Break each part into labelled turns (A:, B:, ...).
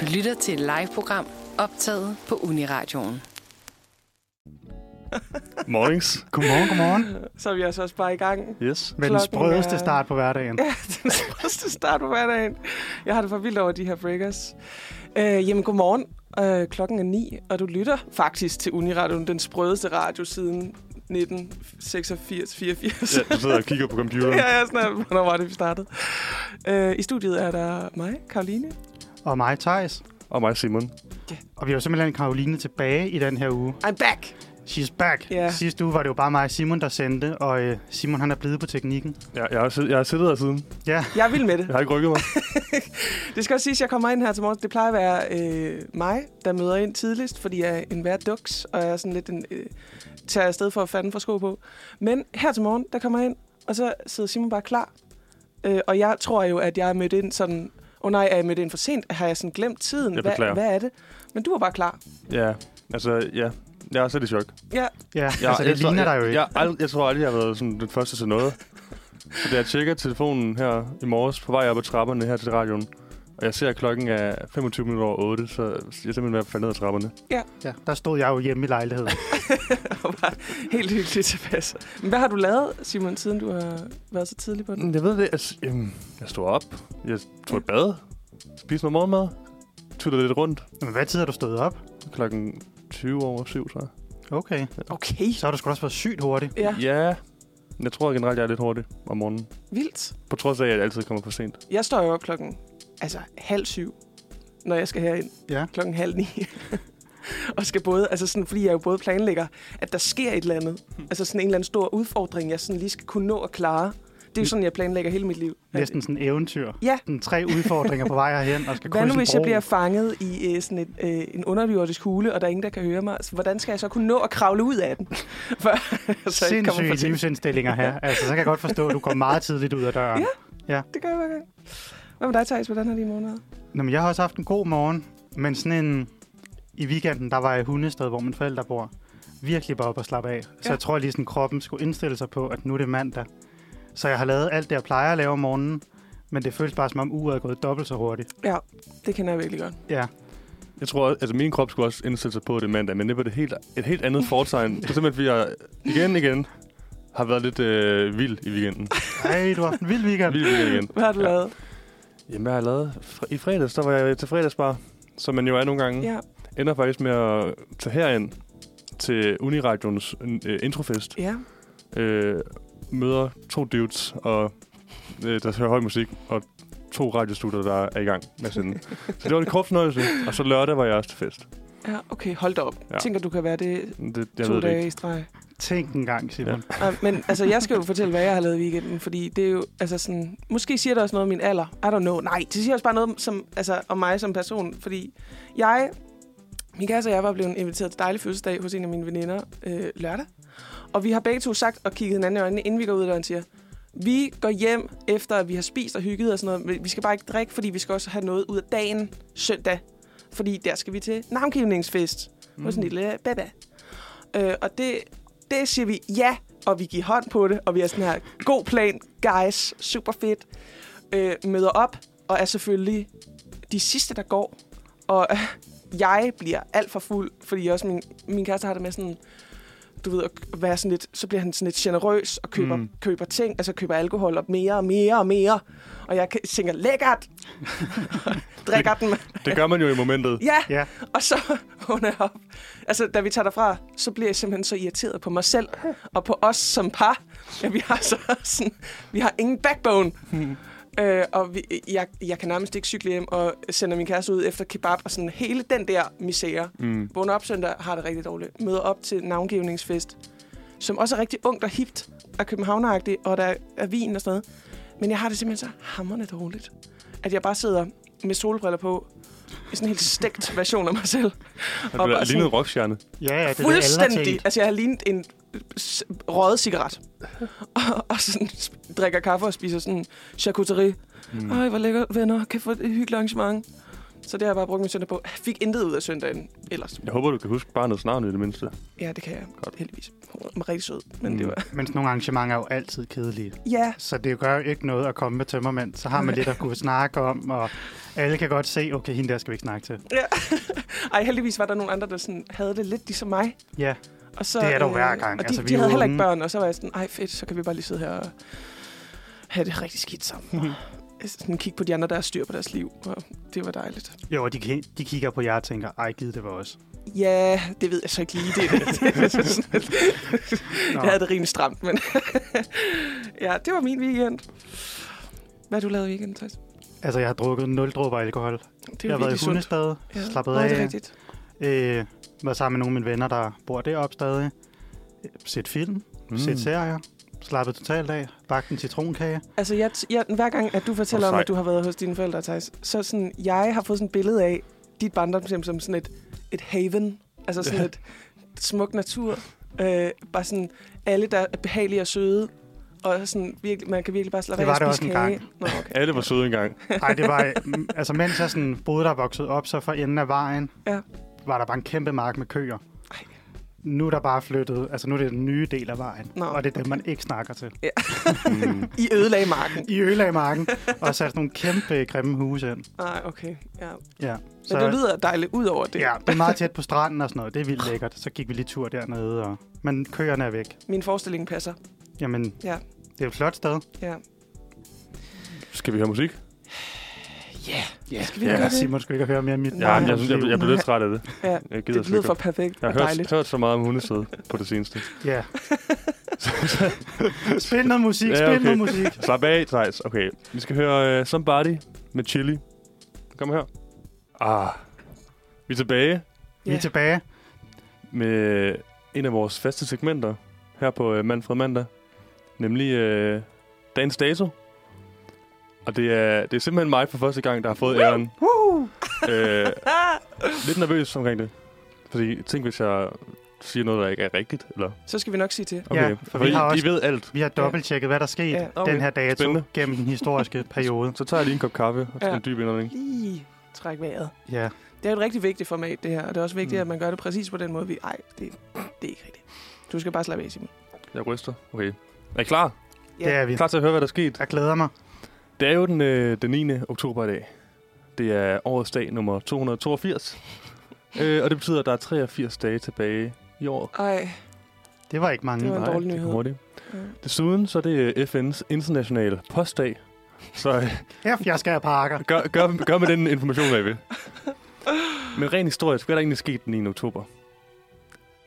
A: Du lytter til et live-program optaget på Uniradioen.
B: Mornings.
C: Godmorgen, godmorgen.
D: Så er vi altså også bare i gang.
B: Yes.
C: Verdens
D: Klokken
C: sprødeste
D: er-
C: start på hverdagen.
D: Ja, den første start på hverdagen. Jeg har det for vildt over de her breakers. Øh, jamen, godmorgen. Øh, klokken er ni, og du lytter faktisk til Uniradioen, den sprødeste radio siden 1986-84.
B: Ja, du sidder og kigger på computeren.
D: Ja, ja, sådan er, hvornår var det, vi startede. Øh, I studiet er der mig, Karoline.
C: Og mig, Thijs.
B: Og mig, Simon.
C: Og vi har jo simpelthen Karoline tilbage i den her uge.
D: I'm back!
C: She's back.
D: Ja.
C: Sidste uge var det jo bare mig og Simon, der sendte, og øh, Simon han er blevet på teknikken.
B: Jeg, jeg, har, sid- jeg har siddet her siden.
C: Ja,
D: Jeg er vild med det.
B: Jeg har ikke rykket mig.
D: Det skal også siges, at jeg kommer ind her til morgen. Det plejer at være øh, mig, der møder ind tidligst, fordi jeg er en hver duks, og jeg er sådan lidt en... Øh, tager afsted for at fanden for sko på. Men her til morgen, der kommer jeg ind, og så sidder Simon bare klar. Øh, og jeg tror jo, at jeg er mødt ind sådan... Åh oh, nej, er jeg mødt ind for sent? Har jeg sådan glemt tiden?
B: Jeg
D: hvad,
B: beklager.
D: hvad er det? Men du var bare klar.
B: Ja, altså, ja. Jeg er selv i chok.
D: Ja,
C: ja.
B: Jeg,
C: altså det
B: jeg, tror-
C: ligner dig jo
B: jeg,
C: ikke.
B: jeg, ald- jeg tror aldrig, jeg har været sådan den første til noget. Så da jeg tjekker telefonen her i morges på vej op ad trapperne her til radioen, og jeg ser, at klokken er 25 minutter over 8, så jeg er simpelthen ved at falde ned ad trapperne.
C: Ja, der stod jeg jo hjemme i lejligheden.
D: og bare helt hyggeligt tilpas. Men hvad har du lavet, Simon, siden du har været så tidlig på den?
B: Jeg ved det. Altså, øhm, jeg stod op. Jeg tog et bad. Spiste noget morgenmad. Tuttede lidt rundt.
C: Men hvad tid har du stået op?
B: Klokken 20 over 7, tror jeg.
C: Okay.
D: Okay.
C: Så har du sgu også været sygt hurtigt.
D: Ja,
B: Ja. Jeg tror generelt, jeg er lidt hurtig om morgenen.
D: vildt.
B: På trods af, at jeg altid kommer for sent.
D: Jeg står jo op klokken altså, halv syv, når jeg skal herind.
C: Ja.
D: Klokken halv ni. og skal både, altså sådan, fordi jeg jo både planlægger, at der sker et eller andet.
C: Hmm.
D: Altså sådan en eller anden stor udfordring, jeg sådan lige skal kunne nå at klare. Det er jo sådan, jeg planlægger hele mit liv. At-
C: Næsten sådan en eventyr.
D: Ja.
C: Sådan tre udfordringer på vej herhen, og skal
D: Hvad nu,
C: krydse en
D: hvis jeg
C: bro.
D: bliver fanget i øh, sådan et, øh, en underjordisk hule, og der er ingen, der kan høre mig? Altså, hvordan skal jeg så kunne nå at kravle ud af den? Før, så jeg ikke kommer for
C: Sindssyge
D: sent?
C: livsindstillinger her. Altså, så kan jeg godt forstå, at du kom meget tidligt ud af døren.
D: Ja. Det gør jeg hver gang. Hvad med dig, Thijs? Hvordan har de måneder?
C: Nå, men jeg har også haft en god morgen, men sådan en... I weekenden, der var jeg i Hundested, hvor mine forældre bor. Virkelig bare op og slappe af. Så
D: Ja.
C: jeg tror lige sådan, kroppen skulle indstille sig på, at nu er det mandag. Så jeg har lavet alt det, jeg plejer at lave om morgenen. Men det føles bare, som om uret er gået dobbelt så hurtigt.
D: Ja, det kender jeg virkelig godt.
C: Ja,
B: Jeg tror, altså min krop skulle også indstille sig på det mandag, men det var det helt, et helt andet fortegn. Det er simpelthen, fordi jeg igen igen har været lidt øh, vild i weekenden.
C: Ej, du har haft en vild weekend.
B: Vild i weekenden igen.
D: Hvad har du
B: Ja.
D: ja. lavet?
B: Jamen, jeg har lavet... fr- I fredags, der var jeg til fredagsbar, som man jo er nogle gange.
D: Ja.
B: Ender faktisk med at tage herind til Uniradions øh, introfest.
D: ja.
B: øh, møder to dudes, og, øh, der hører høj musik, og to radiostudier, der er i gang med at sende. så det var en kort fornøjelse, og så lørdag var jeg også til fest.
D: Ja, okay, hold da op.
B: Ja.
D: Ja. Tænker, du kan være det
B: Men Det, jeg
D: to
B: ved det
D: dage
B: ikke.
D: i streg.
C: Tænk en gang, Simon.
D: Ej, men altså, jeg skal jo fortælle, hvad jeg har lavet i weekenden, fordi det er jo, altså sådan, måske siger det også noget om min alder. I don't know. Nej, det siger også bare noget om, som, altså, om mig som person, fordi jeg, min kæreste og jeg var blevet inviteret til dejlig fødselsdag hos en af mine veninder øh, lørdag. Og vi har begge to sagt og kigget hinanden i øjnene, inden vi går ud af døren, siger, vi går hjem efter, at vi har spist og hygget og sådan noget. men Vi skal bare ikke drikke, fordi vi skal også have noget ud af dagen søndag. Fordi der skal vi til navngivningsfest hos en lille baba. Øh, og det, det siger vi ja, og vi giver hånd på det, og vi er sådan her, god plan, guys, super fedt. Øh, møder op, og er selvfølgelig de sidste, der går. Og øh, jeg bliver alt for fuld, fordi også min, min kæreste har det med sådan, du ved, at være sådan lidt, så bliver han sådan lidt generøs og køber,
B: Mm.
D: mm. køber ting, altså køber alkohol op mere og mere og mere. Og jeg kan- tænker, lækkert! Drikker den.
B: Det gør man jo i momentet.
D: Ja,
C: Ja,
D: og så hun er op. Altså, da vi tager derfra, så bliver jeg simpelthen så irriteret på mig selv og på os som par. Ja, vi har så sådan, vi har ingen backbone. Øh, og vi, jeg, jeg kan nærmest ikke cykle hjem og sender min kæreste ud efter kebab og sådan hele den der misære.
B: Mm.
D: Vågner op søndag, har det rigtig dårligt. Møder op til navngivningsfest, som også er rigtig ungt og hipt og københavneragtigt, og der er vin og sådan noget. Men jeg har det simpelthen så hammerne dårligt, at jeg bare sidder med solbriller på, i sådan en helt stegt version af mig selv.
B: Og
D: Og
B: du er
D: bare
B: lignet en rockstjerne.
C: ja, ja det er det, alle har
D: Fuldstændig.
C: tænkt.
D: Altså, jeg har lignet en s- røget cigaret. Og, og sådan sp- drikker kaffe og spiser sådan charcuterie. Mm. Ej, hvor lækkert, venner. Kan få et hyggeligt arrangement. Så det har jeg bare brugt min søndag på. Jeg fik intet ud af søndagen ellers.
B: Jeg håber, du kan huske barnets navn i det mindste.
D: Ja, det kan jeg.
B: Godt.
D: Godt. Heldigvis. Hun er rigtig sød. Men mm. det
B: Mm.
D: var...
C: Mens nogle arrangementer er jo altid kedelige.
D: Ja,
C: Så det gør jo ikke noget at komme med tømmermænd. Så har man lidt at kunne snakke om, og alle kan godt se, okay, hende der skal vi ikke snakke til.
D: ja. Ej, heldigvis var der nogle andre, der sådan, havde det lidt ligesom mig.
C: Ja,
D: Og så,
C: Det er dog
D: øh,
C: hver gang.
D: Og de,
C: Altså,
D: altså,
C: vi
D: de
C: er
D: havde
C: jo
D: heller ikke
C: unge.
D: børn, og så var jeg sådan, ej fedt, så kan vi bare lige sidde her og have det rigtig skidt sammen.
C: Mhm.
D: Og sådan kigge på de andre, der har styr på deres liv, og det var dejligt.
C: jo, og de, ki- de kigger på jer og tænker, ej, giv det var os.
D: Ja, det ved jeg så ikke lige. Det, det, det, det, det,
C: Nå,
D: jeg havde det rimelig stramt, men ja, det var min weekend. Hvad har du lavet i weekenden, Thijs?
C: altså, jeg har drukket nul dråber alkohol.
D: Det
C: Jeg har været i hundestad, ja. slappet
D: Nå, det er
C: af,
D: rigtigt.
C: øh, været sammen med nogle af mine venner, der bor deroppe stadig. Øh, Set film, mm. set serier, slappet totalt af, bagt en citronkage.
D: Altså, jeg, jeg, hver gang, at du fortæller
B: Hvor
D: om,
B: sej.
D: at du har været hos dine forældre, Thijs, så sådan, jeg har fået sådan et billede af dit barndomshjem som sådan et, et haven. Altså sådan
B: Ja.
D: et smuk natur. Øh, bare sådan, alle der er behagelige og søde. Og sådan, virkelig, man kan virkelig bare slappe
C: Det
D: af
C: var
D: og
C: det
D: spise
C: også
D: kage.
C: engang.
D: Nå, okay.
B: Alle var søde engang.
C: Ej, det var... mm, altså, mens jeg sådan boede der og voksede op, så for enden af vejen,
D: Ja.
C: var der bare en kæmpe mark med køer.
D: Ej.
C: Nu er der bare flyttet... Altså, nu er det den nye del af vejen.
D: Nå,
C: og det er det, man ikke snakker til.
B: Mm.
D: I ødelagde marken.
C: I ødelagde marken og satte nogle kæmpe grimme huse ind.
D: Nej, Ah, okay. Ja. Men
C: Ja.
D: så, det lyder dejligt ud over det.
C: Ja, det er meget tæt på stranden og sådan noget. Det er vildt lækkert. Så gik vi lige tur dernede, og... men køerne er væk.
D: Min forestilling passer.
C: Jamen,
D: Ja.
C: det er et flot sted.
D: Ja.
B: Skal vi høre musik?
D: Skal vi
B: Ja,
D: gøre
C: Ja,
D: det?
C: Simon skulle ikke høre mere om mit
B: Ja,
D: Nej.
B: jeg, synes, jeg, jeg blev lidt træt af det.
D: Ja,
B: Jeg gider
D: det
B: sgu
D: lyder
B: ikke.
D: for perfekt
B: Jeg
D: og
B: har hørt,
D: dejligt.
B: hørt så meget om hundesæde på det seneste.
C: Ja. spil noget musik,
B: Ja,
C: spil
B: okay.
C: noget musik.
B: Slap af, Thijs. Okay, vi skal høre uh, Somebody med Chili. Kom her. Ah, vi er tilbage
C: Vi er tilbage.
B: med en af vores faste segmenter her på uh, Manfred Mandag. Nemlig uh, Dagens Dato. Og det er, det er simpelthen mig for første gang, der har fået æren.
D: Woo! Ah!
B: Øh, lidt nervøs omkring det. Fordi tænk, hvis jeg siger noget, der ikke er rigtigt. Eller?
D: Så skal vi nok sige til.
B: Okay,
C: Ja,
B: for
C: for
B: fordi
C: vi har
B: I
C: også-
B: ved alt.
C: Vi har dobbelttjekket, hvad der skete
D: Ja,
C: ja,
B: okay.
C: okay. den her dato
B: Spændende.
C: gennem den historiske periode.
B: Så tager jeg lige en kop kaffe og
D: Ja.
B: ja. en dyb indånding.
D: Lige træk vejret.
C: Ja.
D: Det er jo et rigtig vigtigt format, det her. Og det er også vigtigt, mm.
C: Mm.
D: at man gør det præcis på den måde, vi... Ej, det, det er ikke rigtigt. Du skal bare slappe af, Simon.
B: Jeg ryster. Okay. Er I klar?
D: Ja.
C: det er vi.
B: Klar til at høre, hvad der er sket?
C: Jeg glæder mig.
B: Det er jo den, øh, den 9. oktober i dag. Det er årets dag nummer 282. øh, og det betyder, at der er 83 dage tilbage i år.
D: Ej,
C: Det var ikke mange.
D: Det var- en dårlig
B: det går
D: nyhed.
B: hurtigt.
D: Ja.
B: Desuden så er det øh, FN's internationale postdag. Så øh,
C: F, jeg skal have pakker.
B: gør, gør, gør med den information, hvad I vil. Men rent historisk, hvad er der egentlig sket den 9. oktober?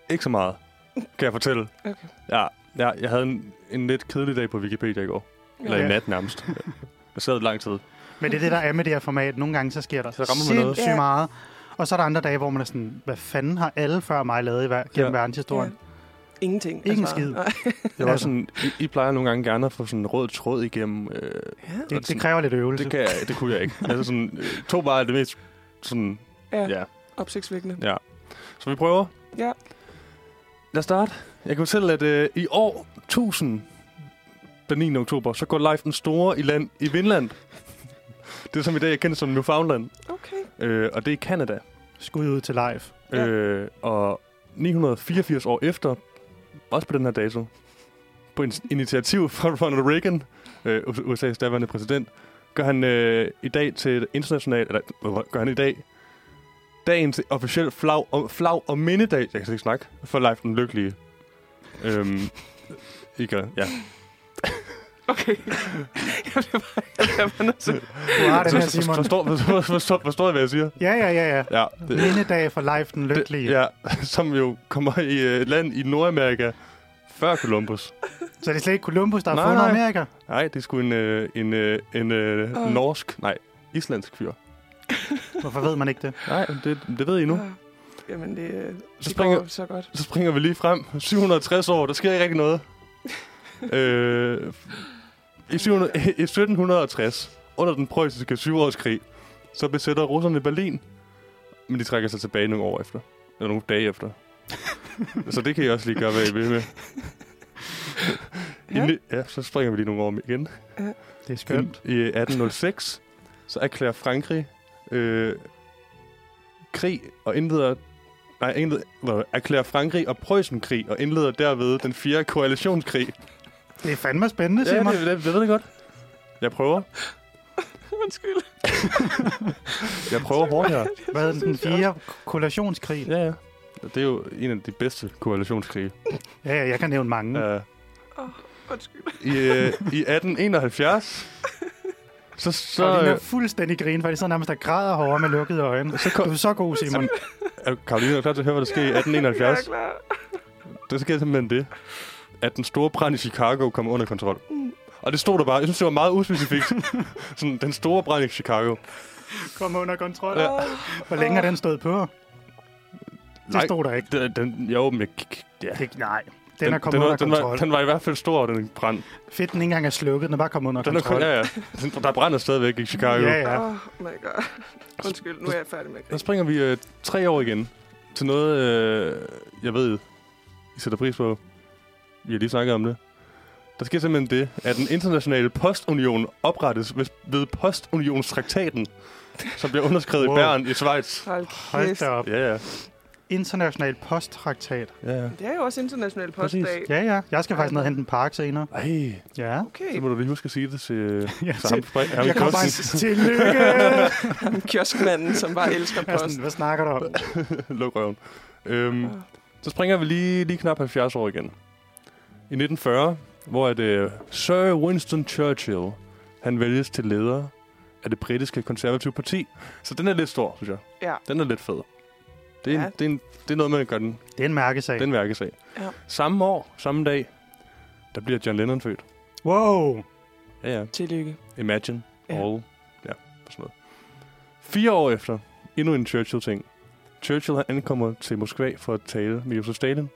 B: Ikke så meget, kan jeg fortælle.
D: Okay.
B: Ja, ja jeg havde en, en lidt kedelig dag på Wikipedia i går. Eller i
C: Ja.
B: nat nærmest. Jeg sad lang tid.
C: Men det er det, der er med det her format. Nogle gange så sker der
B: Så rammer man noget.
C: sindssygt
D: Ja.
C: meget. Og så er der andre dage, hvor man er sådan, hvad fanden har alle før mig lavet i ver- gennem
B: Ja.
C: verdenshistorien?
D: Ingenting. Altså,
C: Ingen skid.
D: nej.
B: Jeg var
C: Altså.
B: sådan, I, I plejer nogle gange gerne at få sådan en rød tråd igennem. Øh,
D: Ja.
B: Og
C: Det,
B: sådan-
C: det kræver lidt øvelse.
B: det, kan jeg, det kunne jeg ikke. Altså sådan, øh, to bare er det mest sådan,
D: Ja.
B: ja.
D: Opsigtsvækkende.
B: Ja. Så vi prøver.
D: Ja.
B: Lad os starte. Jeg kan fortælle, at øh, i år 1000, den 9. oktober, så går Leif den Store i land i Vinland. Det er som i dag, jeg kender som Newfoundland.
D: Okay.
B: Øh, og det er i Canada.
C: Skud ud til live.
D: Ja.
B: Ja. Øh, og 984 år efter, også på den her dato, på en initiativ fra Ronald Reagan, øh, USA's daværende præsident, gør han øh, i dag til et internationalt, eller øh, gør han i dag dagen til officiel flag og, flag og mindedag, jeg kan slet ikke snakke, for Leif den Lykkelige. Øhm, ikke, ja.
D: Okay. jeg bliver bare... Jeg bliver bare nødt til...
C: Du har den her,
B: Så- så-
C: Simon.
B: Forstår, forstår, forstår, forstår I, hvad jeg siger?
C: Ja, ja, ja, ja.
B: Ja, det,
C: Mindedag for live den lykkelige.
B: det, ja, som jo kommer i øh, et land i Nordamerika før Columbus.
C: Så det er slet ikke Columbus, der har
B: Nej,
C: fundet
B: nej.
C: Amerika?
B: Nej, det er sgu en, øh, en, øh, en øh,
D: Åh.
B: norsk, nej, islandsk fyr.
C: Hvorfor ved man ikke det?
B: Nej, det, det ved I nu.
D: Ah, Jamen, det, øh,
B: Så
D: det
B: springer-
D: går så godt.
B: Så springer vi lige frem. 760 år, der sker ikke rigtig noget. øh, i, 700, I 1760, under den preussiske syvårskrig, så besætter russerne Berlin. Men de trækker sig tilbage nogle år efter. Eller nogle dage efter. så det kan I også lige gøre, hvad I vil med.
D: Ja.
B: I, ni- ja, så springer vi lige nogle år om igen.
C: Det er skønt.
B: Skønt. I 1806, så erklærer Frankrig øh, krig og indleder nej, indleder, eller erklærer Frankrig og Preussen krig og indleder derved den fjerde koalitionskrig.
C: Det er fandme spændende,
B: Ja,
C: Simon.
B: det, det, det ved jeg godt. Jeg prøver.
D: Undskyld.
B: Jeg prøver hårdt her.
C: Hvad er den fjerde kollationskrig?
B: Ja, ja. Det er jo en af de bedste koalitionskrige.
C: Ja, ja, jeg kan nævne mange.
B: Uh,
D: Undskyld.
B: i, øh, I 1871, så, så,
C: Så, Karolina er
B: øh,
C: fuldstændig grin, for de sidder nærmest og græder herovre med lukkede øjne.
B: så
C: Du
B: kom,
C: er så god, Simon.
B: er Karoline er klar til at høre, hvad der sker i
D: Jeg er
B: 1871.
D: klar.
B: Der sker simpelthen det, at den store brand i Chicago kom under kontrol. Og det stod der bare. Jeg synes, det var meget uspecifikt. Sådan, den store brand i Chicago.
C: Kom under kontrol.
B: Ja.
C: Hvor længe har den stået på? Det
B: Nej.
C: stod der ikke.
B: Den, den, jo, men jeg, ja. Den,
C: Det, nej, den er kommet
B: den, var,
C: under
B: den, var,
C: kontrol.
B: den var i hvert fald stor, den brand.
C: Fedt, den ikke engang er slukket. Den er bare kommet under
B: Den er, kun-
C: kontrol.
B: ja, ja. Den- Der brænder stadigvæk i Chicago.
C: ja, ja.
D: Oh my god. Undskyld, nu er jeg færdig med
B: Der
D: det.
B: springer vi øh, tre år igen til noget, øh, jeg ved, I sætter pris på. Vi har lige snakket om det. Der sker simpelthen det, at den internationale postunion oprettes ved, ved postunionstraktaten, som bliver underskrevet wow.
C: Wow.
B: i Bern i Schweiz.
D: Hold
C: Hold
D: kæft.
C: da op.
B: Ja, ja.
C: International posttraktat.
B: ja, ja.
D: Det er jo også international
B: Præcis.
D: postdag.
C: Ja, ja. Jeg skal faktisk ned og hente en park senere.
B: Ej,
C: Ja.
D: Okay,
B: så må du lige huske at sige det til, øh,
C: Ja,
B: til ham, fra- ham i
C: Jeg kommer
B: posten.
C: bare til lykke.
D: ham kioskmanden, som bare elsker
C: Jeg er
D: post.
C: sådan, Hvad snakker du om?
B: Luk røven. Øhm, Så springer vi lige, lige knap 70 år igen. I 1940, hvor at, øh, Sir Winston Churchill, han vælges til leder af det britiske konservative parti. Så den er lidt stor, synes jeg.
D: Ja.
B: Den er lidt fed. Det er, ja.
D: Ja.
B: en, det, er en, det er noget, man gør den,
C: Det er en mærkesag.
B: den mærkesag.
D: Ja.
B: Samme år, samme dag, der bliver John Lennon født.
C: Wow.
B: Ja, ja.
D: Tillykke.
B: Imagine
D: Ja.
B: all. Ja, og sådan noget. Fire år efter, endnu en Churchill-ting. Churchill han ankommer til Moskva for at tale med Josef Stalin.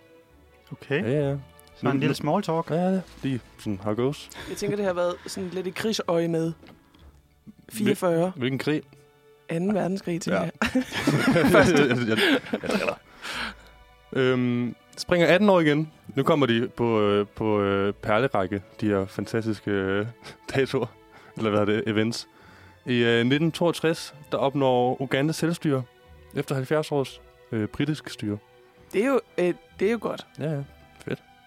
C: Okay.
B: Ja, ja.
C: Så en lille small talk.
B: Ja, ja. Lige sådan, how goes.
D: Jeg tænker, det har været sådan lidt i krigsøje med. 44.
B: Hvilken krig?
D: 2. verdenskrig, tænker
B: Ja.
D: jeg.
B: Første. jeg, jeg, jeg driller. Øhm, springer 18 år igen. Nu kommer de på, øh, på øh, perlerække, de her fantastiske øh, datoer, eller hvad er det, events. I øh, 1962, der opnår Uganda selvstyre, efter 70 års øh, britisk styre.
D: Det er jo, øh, det er jo godt.
B: Ja, ja.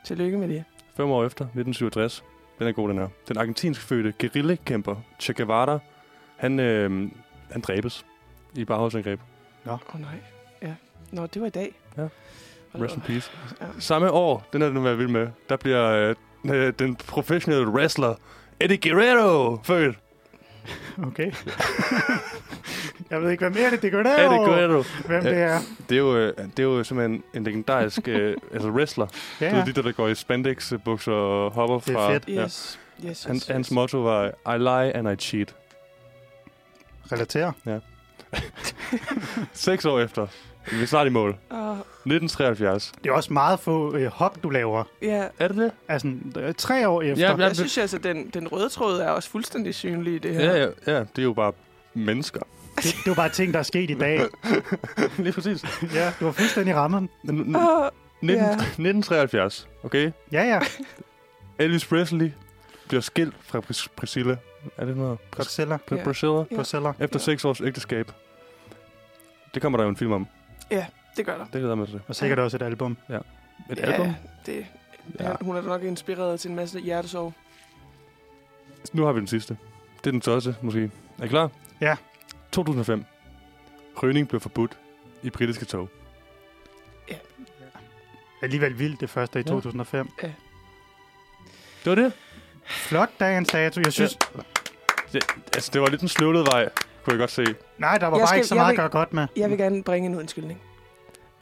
D: Tillykke med det.
B: Fem år efter, 1967. Den er god, den her. Den argentinsk fødte guerillekæmper Che Guevara, han, øh, han dræbes i bagholdsangreb.
D: Åh oh, nej. Ja. Nå, det var i dag.
B: Ja.
D: Hold
B: Rest in
D: op.
B: peace.
D: Ja.
B: Samme år, den er den, jeg vild med, der bliver øh, den, øh, den professionelle wrestler Eddie Guerrero født.
C: Okay. jeg ved ikke, hvem er det? Det gør det
B: Eddie Guerrero.
C: Hvem det er.
B: Det er jo, øh, det er jo simpelthen en legendarisk øh, altså wrestler.
C: Ja,
B: Du
C: ja.
B: ved, de der, der går i spandex-bukser og hopper
C: Det er
B: fra...
C: fedt.
B: Ja.
D: Yes. Ja. yes,
B: Hans,
D: yes,
B: hans
D: yes.
B: motto var, I lie and I cheat.
C: Relaterer.
B: Seks år efter. Vi er snart i mål.
D: Åh,
B: 1973.
C: Det er også meget få øh, hop, du laver.
D: ja.
B: Er det det?
C: Altså, øh, tre år efter.
B: Ja, ja.
D: Jeg synes altså, den, den røde tråd er også fuldstændig synlig i det her.
B: Ja, ja, ja. Det er jo bare mennesker.
C: Det, det var bare ting, der er sket i dag.
B: Lige præcis.
C: ja, du var fuldstændig rammen.
B: Men nu- nu-
D: Åh,
B: 19,
D: Ja.
B: 1973, okay?
C: Ja, ja.
B: Elvis Presley bliver skilt fra Pris- Priscilla. Er det noget? Pris-
C: Priscilla.
B: Pr-
D: Ja.
B: Priscilla?
D: Ja.
C: Priscilla.
B: Efter
D: Ja.
B: seks års ægteskab. Det kommer der jo en film om.
D: det gør der.
B: Det glæder jeg mig til.
C: Og sikkert også et album.
B: Et album?
D: Det,
B: Ja.
D: ja. Hun er nok inspireret til en masse hjertesorg.
B: Nu har vi den sidste. Det er den største, måske. Er I klar?
C: Ja.
B: 2005. Røgning blev forbudt i britiske tog.
C: Alligevel vildt det første i
B: Ja.
C: 2005.
B: Det var det.
C: Flot dagens dato. Jeg synes...
B: det altså, det var lidt en sløvlet vej, kunne jeg godt se.
C: Nej, der var
D: Jeg
C: bare
D: skal-
C: ikke så
D: jeg
C: meget at
D: vil-
C: gøre godt med.
D: Jeg vil
B: Mm.
D: gerne bringe en undskyldning.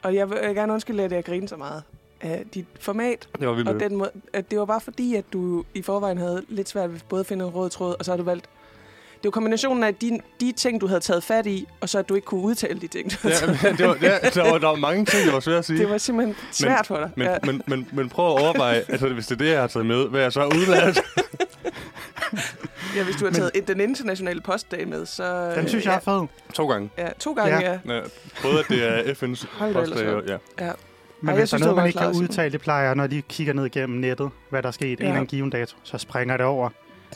D: Og jeg vil, jeg vil gerne undskylde, at jeg griner så meget af dit format.
B: Det var vildt.
D: Og den måde, at det var bare fordi, at du i forvejen havde lidt svært ved både at finde en rød tråd, og så har du valgt... Det var kombinationen af de, de ting, du havde taget fat i, og så at du ikke kunne udtale de ting, du havde
B: Ja,
D: taget
B: men det var, ja, der, var, der var mange ting, der var svært at sige.
D: Det var simpelthen svært for dig.
B: Men,
D: ja.
B: ja. men, men, men prøv at overveje, altså hvis det er det, jeg har taget med, hvad jeg så har udladt.
D: ja, hvis du har taget den internationale postdag med, så...
C: Den synes jeg
D: ja,
C: er fed.
B: to gange.
D: Ja, to gange,
C: Ja.
D: ja. ja.
B: Ja, både at det er FN's
D: Hold da ellers
B: postdag, og- ja. Øh,
C: Men
D: Ej,
C: Ej,
D: jeg
C: hvis der
D: synes,
C: er noget,
D: det var
C: man ikke
D: klart,
C: kan
D: Simon.
C: udtale, det plejer jeg, når de kigger ned gennem nettet, hvad der er sket ja. en
D: Ja.
C: eller anden given dato, så springer det over.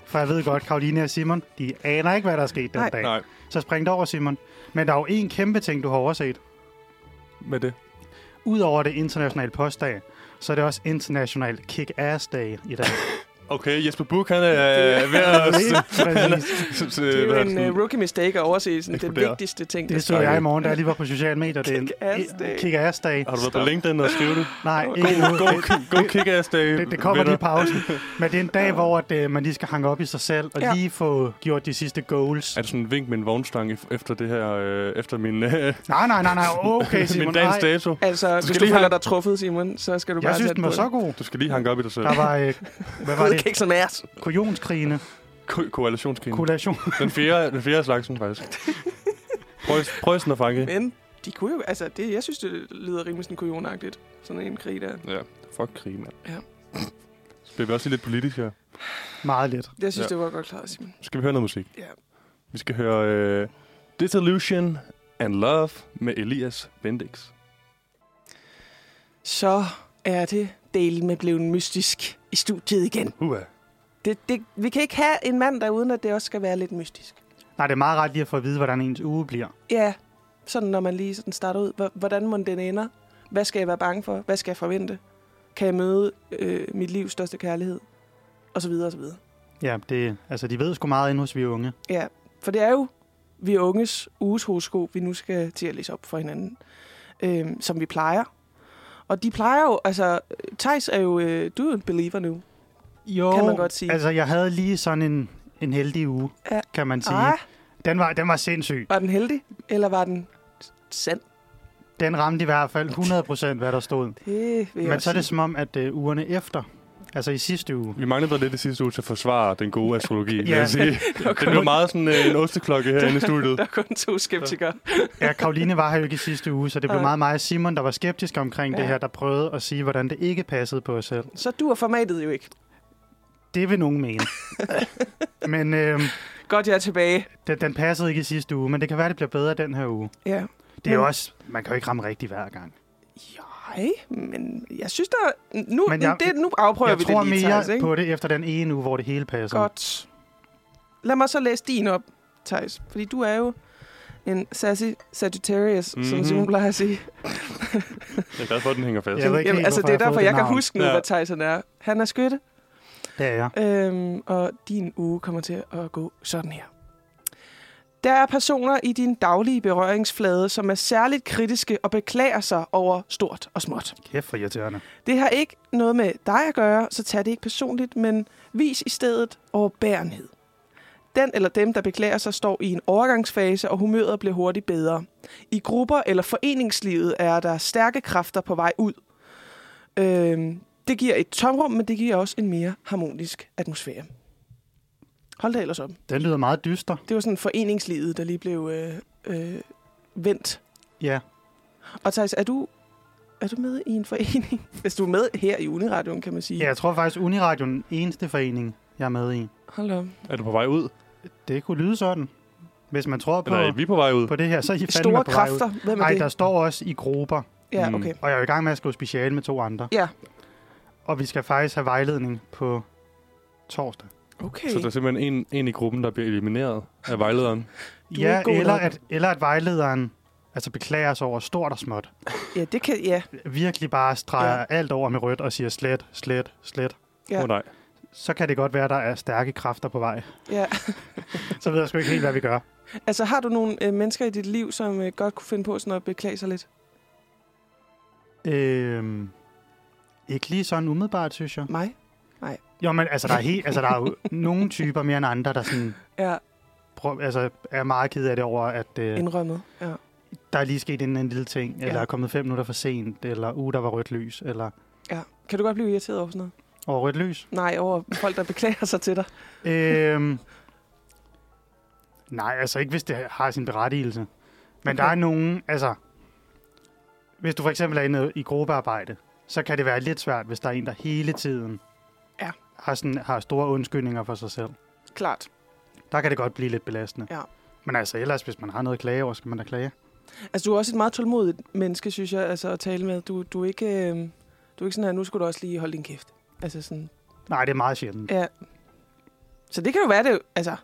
C: For jeg ved godt, Karoline og Simon, de aner ikke, hvad der er sket den
D: Nej.
C: dag.
B: Nej,
C: Så spring det over, Simon. Men der er jo en kæmpe ting, du har overset.
B: med det.
C: Udover det internationale postdag, så er det også international kick-ass-dag i dag.
B: Okay, Jesper Buch, han er øh, ved at...
C: Lige præcis.
B: s- s-
D: Det er
B: hvad
D: jo
B: er
D: en
B: sådan-
D: øh, rookie mistake at overse sådan, den
B: Eksplodere.
D: vigtigste ting.
C: Det
D: Det
C: så jeg i morgen, da jeg lige var på sociale medier. Det er en
D: Kick-ass-dag.
C: kick-ass-dag.
B: Har du været på LinkedIn og skrevet det?
C: Nej, ikke endnu.
B: Go, go kick-ass day,
C: Det, det kommer lige i
B: venner.
C: pausen. Men det er en dag, hvor at, øh, man lige skal hanke op i sig selv og
D: Ja.
C: lige få gjort de sidste goals.
B: Er det sådan en vink med en vognstang ef- efter det her, øh, efter min, øh,
C: Nej, nej, nej, nej. Okay,
B: min
C: Simon.
B: dagens
C: nej.
B: dato?
D: Altså, hvis
B: skal
D: du
B: lige
D: føler
B: have-
D: dig truffet, Simon, så skal du bare
C: Jeg synes,
D: tage
C: den var så god.
B: Du skal lige hanke op i dig selv.
C: Der var, øh, hvad var
D: god.
C: det?
D: Kæk som ass.
C: Kujonskrigen.
B: Ko- Koalitionskrigen.
C: Kollation.
B: Den fjerde, den fjerde af slagsen, faktisk. Prøv- Prøv sådan at fange.
D: Men de kunne jo, altså, det, jeg synes, det lyder rimelig sådan kujonagtigt. Sådan en krig der.
B: Ja, fuck krig, mand.
D: Ja.
B: Så bliver vi også lige lidt politisk her.
C: Meget let.
D: Jeg synes,
B: Ja.
D: ja. det var godt klaret, Simon.
B: Så skal vi høre noget musik.
D: Ja.
B: Vi skal høre øh, Disillusion and Love med Elias Bendix.
D: Så er det del med blevet mystisk i studiet igen.
B: Uha.
D: Det, det, vi kan ikke have en mand der, uden at det også skal være lidt mystisk.
C: Nej, det er meget rart lige at få at vide, hvordan ens uge bliver.
D: Ja, sådan når man lige sådan starter ud. Hvor- Hvordan må den ender? Hvad skal jeg være bange for? Hvad skal jeg forvente? Kan jeg møde øh, mit livs største kærlighed? Og så videre, og så videre.
C: Ja, det, altså, de ved sgu meget endnu, hos vi er unge.
D: Ja, for det er jo vi unges uges horoskop, vi nu skal til at læse op for hinanden, øh, som vi plejer. Og de plejer jo, altså, Thijs er jo, øh, du er jo en believer nu.
C: Jo,
D: Kan man godt sige.
C: altså, jeg havde lige sådan en, en heldig uge,
D: Ja.
C: kan man sige.
D: Ah,
C: Den var, den var sindssyg.
D: var den heldig, eller var den sand?
C: Den ramte i hvert fald 100 procent, hvad der stod.
D: Det vil jeg
C: Men så er det
D: også sige.
C: som om, at øh, ugerne efter, altså i sidste uge,
B: Vi manglede dig lidt i sidste uge til at forsvare den gode astrologi, vil
C: Ja.
B: jeg sige. Den blev meget sådan øh, en osteklokke herinde i studiet.
D: Der er kun to skeptikere.
C: Ja, Karoline var her jo ikke i sidste uge, så det blev
D: Nej.
C: meget mig og Simon, der var skeptisk omkring ja.
D: Ja.
C: det her, der prøvede at sige, hvordan det ikke passede på os selv.
D: Så du er formatet jo ikke.
C: Det vil nogen mene. men øhm,
D: Godt, jeg er tilbage.
C: den, den passede ikke i sidste uge, men det kan være, det bliver bedre den her uge.
D: Ja.
C: Det er jo
D: Men-
C: også, man kan jo ikke ramme rigtigt hver gang.
D: Nej, men jeg synes der... Nu,
C: Men
D: men
C: jeg-
D: jeg, det, nu afprøver
C: jeg
D: vi
C: tror
D: det lige,
C: mere
D: Thijs, ikke?
C: på det efter den ene uge, hvor det hele passer.
D: Godt. Lad mig så læse din op, Thijs. Fordi du er jo en sassy Sagittarius, mm-hmm. som
B: Mhm.
D: Simon plejer at sige.
B: Jeg er glad for, at den hænger fast.
C: Jeg ved ikke helt,
D: altså,
C: hvorfor
D: det
C: jeg har
D: er derfor,
C: fået
D: jeg
C: det
D: kan
C: navn.
D: huske nu,
B: Ja.
D: hvad Thijs han er. Han er skytte,
C: Det er jeg.
D: øhm, og din uge kommer til at gå sådan her. Der er personer i din daglige berøringsflade, som er særligt kritiske og beklager sig over stort og småt.
C: Kæft for irriterende.
D: Det har ikke noget med dig at gøre, så tag det ikke personligt, men vis i stedet overbærenhed. Den eller dem, der beklager sig, står i en overgangsfase, og humøret bliver hurtigt bedre. I grupper eller foreningslivet er der stærke kræfter på vej ud. Øhm, det giver et tomrum, men det giver også en mere harmonisk atmosfære. Hold da ellers op.
C: Den lyder meget dyster.
D: Det var sådan foreningslivet, der lige blev øh, øh, vendt.
C: Ja,
D: Og Thijs, er du, er du med i en forening? Hvis du er med her i Uniradioen, kan man sige.
C: ja jeg tror faktisk, Uniradion er den eneste forening, jeg er med i.
D: Hold op.
B: Er du på vej ud?
C: Det kunne lyde sådan. Hvis man tror på,
B: Eller er vi på vej ud?
C: på det her, så er I fandme
D: Store
C: på vej ud.
D: kræfter. Hvem er
C: Nej,
D: det?
C: der står også i grupper.
D: Ja,
B: Mm.
D: okay.
C: Og jeg er i gang med at skrive speciale med to andre.
D: Ja.
C: Og vi skal faktisk have vejledning på torsdag.
D: Okay.
B: Så der er simpelthen en, en i gruppen, der bliver elimineret af vejlederen.
D: er
C: ja,
D: ikke god
C: eller
D: nok.
C: at, eller at vejlederen altså beklager sig over stort og småt.
D: Ja, det kan... Ja.
C: Virkelig bare streger
D: Ja.
C: ja. alt over med rødt og siger slet, slet, slet.
B: Åh
D: Ja.
B: oh, nej.
C: Så kan det godt være, at der er stærke kræfter på vej.
D: ja.
C: Så ved jeg sgu ikke helt, hvad vi gør.
D: Altså, har du nogle øh, mennesker i dit liv, som øh, godt kunne finde på sådan at beklage sig lidt?
C: Øhm, ikke lige sådan umiddelbart, synes jeg.
D: Mig?
C: Jo, men altså, der er, helt, altså, der er jo nogle typer mere end andre, der sådan,
D: Ja,
C: prøv, altså, er meget ked af det over, at... Øh,
D: indrømmet. Ja.
C: der er lige sket en, en lille ting, ja. eller
D: Ja.
C: er kommet fem minutter for sent, eller uh, der var rødt lys, eller
D: ja. Kan du godt blive irriteret over sådan noget?
C: over rødt lys.
D: Nej, over folk, der beklager sig til dig.
C: øhm, nej, altså ikke hvis det har sin berettigelse. Men okay. der
D: Okay.
C: er nogen, altså, hvis du for eksempel er inde i gruppearbejde, så kan det være lidt svært, hvis der er en, der hele tiden
D: Ja.
C: har, sådan, har store undskyldninger for sig selv.
D: Klart.
C: Der kan det godt blive lidt belastende.
D: Ja.
C: Men altså ellers, hvis man har noget at klage over, skal man da klage.
D: Altså, du er også et meget tålmodigt menneske, synes jeg, altså, at tale med. Du, du, er ikke, øh, du er ikke sådan her, nu skulle du også lige holde din kæft. Altså sådan,
C: Nej, det er meget sjældent.
D: ja. Så det kan jo være, det, altså,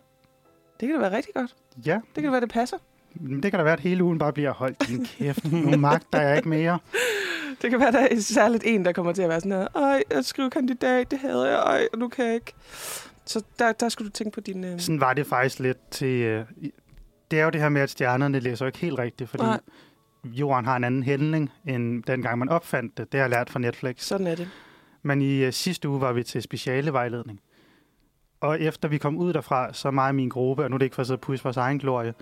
D: det kan da være rigtig godt.
C: Ja,
D: Det kan da være, det passer.
C: men det kan da være, at hele ugen bare bliver holdt din kæft. Nu magter jeg ikke mere.
D: Det kan være, der er særligt en, der kommer til at være sådan her, ej, at skrive kandidat, det havde jeg, ej, og nu kan jeg ikke. Så der, der skulle du tænke på din... Øh...
C: Sådan var det faktisk lidt til... Øh, i- det er jo det her med, at stjernerne læser jo ikke helt rigtigt, fordi
D: Nej.
C: jorden har en anden handling, end dengang man opfandt det. Det har jeg lært fra Netflix.
D: Sådan er det.
C: Men i øh, sidste uge var vi til specialevejledning. Og efter vi kom ud derfra, så mig og min gruppe, og nu er det ikke for at sidde og pusse vores egen glorie,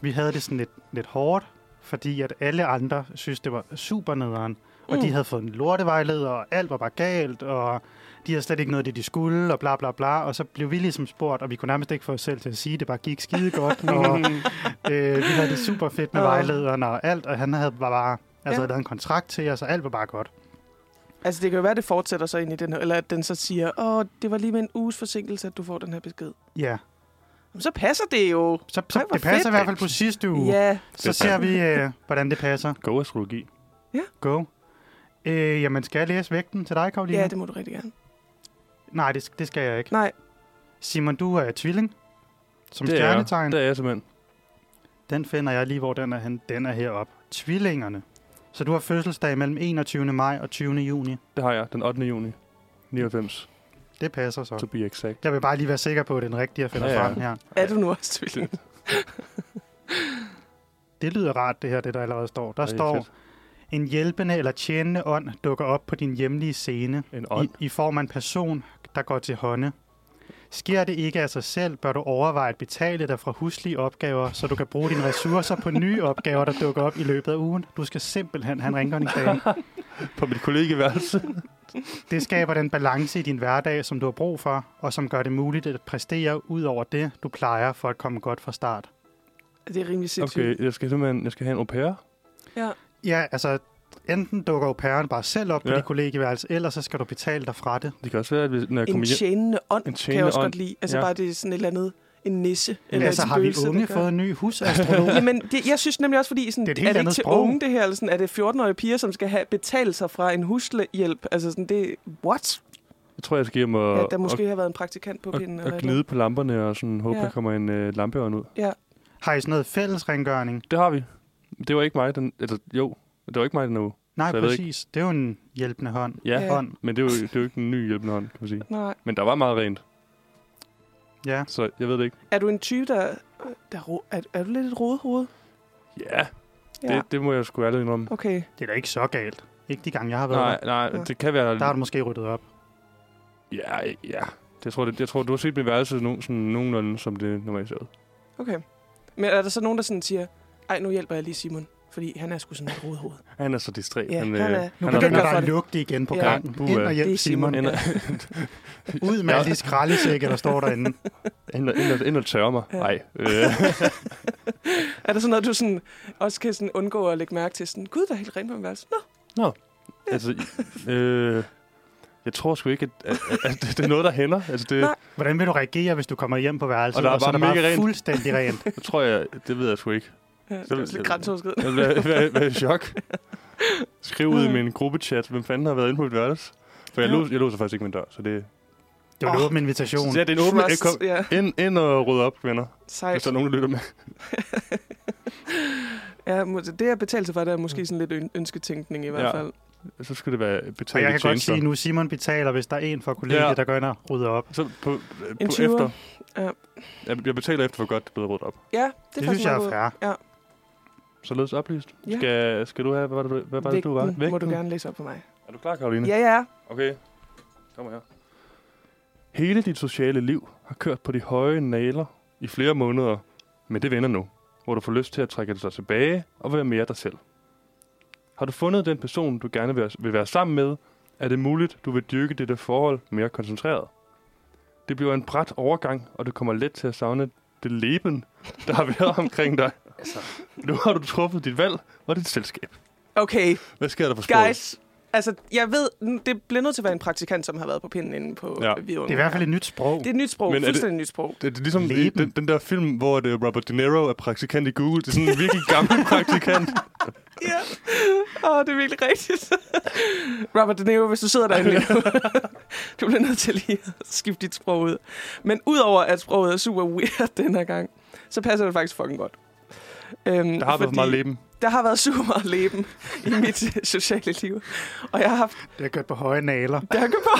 C: vi havde det sådan lidt, lidt hårdt, fordi at alle andre synes, det var super nederen. Og
D: Mm.
C: de havde fået en lortevejleder, og alt var bare galt, og de havde slet ikke noget af det, de skulle, og bla bla bla. Og så blev vi ligesom spurgt, og vi kunne nærmest ikke få os selv til at sige, det bare gik skide godt. og øh, vi havde det super fedt med
D: Åh.
C: vejlederen og alt, og han havde bare, bare altså,
D: Ja.
C: ja. lavet en kontrakt til os, og alt var bare godt.
D: Altså, det kan jo være, det fortsætter så ind i den her, eller at den så siger, åh, det var lige med en uges forsinkelse, at du får den her besked.
C: Ja,
D: Jamen, så passer det jo.
C: så, så
D: Ej,
C: Ej,
D: hvor
C: det passer
D: fedt,
C: i hvert fald på sidste
B: Uh.
C: uge.
D: Ja,
B: Det
C: Så ser vi, øh, hvordan det passer.
B: Go astrologi.
C: Go. Øh, jamen, skal jeg læse vægten til dig, Karoline?
D: ja, det må du rigtig gerne.
C: Nej, det, det skal jeg ikke.
D: Nej,
C: Simon, du er tvilling. Som
B: Det er jeg.
C: stjernetegn.
B: Det er jeg simpelthen.
C: Den finder jeg lige, hvor den er hen. Den er heroppe. Tvillingerne. Så du har fødselsdag mellem 21. maj og 20. juni.
B: Det har jeg den 8. juni. 99,
C: Det passer så.
B: to be exact.
C: Jeg vil bare lige være sikker på, at den rigtige jeg finder
B: Ja,
C: ja,
B: ja.
C: ja. frem her.
D: er du nu også tvilling?
C: Det lyder rart, det her, det der allerede står. Der
B: Det er
C: står,
B: fedt.
C: en hjælpende eller tjenende ånd dukker op på din hjemlige scene.
B: En ånd.
C: I, I form af en person, der går til hånde. Sker det ikke af sig selv, bør du overveje at betale dig fra huslige opgaver, så du kan bruge dine ressourcer på nye opgaver, der dukker op i løbet af ugen. Du skal simpelthen have en rengøringsdame.
B: På mit kollegeværelse.
C: Det skaber den balance i din hverdag, som du har brug for, og som gør det muligt at præstere ud over det, du plejer for at komme godt fra start.
D: Det er rimelig sindssygt.
B: Okay, jeg skal simpelthen jeg skal have en au pair.
C: Ja, altså, enten dukker au pairen bare selv op ja.
B: Ja.
C: på dit kollegieværelse, eller så skal du betale dig fra det.
B: Det kan også være, at hvis, når jeg
D: En
B: kommer hjem...
D: tjenende ånd,
B: En
D: kan jeg
B: tjenende
D: også
B: ånd.
D: godt lide. Altså
B: Ja.
D: bare, det er sådan et eller andet, en nisse.
C: Eller
D: Eller
C: altså,
D: et
C: har vi
D: spøgelse, der
C: unge
D: gør-
C: fået en ny husastrolog?
D: Jamen, det, jeg synes nemlig også, fordi sådan,
C: Det er
D: det
C: et
D: er,
C: helt
D: er det ikke
C: andet
D: til
C: sprog.
D: unge, det her? Eller sådan, er det 14-årige piger, som skal have, betale sig fra en huslehjælp? Altså sådan, det what?
B: Jeg tror, jeg skal hjem og,
D: Ja, der
B: og,
D: måske har været en praktikant på pinden.
B: og,
D: eller et eller
B: gnide på lamperne og sådan håbe,
D: Ja.
B: der kommer en øh, lampeørn ud.
C: Har I sådan noget fælles rengøring?
B: Det har vi. Det var ikke mig, den... Altså, jo. Det var ikke mig, den uge.
C: Nej,
B: Så jeg ved ikke.
C: præcis. Det er jo en hjælpende hånd.
B: Ja,
D: Ja.
B: ja.
C: Hånd.
B: men det er, jo, det er jo ikke en ny hjælpende hånd, kan man sige.
D: andet. Nej.
B: Men der var meget rent,
C: Ja.
B: så jeg ved det ikke.
D: Er du en type, der... der ro, er, er du lidt et rodehoved?
B: Ja, ja. Det, det må jeg sgu ærligt indrømme.
D: Okay.
C: Det er da ikke så galt. Ikke de gange, jeg har været
B: Nej, nej,
D: Ja.
B: det kan være...
C: der. Der har du måske ryddet op.
B: Ja, ja. Det, jeg, tror, det, jeg tror, du har set mit værelse no, sådan nogenlunde, som det normalt ser ud.
D: Okay. Men er der så nogen, der sådan siger, ej, nu hjælper jeg lige Simon, fordi han er sgu sådan et rodehoved.
B: Han er så distræt.
D: Ja,
B: han,
D: han er-
C: Nu begynder
D: har nok
C: der
D: for
C: at
D: det.
C: lugte igen på
D: Ja.
C: gangen.
B: Puha.
C: Ind og
D: Det er
C: hjælp Simon.
D: Simon.
B: Ind og,
C: Ud med alle de skraldesække, der står derinde.
B: ind og, ind og, ind og tørre mig.
D: Ja.
B: Nej. Øh,
D: Er der sådan noget, du sådan, også kan sådan undgå at lægge mærke til? Sådan, Gud, der er helt rent på min værelse. Nå,
B: altså, øh, jeg tror sgu ikke, at, at, at det er noget, der hænder. Altså, det,
D: Nej.
C: Hvordan vil du reagere, hvis du kommer hjem på værelset,
B: Og der er
C: så
B: bare
C: er der
B: mega
C: bare
B: rent.
C: fuldstændig rent?
B: det tror jeg, det ved jeg sgu ikke. Altså,
D: ja, det er også lidt grænseoverskridende.
B: Jeg vil være- være i chok. Skriv ud i min gruppechat, hvem fanden har været inde på mit værelse. For jeg,
D: Ja.
B: ja. låser, jeg låser faktisk ikke min dør, så det,
C: Det var en
D: Åh.
C: åben invitation.
B: så ja, det er en åben...
D: Trust,
B: Kom,
D: ja,
B: ind, ind og rydde op, venner, hvis
D: sejt.
B: der er nogen, der lytter med.
D: Ja, må- det at betale sig for, det er måske sådan lidt øn- ønsketænkning i hvert
B: Mm. Ja.
D: fald.
B: Så skulle det være betalt
C: Og jeg kan godt
B: tjenester.
C: sige nu, Simon betaler, hvis der er en fra kollegiet,
B: Ja.
C: der går ind og rydder op.
B: Så på, øh, på
D: tyver.
B: efter.
D: Ja.
B: Jeg, jeg betaler efter, hvor godt det er blevet ryddet op.
D: Ja, det, er
C: Det, det
D: faktisk
C: synes jeg
D: meget
C: er
D: godt.
C: fair.
B: Således oplyst.
D: Ja.
B: Ja. Skal, skal du have, hvad var det, du- hvad var det du var?
D: Vægten må du gerne læse op for mig.
B: Er du klar, Karoline?
D: Ja, ja.
B: Okay, kom her. Hele dit sociale liv har kørt på de høje naler i flere måneder, men det vender nu, hvor du får lyst til at trække dig tilbage og være mere dig selv. Har du fundet den person, du gerne vil- vil være sammen med, er det muligt, du vil dyrke dette forhold mere koncentreret. Det bliver en brat overgang, og du kommer let til at savne det leben, der har været omkring dig. Nu har du truffet dit valg og dit selskab.
D: Okay,
B: Hvad sker der for sproget?
D: guys. Altså, jeg ved, n- det bliver nødt til at være en praktikant, som har været på pinden inde på ja.
B: Ja.
D: Vidunge.
C: Det er i hvert fald et nyt sprog.
D: det er et nyt sprog,
B: Men er det-
D: fuldstændig nyt sprog.
B: Det, det er ligesom i
C: Leben.
B: den, den der film, hvor det Robert De Niro er praktikant i Google. Det er sådan en virkelig gammel praktikant.
D: Ja. Åh, oh, det er virkelig rigtigt. Robert De Niro, hvis du sidder derinde lige nu, du bliver nødt til lige at skifte dit sprog ud. Men udover at sproget er super weird den her gang, så passer det faktisk fucking godt. Øhm,
B: Der har været for meget leben.
D: Der har været super meget leben i mit øh, sociale liv. Og jeg har haft
C: Det er kørt på høje naler.
D: dakke på.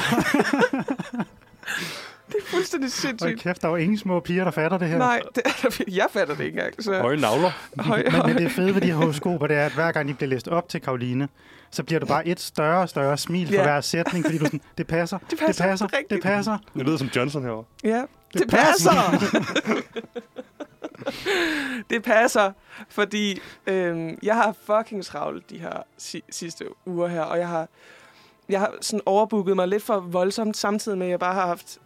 D: det er fuldstændig
C: Hold
D: sindssygt.
C: kæft, der er jo ingen små piger, der fatter det her.
D: Nej, det er der, virkelig- jeg fatter det ikke engang. Så.
B: Høje navler.
D: Høj,
C: Men, men det fede ved de her horoskoper, det er, at hver gang de bliver læst op til Karoline, så bliver du bare et større og større smil for
D: Ja.
C: hver sætning, fordi du er sådan, det passer, det passer,
D: passer,
C: det passer,
D: det er
C: det
D: rigtigt."
C: passer.
B: Det lyder som Johnson herovre.
D: Ja, det, det passer. det passer, fordi øhm, jeg har fucking travlt de her si- sidste uger her, og jeg har, jeg har sådan overbooket mig lidt for voldsomt, samtidig med, at jeg bare har haft...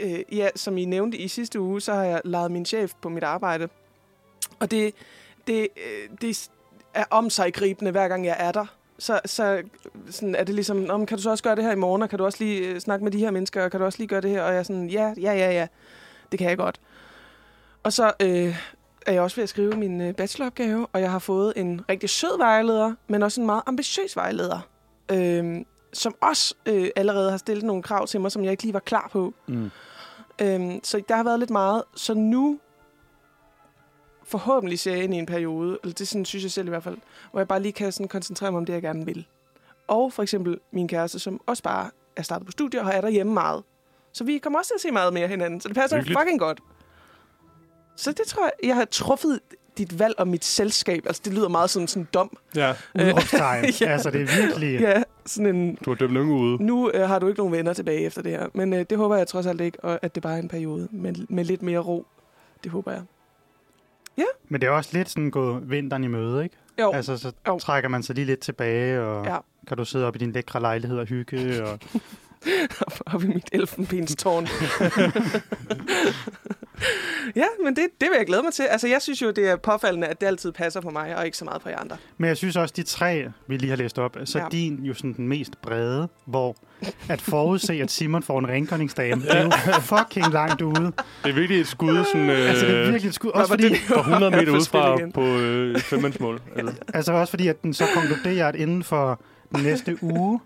D: Øh, ja, som I nævnte i sidste uge, så har jeg lejet min chef på mit arbejde. Og det, det, øh, det er om sig gribende, hver gang jeg er der. Så, så sådan er det ligesom, "Nå, men kan du så også gøre det her i morgen, og kan du også lige øh, snakke med de her mennesker, og kan du også lige gøre det her? Og jeg er sådan, ja, ja, ja, ja, det kan jeg godt. Og så øh, er jeg også ved at skrive min øh, bacheloropgave, og jeg har fået en rigtig sød vejleder, men også en meget ambitiøs vejleder, øh, som også øh, allerede har stillet nogle krav til mig, som jeg ikke lige var klar på.
B: Mm.
D: Øhm, så der har været lidt meget. Så nu forhåbentlig ser jeg ind i en periode, eller det sådan, synes jeg selv i hvert fald, hvor jeg bare lige kan sådan, koncentrere mig om det, jeg gerne vil. Og for eksempel min kæreste, som også bare er startet på studier og er derhjemme meget. Så vi kommer også til at se meget mere hinanden, så det passer
B: Hyggeligt.
D: fucking godt. Så det tror jeg, jeg har truffet dit valg om mit selskab. Altså, det lyder meget sådan sådan dom.
B: Ja.
C: Udråbstegn.
D: Øh, Ja.
C: ja. Altså, det er virkelig...
D: Ja, ja sådan en,
B: Du har dømt nogen ude.
D: nu øh, har du ikke nogen venner tilbage efter det her, men øh, det håber jeg trods alt ikke, og at det bare er en periode med, med lidt mere ro. Det håber jeg.
C: Men det er også lidt sådan gå vinteren i møde, ikke?
D: Jo, altså,
C: Altså, så
D: Jo.
C: trækker man sig lige lidt tilbage, og
D: Ja.
C: ja. kan du sidde op i din lækre lejlighed og hygge, og
D: oppe i mit elfenbenstårn. ja, men det, det vil jeg glæde mig til. Altså, jeg synes jo, det er påfaldende, at det altid passer på mig, og ikke så meget på jer andre.
C: Men jeg synes også, de tre, vi lige har læst op, så
D: Ja.
C: ja. din jo sådan den mest brede, hvor at forudse, at Simon får en rengøringsdame, det er jo fucking langt ude.
B: Det er virkelig et skud sådan, øh,
C: Altså, det er virkelig et skud. Også
D: Robert
C: fordi,
D: De Niro
B: for 100
D: er
B: meter
D: på
B: ud
D: spil
B: fra
D: igen.
B: på øh, femmandsmål. Altså.
C: altså også fordi, at den så konkluderer, at inden for den næste uge,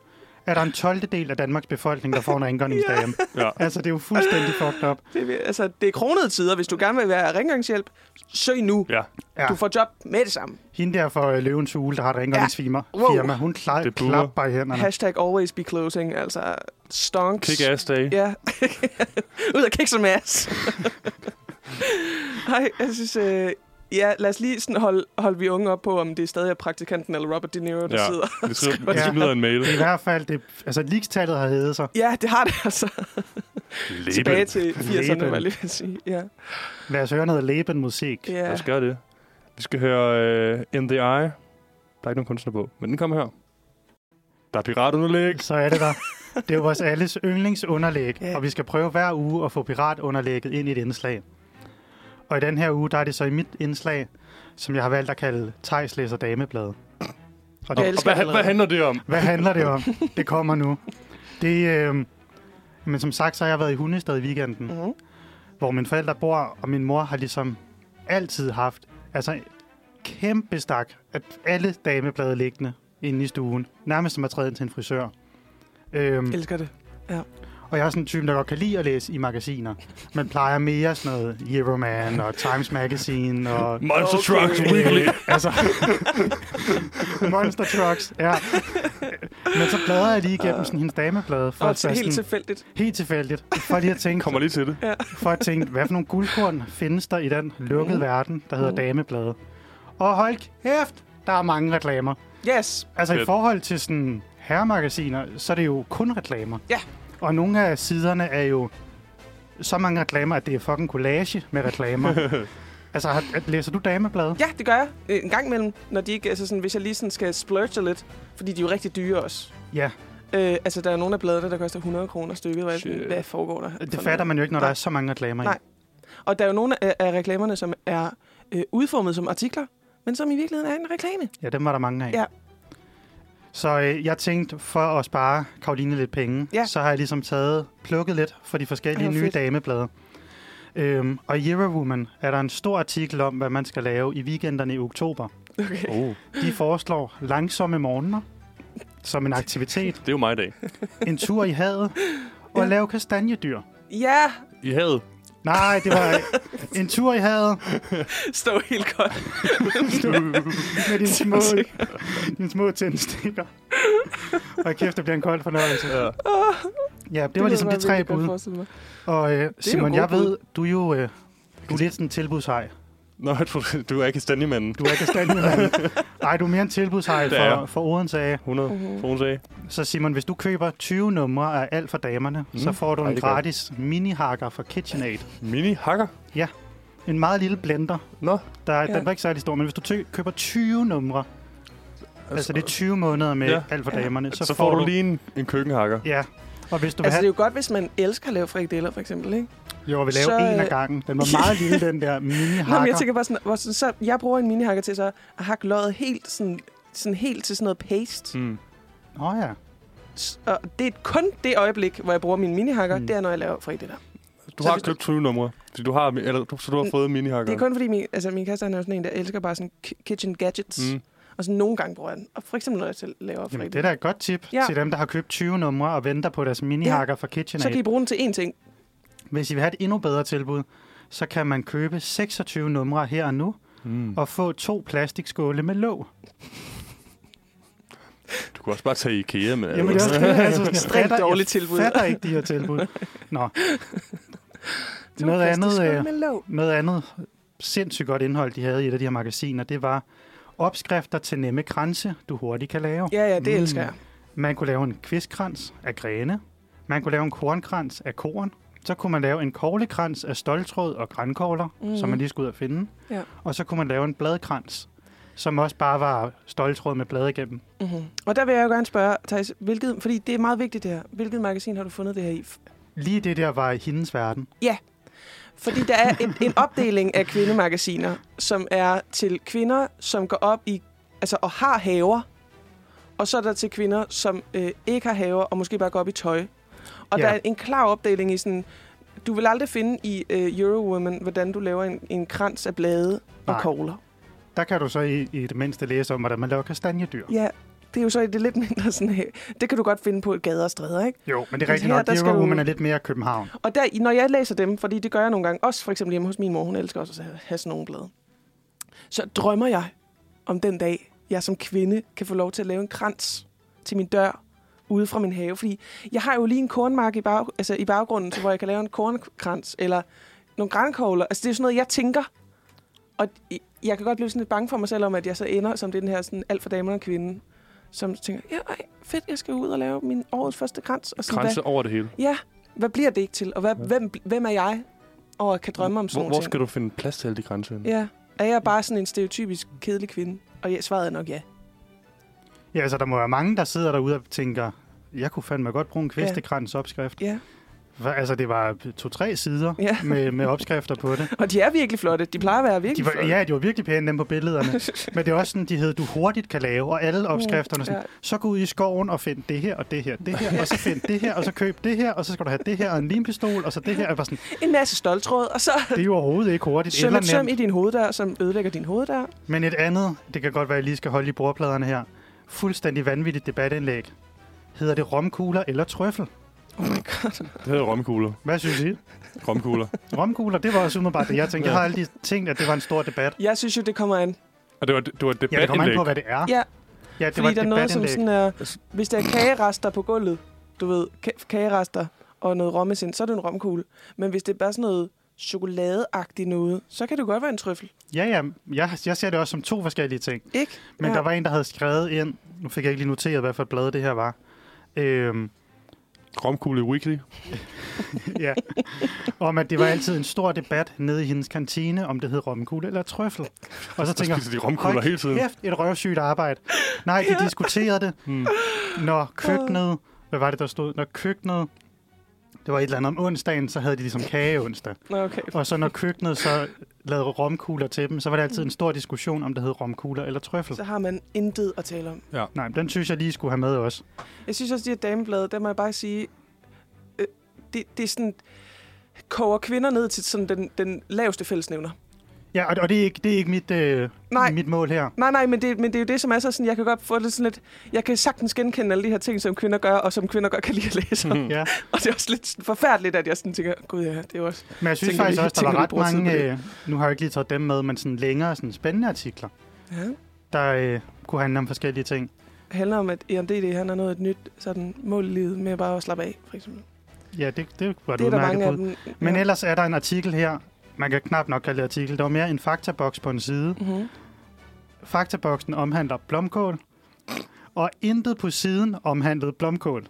C: er der en 12. del af Danmarks befolkning, der får en rengøringsdame.
B: Ja.
C: Altså, det er jo fuldstændig fucked up.
D: Det, vil- altså, det er kronede tider. Hvis du gerne vil være rengøringshjælp, søg nu.
B: ja.
C: Ja.
D: Du får job med det samme.
C: Hende der for øh, Løvens Hule, der har et rengøringsfirma,
D: Ja. Wow.
C: firma, hun klarer
B: Det buller.
C: klap bare i hænderne.
D: Hashtag always be closing, altså stonks.
B: Kick ass day.
D: Ja. Ud og kigge som ass. Nej, jeg synes... Øh, ja, lad os lige sådan holde, holde vi unge op på, om det stadig er praktikanten eller Robert De Niro, der
B: Ja.
D: ja. sidder.
B: Vi skriver, vi smider en mail.
C: I hvert fald, det, altså, leakstallet har hævet sig.
D: Ja, det har det altså. Tilbage
B: Leben.
D: til 80'erne,
C: Label.
D: var jeg lige ved at sige. Ja.
C: Lad os høre noget Leben-musik.
D: ja.
B: Lad os gøre det. Vi skal høre øh, In The Eye. Der er ikke nogen kunstner på, men den kommer her. Der er piratunderlæg.
C: Så er det der. Det er jo vores alles yndlingsunderlæg,
D: Ja.
C: og vi skal prøve hver uge at få piratunderlægget ind i et indslag. Og i den her uge, der er det så i mit indslag, som jeg har valgt at kalde Tejs læser dameblad. Og
D: Jeg
C: det,
B: Og
D: elsker
B: hvad,
D: allerede.
B: hvad handler det om?
C: hvad handler det om? Det kommer nu. Det, øh, men som sagt, så har jeg været i Hundested i weekenden,
D: Mhm.
C: hvor mine forældre bor, og min mor har ligesom altid haft altså en kæmpe stak af alle dameblade liggende inde i stuen. Nærmest som at træde ind til en frisør. Øhm,
D: Elsker det.
C: og jeg er sådan en type, der godt kan lide at læse i magasiner. Man plejer mere sådan noget Euroman og Times Magazine og...
B: Monster
D: Okay.
B: Trucks Weekly.
C: Øh, altså, Monster Trucks, ja. Men så bladrer jeg lige igennem sådan hendes dameblade, for
D: Og
C: at
D: til,
C: være
D: helt
C: sådan,
D: tilfældigt.
C: helt tilfældigt, for lige at tænke,
B: Kommer lige til det.
C: for at tænke, hvad for nogle guldkorn findes der i den lukkede
D: Mm.
C: verden, der hedder
D: Mm.
C: dameblade. Og hold kæft, der er mange reklamer.
D: Yes.
C: Altså i
B: Fedt.
C: forhold til sådan herremagasiner, så er det jo kun reklamer.
D: Ja.
C: Og nogle af siderne er jo så mange reklamer, at det er fucking collage med reklamer. altså, har, at- læser du damebladet?
D: Ja, det gør jeg. Øh, En gang imellem, når de ikke, altså sådan, hvis jeg lige sådan skal splurge lidt, fordi de er jo rigtig dyre også.
C: Ja.
D: Øh, altså, der er nogle af bladene, der koster 100 kroner stykket. Hvor jeg er sådan,
B: Shit.
D: Hvad foregår der?
C: Det fatter man jo ikke, når der
D: Nej.
C: er så mange reklamer
D: Nej.
C: i.
D: Og der er jo nogle af, af reklamerne, som er øh, udformet som artikler, men som i virkeligheden er en reklame.
C: Ja, dem var der mange af.
D: Ja.
C: Så øh, jeg tænkte, for at spare Karoline lidt penge,
D: Ja.
C: så har jeg ligesom taget, plukket lidt fra de forskellige
D: Åh,
C: nye
D: fedt.
C: dameblade. Øhm, og i Eurowoman er der en stor artikel om, hvad man skal lave i weekenderne i oktober.
D: Okay.
B: Oh,
C: De foreslår langsomme morgener som en aktivitet,
B: det er jo mig i dag.
C: en tur i havet og at lave kastanjedyr.
D: Ja,
B: I havet.
C: Nej, det var en tur i havet
D: stå helt godt.
C: med dine små, dine små tændstikker. Og kæft, det bliver en kold fornøjelse.
B: Ja.
C: Ja, det var ligesom de tre bud. Og øh, Simon,
D: gode
C: jeg ved, du er jo øh, du er lidt sådan en tilbudshej.
B: Nå, jeg tror, du er ikke standemanden.
C: Du er ikke standende. Nej, du er mere en tilbudshej
B: Det er
C: for,
B: jeg.
C: for Odense af.
B: 100,
D: Mhm.
B: som hun sagde.
C: Så Simon, hvis du køber 20 numre af alt for damerne, mm. så
B: Mm.
C: får du
B: Ej,
C: en
B: det er godt.
C: gratis mini-hakker fra KitchenAid.
B: Mini hakker.
C: En meget lille blender.
B: Nå,
C: Der, ja.
D: Ja.
C: Den var ikke særlig stor, men hvis du tø- køber 20 numre, altså, altså det er 20 måneder med ja.
B: Ja.
C: alt for
D: Ja.
C: damerne,
B: så, så får du lige en, en køkkenhakker.
C: Ja, og hvis du vil
D: Altså, det er
C: have...
D: jo godt, hvis man elsker at lave frikadeller, for eksempel, ikke?
C: Jo, vi laver
D: så,
C: en af
D: øh,
C: gangen. Den var meget lille, den der
D: Nå, men jeg
C: mini-hakker.
D: tænker bare sådan, hvor sådan, så jeg bruger en minihakker til så at hakke løget helt, sådan, sådan helt til sådan noget paste. Mm.
B: Mm.
C: Nå ja.
D: Og det er kun det øjeblik, hvor jeg bruger min minihakker,
C: Mm.
D: mm. det er, når jeg laver frikadeller.
B: Du
D: Så
B: har
D: hvis du-
B: købt 20 numre, fordi du har, eller, du- så du har
D: Mm.
B: fået mini hakker.
D: Det er kun fordi, min, altså, min kæreste han er jo sådan en, der elsker bare sådan ki- kitchen gadgets. Mm.
B: Mm.
D: Og så nogle gange bruger jeg den. Og for eksempel, når jeg selv laver
C: Jamen, det er
D: frikadeller.
C: da et godt tip ja.
D: Ja.
C: til dem, der har købt 20 numre og venter på deres mini-hakker ja. fra
D: Så kan I
C: KitchenAid.
D: bruge den til én ting.
C: Hvis I vil have et endnu bedre tilbud, så kan man købe 26 numre her og nu,
B: Mm.
C: og få to plastikskåle med låg.
B: Du kunne også bare tage i IKEA, men...
C: Jamen, det er også det. Altså, sådan, jeg
D: Ekstremt
C: fatter-
D: dårligt tilbud.
C: Jeg fatter ikke de her tilbud. Nå. Noget andet, øh,
D: Med låg.
C: noget andet sindssygt godt indhold, de havde i et af de her magasiner, det var opskrifter til nemme kranse, du hurtigt kan lave.
D: Ja, ja, det
B: Mm.
D: mm. elsker jeg.
C: Man kunne lave en kvistkrans af grene. Man kunne lave en kornkrans af korn. Så kunne man lave en koglekrans af stoltråd og grænkogler, mm.
D: Mhm.
C: som man lige skulle ud og finde.
D: Ja.
C: Og så kunne man lave en bladkrans, som også bare var stoltråd med blade igennem.
D: Mm-hmm. Og der vil jeg jo gerne spørge, Thijs, hvilket, fordi det er meget vigtigt det her. Hvilket magasin har du fundet det her i?
C: Lige det der var i hendes verden.
D: Fordi der er en, en opdeling af kvindemagasiner, som er til kvinder, som går op i, altså og har haver, og så er der til kvinder, som øh, ikke har haver, og måske bare går op i tøj. Og
C: Ja.
D: ja. der er en klar opdeling i sådan, du vil aldrig finde i øh, Eurowoman, hvordan du laver en, en krans af blade og
C: Nej.
D: kogler.
C: Der kan du så i, i det mindste læse om, hvordan man laver kastanjedyr.
D: Ja, det er jo så i det lidt mindre sådan her. Det kan du godt finde på et gader og stræder, ikke?
C: Jo, men det er
D: Men
C: rigtigt
D: her,
C: nok.
D: der
C: Det
D: skal
C: er jo,
D: du-
C: man er lidt mere København.
D: Og der, når jeg læser dem, fordi det gør jeg nogle gange, også for eksempel hjemme hos min mor, hun elsker også at have- have sådan nogle blade, så drømmer jeg om den dag, jeg som kvinde kan få lov til at lave en krans til min dør ude fra min have. Fordi jeg har jo lige en kornmark i, bag, altså i baggrunden, så hvor jeg kan lave en kornkrans, eller nogle grankogler. Altså det er jo sådan noget, jeg tænker. Og i- jeg kan godt blive sådan lidt bange for mig selv, om at jeg så ender som den her sådan alt for damer og kvinde, som tænker, ja, ej, fedt, jeg skal ud og lave min årets første krans. Og sådan, hvad-
B: Grænse over det hele.
D: Ja, hvad bliver det ikke til? Og hvad, ja. hvem, hvem er jeg? Og kan drømme om sådan
B: Hvor,
D: nogle
B: hvor
D: ting?
B: skal du finde plads til alle de grænser? henne?
D: Ja. Er jeg bare sådan en stereotypisk kedelig kvinde? Og ja, svaret er nok ja.
C: Ja, altså der må være mange, der sidder derude og tænker, jeg kunne fandme godt bruge en kvistekrans opskrift.
D: ja.
C: Hva- Altså det var to-tre sider
D: Ja.
C: med, med opskrifter på det.
D: Og de er virkelig flotte. De plejer at være virkelig
C: De var,
D: flotte.
C: ja, de var virkelig pæne, dem på billederne. Men det er også sådan, de hed, du hurtigt kan lave, og alle opskrifterne sådan,
D: Mm, Ja.
C: så gå ud i skoven og find det her, og det her, det her, og så find det her, og så køb det her, og så skal du have det her, og en limpistol, og så det her. Jeg var sådan,
D: En masse stoltråd, og så
C: det er jo overhovedet ikke hurtigt
D: søm et
C: eller
D: søm i
C: nemt.
D: din hoveddør, som ødelægger din hoveddør.
C: Men et andet, det kan godt være, at jeg lige skal holde i bordpladerne her. Fuldstændig vanvittigt debatindlæg. Hedder det romkugler eller trøffel?
D: Oh my god.
B: Det hedder romkugler.
C: Hvad synes I?
B: Romkugler.
C: Romkugler, det var også umiddelbart det, jeg tænkte. Jeg har aldrig tænkt, at det var en stor debat.
D: Jeg synes jo, det kommer an.
B: Og det var, det var et
C: Ja, det kommer an
B: debatindlæg.
C: på, hvad Ah, det er.
D: Ja,
C: ja det var
D: fordi
C: et
D: der er noget som
C: debatindlæg. Altså-
D: sådan er... Hvis der er kagerester på gulvet, du ved, ka- kagerester og noget rommesind, så er det en romkugle. Men hvis det er bare sådan noget chokoladeagtigt noget, så kan det jo godt være en trøffel.
C: Ja, ja, jeg, jeg ser det også som to forskellige ting.
D: Ikke?
C: Men
D: ja.
C: der var en, der havde skrevet ind, nu fik jeg ikke lige noteret, hvad for et blad det her var. Øhm,
B: Romkugle weekly.
C: ja. Om at det var altid en stor debat nede i hendes kantine, om det hed romkugle eller trøffel. Og så
B: Så
C: tænker jeg,
B: spiser de romkugler
C: "Hold
B: hele tiden.
C: kæft, et røvsygt arbejde. Nej, de diskuterede det,
B: Mm.
C: når køkkenet, hvad var det, der stod? Når køkkenet, det var et eller andet om onsdagen, så havde de ligesom kage onsdag.
D: Nå, okay.
C: Og så når køkkenet så lavede romkugler til dem, så var det altid en stor diskussion, om det hed romkugler eller trøffel.
D: Så har man intet at tale om.
C: Nej, men den synes jeg lige skulle have med også.
D: Jeg synes også, at de her dameblade, der må jeg bare sige, øh, det, det er sådan, koger kvinder ned til sådan den, den laveste fællesnævner.
C: Ja, og, og det, er ikke, det er ikke mit, øh,
D: Nej.
C: mit mål her.
D: Nej, nej, men det, men det er jo det, som er så sådan, jeg kan godt få det sådan lidt, jeg kan sagtens genkende alle de her ting, som kvinder gør, og som kvinder godt kan lide at læse. Mm.
C: Ja.
D: Og det er også lidt sådan forfærdeligt, at jeg sådan tænker, gud ja, det er jo også...
C: Men jeg synes
D: Tænker
C: tænker faktisk
D: vi-
C: også, der var
D: tænker vi
C: ret
D: bruger tid på
C: mange,
D: det?
C: øh, nu har jeg ikke lige taget dem med, men sådan længere sådan spændende artikler,
D: Ja.
C: der øh, kunne handle om forskellige ting.
D: handler om, at E EMDD han har noget et nyt sådan, mål i livet med bare at slappe af, for eksempel.
C: Ja, det, det var et
D: det er der
C: udmærket
D: mange af
C: bud.
D: dem.
C: Men
D: ja.
C: ellers er der en artikel her, man kan knap nok kalde det artikel, der var mere en faktaboks på en side.
D: Mm-hmm.
C: Faktaboksen omhandler blomkål, og intet på siden omhandlede blomkål.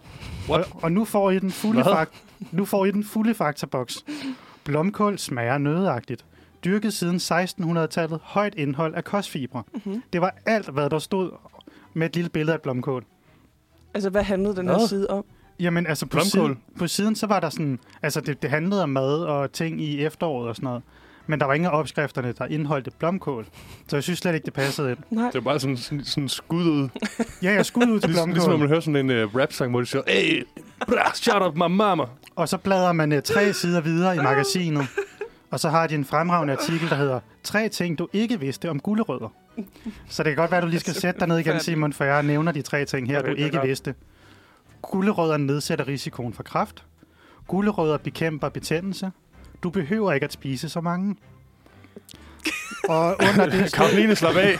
C: Og,
B: What?
C: og nu, får I den fulde
B: Hvad?
C: fak- nu får I den fulde faktaboks. Blomkål smager nødagtigt. Dyrket siden 1600-tallet, højt indhold af kostfibre.
D: Mm-hmm.
C: Det var alt, hvad der stod med et lille billede af blomkål.
D: Altså, hvad handlede den her
B: Hvad?
D: side om?
C: Jamen, altså på,
B: Blomkål?
C: siden, på siden, så var der sådan... Altså, det, det handlede om mad og ting i efteråret og sådan noget. Men der var ingen af opskrifterne, der indholdte blomkål. Så jeg synes slet ikke, det passede ind.
D: Nej.
B: Det er bare sådan, sådan, sådan skud ud.
C: Ja, jeg skulle ud til
B: Ligesom, ligesom når man
C: blomkål.
B: hører sådan en uh, rap-sang, hvor de siger, Hey, brah, shout out my mama.
C: Og så bladrer man uh, tre sider videre i magasinet. Og så har de en fremragende artikel, der hedder Tre ting, du ikke vidste om gulerødder. Så det kan godt være, du lige skal sætte dig ned igen, Simon, for jeg nævner de tre ting her,
B: Jeg
C: du
B: ved det
C: ikke
B: godt.
C: vidste. Gulerødder nedsætter risikoen for kræft. Gulerødder bekæmper betændelse. Du behøver ikke at spise så mange. Og under det,
B: Karoline, slap af.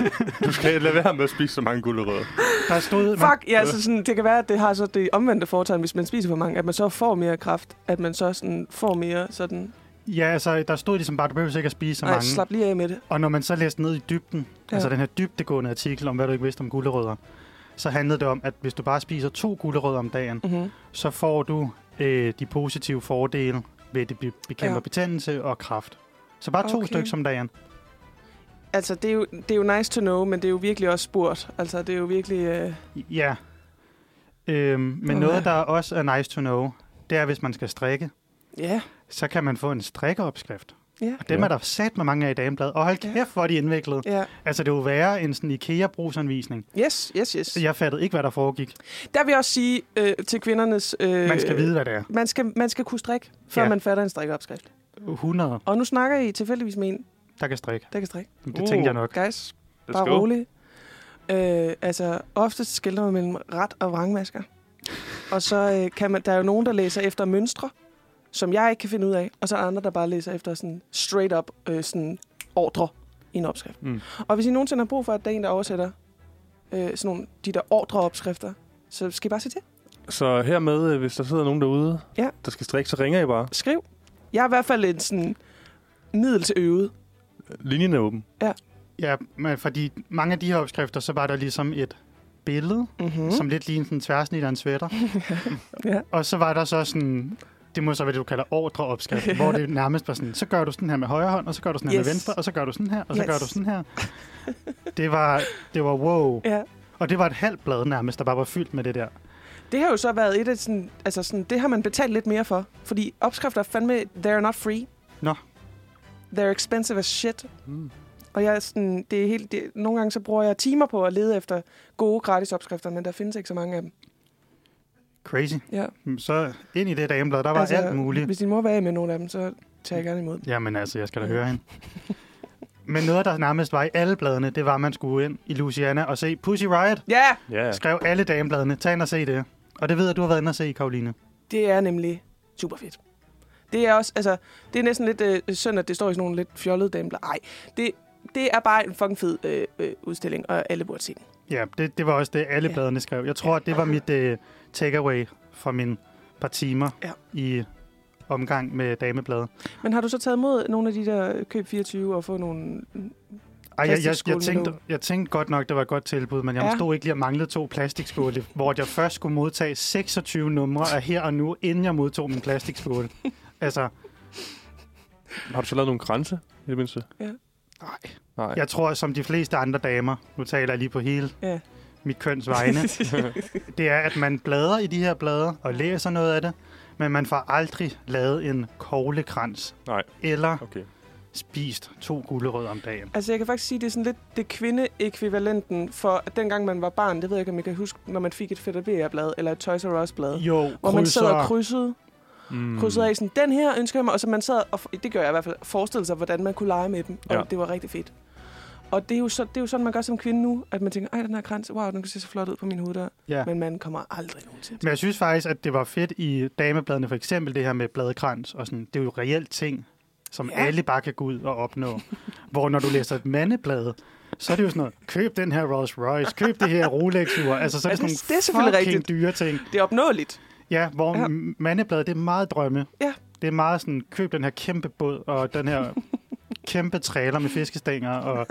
B: Du skal lade være med at spise så mange gulerødder.
C: der stod... Man,
D: Fuck, ja, altså sådan, det kan være, at det har så det omvendte foretegn, hvis man spiser for mange, at man så får mere kraft, at man så sådan får mere sådan,
C: ja, altså, der stod ligesom bare, du behøver ikke at spise så
D: nej,
C: mange.
D: slap lige af med det.
C: Og når man så læste ned i dybden,
D: Ja.
C: ja. altså den her dybtegående artikel om, hvad du ikke vidste om gulerødder, så handlede det om, at hvis du bare spiser to gulerødder om dagen,
D: Mm-hmm.
C: så får du øh, de positive fordele ved, at det be- bekæmper
D: Ja.
C: ja. betændelse og kraft. Så bare to
D: Okay.
C: stykker om dagen.
D: Altså, det er, jo, det er jo nice to know, men det er jo virkelig også spurgt. Altså, det er jo virkelig... Øh,
C: Ja. Øhm, men
D: Okay.
C: okay. noget, der også er nice to know, det er, hvis man skal strikke,
D: ja,
C: så kan man få en strikkeopskrift.
D: Ja.
C: Og dem
B: Ja.
C: er der sat med mange af i Dameblad. Og hold
D: Ja.
C: kæft, hvor er de indviklet.
D: ja.
C: Altså, det er jo værre end sådan en IKEA-brugsanvisning.
D: Yes, yes, yes.
C: Jeg fattede ikke, hvad der foregik.
D: Der vil jeg også sige øh, til kvindernes... Øh,
C: Man skal vide, hvad det er.
D: Man skal, man skal kunne strikke, før ja.
C: Ja.
D: man fatter en strikkeopskrift.
C: 100,
D: Og nu snakker I tilfældigvis med en,
C: der kan strikke.
D: der kan strikke.
C: Det
B: Uh.
C: uh. tænkte jeg nok.
D: Guys,
B: Let's
D: bare
B: go.
D: rolig. Øh, altså, oftest skiller man mellem ret og vrangmasker. Og så øh, kan man, der er jo nogen, der læser efter mønstre, som jeg ikke kan finde ud af. Og så er der andre, der bare læser efter sådan straight up øh, sådan ordre i en opskrift.
B: Mm.
D: Og hvis I nogensinde har brug for, at der er en, der oversætter øh, sådan nogle, de der ordreopskrifter, så skal I bare se til.
B: Så hermed, øh, hvis der sidder nogen derude,
D: Ja.
B: der skal strikke, så ringer I bare.
D: Skriv. Jeg er i hvert fald en sådan middeløvet.
B: Linjen er åben.
C: Ja, men fordi mange af de her opskrifter, så var der ligesom et billede,
D: Mm-hmm.
C: mm. som lidt lignede sådan en tværsnit af en sweater.
D: Ja.
C: Og så var der så sådan, det må så være det, du kalder ordreopskrift,
D: Ja.
C: hvor det nærmest var sådan, så gør du sådan her med højre hånd, og så gør du sådan her
D: Yes.
C: med venstre, og så gør du sådan her, og så
D: Yes.
C: gør du sådan her. Det var, det var wow.
D: Ja.
C: Og det var et halvt blad nærmest, der bare var fyldt med det der.
D: Det har jo så været et af sådan, altså sådan, det har man betalt lidt mere for. Fordi opskrifter er fandme, they're not free.
C: Nå.
D: They're expensive as shit.
B: Mm.
D: Og jeg er sådan, det er helt, det, nogle gange så bruger jeg timer på at lede efter gode gratis opskrifter, men der findes ikke så mange af dem.
C: Crazy.
D: Ja.
C: Så ind i det dameblad, der var altså, alt muligt.
D: Hvis din mor var af med nogle af dem, så tager jeg gerne imod. dem.
C: Jamen altså, jeg skal da høre hende. Men noget, der nærmest var i alle bladene, det var, at man skulle ind i Louisiana og se Pussy Riot.
D: Ja,
B: Ja.
C: Skrev alle damebladene. Tag ind og se det. Og det ved jeg, du har været inde og se, Karoline.
D: det er nemlig super fedt. Det er også, altså, det er næsten lidt øh, synd, at det står i sådan nogle lidt fjollede damler. Ej, det, det er bare en fucking fed øh, øh, udstilling, og alle burde se den.
C: Ja, det, det var også det, alle
D: Ja.
C: bladene skrev. Jeg tror, det var mit uh, takeaway fra mine par timer
D: Ja.
C: i omgang med damebladet.
D: Men har du så taget imod nogle af de der køb 24 og få nogle...
C: Ej, jeg, jeg, jeg,
D: Plastikskålen
C: tænkte,
D: lå.
C: jeg tænkte godt nok, det var et godt tilbud, men jeg
D: Ja.
C: ja. stod ikke lige og manglede to plastikskåle, hvor jeg først skulle modtage 26 numre af her og nu, inden jeg modtog min plastikskåle. altså,
B: Har du så lavet nogle grænse, i det mindste?
D: Ja.
B: Nej. Nej.
C: Jeg tror, som de fleste andre damer, nu taler jeg lige på hele
D: Ja.
C: mit køns vegne, det er, at man bladrer i de her blader og læser noget af det, men man får aldrig lavet en koglekrans
B: Nej,
C: eller
B: okay.
C: spist to gulerødder om dagen.
D: Altså, jeg kan faktisk sige, det er sådan lidt det kvindeekvivalenten for, at dengang man var barn, det ved jeg ikke, om I kan huske, når man fik et Fedder blad eller et Toys R Us-blad,
C: Jo,
D: hvor man sad og
C: krydsere.
D: krydsede,
B: Mm.
D: krydsede af sådan, den her ønsker jeg mig, og så man sad, og f- det gør jeg i hvert fald, forestillede sig, hvordan man kunne lege med dem, og
B: Ja.
D: ja. det var rigtig fedt. Og det er, jo så, det er jo sådan, man gør som kvinde nu, at man tænker, ej, den her krans, wow, den kan se så flot ud på min hoveddør.
C: Ja.
D: Men man kommer aldrig nogensinde til.
C: Men jeg synes faktisk, at det var fedt i damebladene, for eksempel det her med bladekrans, og sådan, det er jo reelt ting, som
D: Ja.
C: ja. alle bare kan gå ud og opnå. Hvor når du læser et mandeblad, så er det jo sådan noget, køb den her Rolls Royce, køb det her Rolex-ur. Altså, så er det,
D: Ja,
C: sådan
D: det-
C: nogle
D: det er selvfølgelig
C: fucking
D: rigtigt.
C: dyre ting.
D: Det er opnåeligt.
C: Ja, hvor
D: Ja.
C: ja. mandebladet, det er meget drømme.
D: Ja.
C: Det er meget sådan, køb den her kæmpe båd, og den her kæmpe træler med fiskestænger. Og...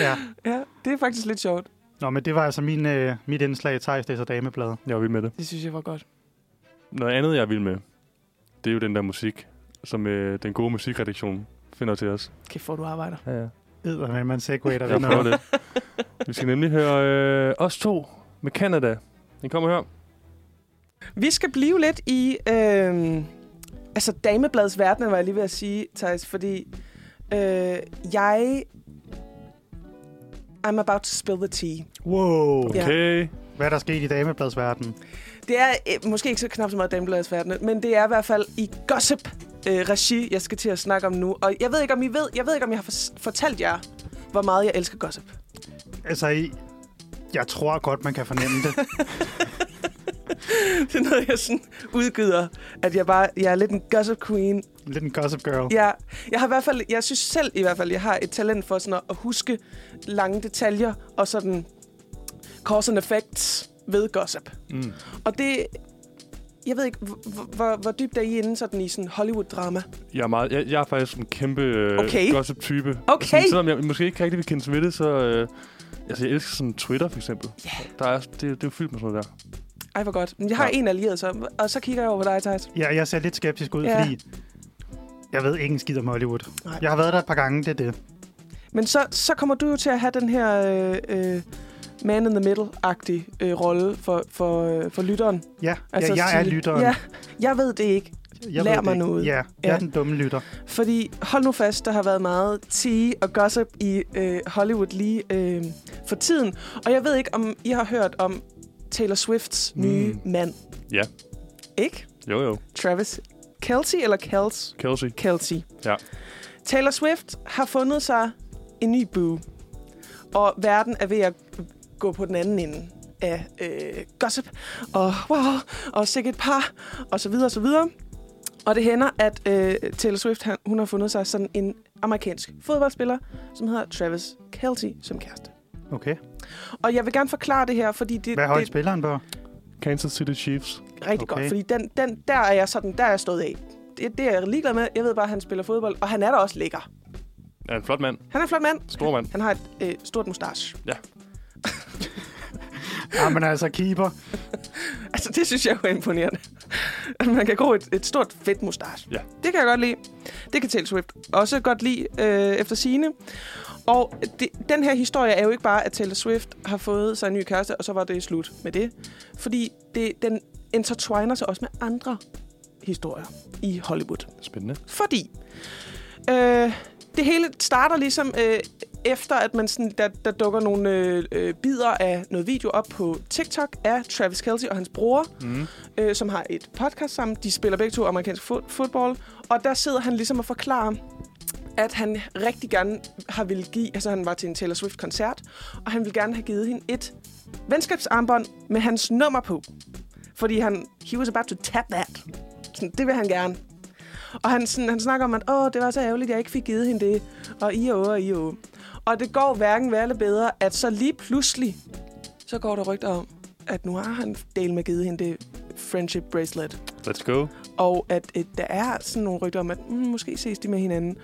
C: ja.
D: Ja, det er faktisk lidt sjovt.
C: Nå, men det var altså min, øh, mit indslag, Thijs læser dameblad.
B: Jeg er vild med det.
D: Det synes jeg var godt.
B: Noget andet, jeg er vild med, det er jo den der musik, som øh, den gode musikredaktion finder til os.
D: Kæft, hvor du arbejder.
B: Ja, ja.
C: Edder med, man segwayer ved
B: Jeg prøver
C: noget.
B: det. Vi skal nemlig høre øh, os to med Canada. Den kommer her.
D: Vi skal blive lidt i øh, altså damebladsverdenen, var jeg lige ved at sige, Thijs, fordi øh, jeg... I'm about to spill the tea.
C: Wow.
D: Ja.
B: Okay.
C: Hvad er der sket i damebladsverdenen?
D: Det er øh, måske ikke så knap så meget damebladsverdenen, men det er i hvert fald i gossip øh, regi, jeg skal til at snakke om nu. Og jeg ved ikke, om I ved, jeg ved ikke, om jeg har for- fortalt jer, hvor meget jeg elsker gossip.
C: Altså, I- jeg tror godt, man kan fornemme det.
D: Det er noget, jeg sådan udgyder, at jeg bare, jeg er lidt en gossip queen,
C: Lidt en gossip girl.
D: Ja, jeg har i hvert fald, jeg synes selv i hvert fald, jeg har et talent for sådan at, at huske lange detaljer og sådan cause and effects ved gossip.
B: Mm.
D: Og det, jeg ved ikke, hvor, hvor- hvor, hvor dybt er I inde sådan i sådan Hollywood-drama?
B: Jeg er, meget, jeg, jeg er faktisk en kæmpe øh,
D: Okay.
B: gossip-type. Altså,
D: Okay.
B: Sådan, selvom jeg måske ikke rigtig vil kende til det, så... Øh, altså, jeg elsker sådan Twitter, for eksempel. Yeah. Der er, det, det er jo fyldt med sådan noget der.
D: Ej, hvor godt. Men jeg har
B: Ja.
D: en allieret, så, og så kigger jeg over på dig, Thijs.
C: Ja, jeg ser lidt skeptisk ud,
D: Ja.
C: ja. fordi jeg ved ikke en skid om Hollywood.
D: Nej.
C: Nej. Jeg har været der et par gange, det er det.
D: Men så, så kommer du jo til at have den her øh, øh, man in the middle-agtige øh, rolle for, for, øh, for lytteren.
C: Ja, altså, ja jeg er
D: sige,
C: lytteren.
D: Ja, jeg ved det ikke.
C: jeg
D: lær
C: det
D: mig
C: ikke.
D: noget.
C: Ja, jeg
D: Ja.
C: er den dumme lytter.
D: Fordi hold nu fast, der har været meget tea og gossip i øh, Hollywood lige øh, for tiden. Og jeg ved ikke, om I har hørt om Taylor Swifts
B: Mm.
D: mm. nye mand.
B: Ja.
D: Ikke?
B: Jo, jo.
D: Travis Kelce eller Kels?
B: Kelsey.
D: Kelce.
B: Ja.
D: Taylor Swift har fundet sig en ny boo. Og verden er ved at gå på den anden ende af øh, gossip og wow, og sikke et par, og så videre, og så videre. Og det hænder, at øh, Taylor Swift, han, hun har fundet sig sådan en amerikansk fodboldspiller, som hedder Travis Kelce som kæreste.
C: Okay.
D: Og jeg vil gerne forklare det her, fordi det,
C: Hvad
D: det
C: holdt spilleren på?
B: Kansas City Chiefs.
D: rigtig okay.
C: Okay.
D: godt, fordi den, den, der er jeg sådan, der er jeg stået af. Det, det er jeg ligeglad med. Jeg ved bare, at han spiller fodbold, og han er da også lækker.
B: Er en flot mand.
D: Han er en flot mand.
B: Stor mand.
D: Han har et øh, stort mustache.
C: Ah, men altså, keeper.
D: Altså, det synes jeg jo er imponerende. At man kan gro et, et stort, fedt mustache.
B: Ja.
D: Det kan jeg godt lide. Det kan Taylor Swift også godt lide øh, efter sine. Og det, den her historie er jo ikke bare, at Taylor Swift har fået sig en ny kæreste, og så var det slut med det. Fordi det, den intertwiner sig også med andre historier i Hollywood.
B: Spændende.
D: Fordi øh, det hele starter ligesom øh, efter, at man sådan, der, der dukker nogle øh, øh, bidder af noget video op på TikTok af Travis Kelce og hans bror,
B: Mm.
D: øh, som har et podcast sammen. De spiller begge to amerikansk fod- fodbold, og der sidder han ligesom og forklarer, at han rigtig gerne har ville give, altså han var til en Taylor Swift-koncert, og han ville gerne have givet hende et venskabsarmbånd med hans nummer på. Fordi han, he was about to tap that. Sådan, det vil han gerne. Og han, sådan, han snakker om, at Åh, det var så ærgerligt, at jeg ikke fik givet hende det. Og i og og i og. Og det går hverken værre eller bedre, at så lige pludselig, så går der rygter om, at nu har han del med givet hende det friendship bracelet.
B: Let's go.
D: Og at øh, der er sådan nogle rygter om, at mm, måske ses de med hinanden.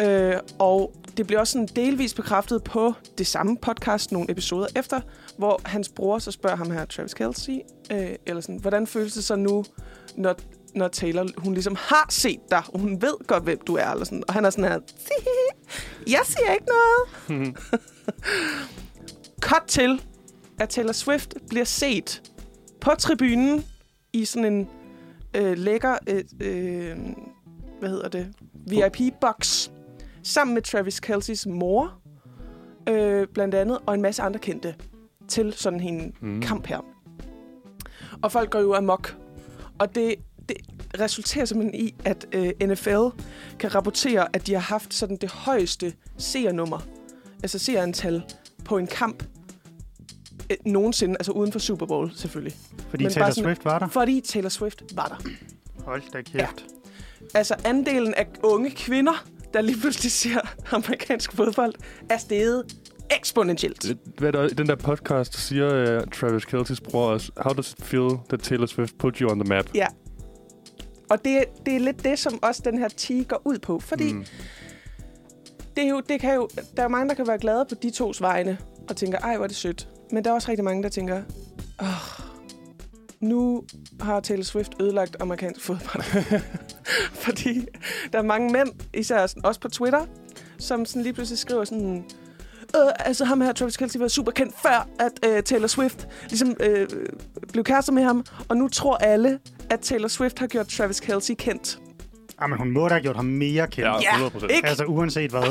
D: Øh, og det bliver også sådan delvis bekræftet på det samme podcast nogle episoder efter, hvor hans bror så spørger ham her, Travis Kelsey, øh, eller sådan, hvordan føles det så nu, når, når Taylor, hun ligesom har set dig, og hun ved godt, hvem du er, eller sådan. Og han er sådan her, jeg siger ikke noget. Cut til, at Taylor Swift bliver set på tribunen i sådan en øh, lækker, øh, øh, hvad hedder det, VIP-box, sammen med Travis Kelce's mor, øh, blandt andet, og en masse andre kendte, til sådan en
B: Mm.
D: kamp her. Og folk går jo amok. Og det, resulterer simpelthen i, at øh, NFL kan rapportere, at de har haft sådan det højeste seernummer, altså seerantal på en kamp øh, nogensinde, altså uden for Super Bowl selvfølgelig.
C: Fordi
D: Men
C: Taylor
D: bare sådan-
C: Swift var der.
D: Fordi Taylor Swift var der.
C: Hold da kæft. Ja.
D: Altså andelen af unge kvinder, der lige pludselig ser amerikansk fodbold, er steget eksponentielt.
B: Hvad der, i den der podcast siger uh, Travis Kelce's bror også, how does it feel that Taylor Swift put you on the map?
D: Ja. Og det, det er lidt det, som også den her tige går ud på. Fordi mm. det er jo, det kan jo, der er mange, der kan være glade på de tos vegne, og tænker, ej, hvor er det sødt. Men der er også rigtig mange, der tænker, åh, nu har Taylor Swift ødelagt amerikansk fodbold. Fordi der er mange mænd, især sådan- også på Twitter, som sådan lige pludselig skriver sådan, Øh, altså ham her, Travis Kelce, var super kendt før, at øh, Taylor Swift ligesom øh, blev kærester med ham. Og nu tror alle, at Taylor Swift har gjort Travis Kelce kendt.
C: Jamen, Ah, hun må da have gjort ham mere kendt.
B: Ja.
C: Ja.
B: 100%.
D: ikke?
C: Altså, uanset hvad.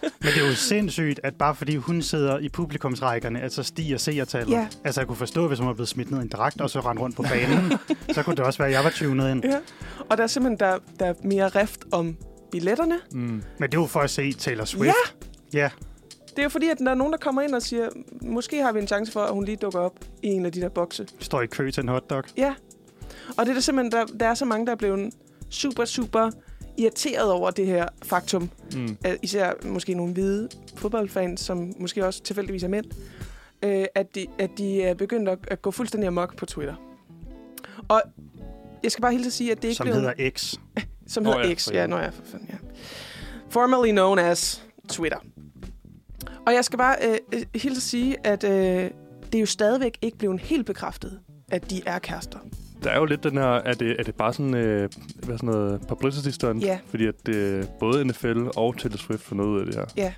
C: Men det er jo sindssygt, at bare fordi hun sidder i publikumsrækkerne, at så stiger seertallet.
D: Ja.
C: Altså, jeg kunne forstå, hvis hun var blevet smidt ned i en dragt, og så rendt rundt på banen. så kunne det også være, at jeg var tunet ind.
D: Ja. Og der er simpelthen der, der er mere rift om billetterne.
B: Mm.
C: Men det var for at se Taylor Swift.
D: Ja,
C: ja.
D: det er jo fordi, at der er nogen, der kommer ind og siger, måske har vi en chance for, at hun lige dukker op i en af de der bokse.
C: Står i kø til en hotdog.
D: Ja. Og det er der simpelthen, der, der er så mange, der er blevet super, super irriteret over det her faktum.
B: Mm.
D: Øh, Især måske nogle hvide fodboldfans, som måske også tilfældigvis er mænd. øh, At de, at de er begyndt at, at gå fuldstændig amok på Twitter. Og jeg skal bare hilse at sige, at det er ikke
C: Som
D: blevet...
C: hedder X.
D: Som
B: Nå
D: hedder
B: ja,
D: oh, ja, X.
B: for
D: Ja,
B: helvede.
D: nå ja, for fanden, ja. Formerly known as Twitter. Og jeg skal bare øh, øh, hilse at sige, at øh, det er jo stadigvæk ikke blevet helt bekræftet, at de er kærester.
B: Der er jo lidt den her, er det, er det bare sådan, øh, hvad sådan noget publicity stunt?
D: Ja.
B: Fordi at øh, både NFL og Taylor Swift får noget ud af det her.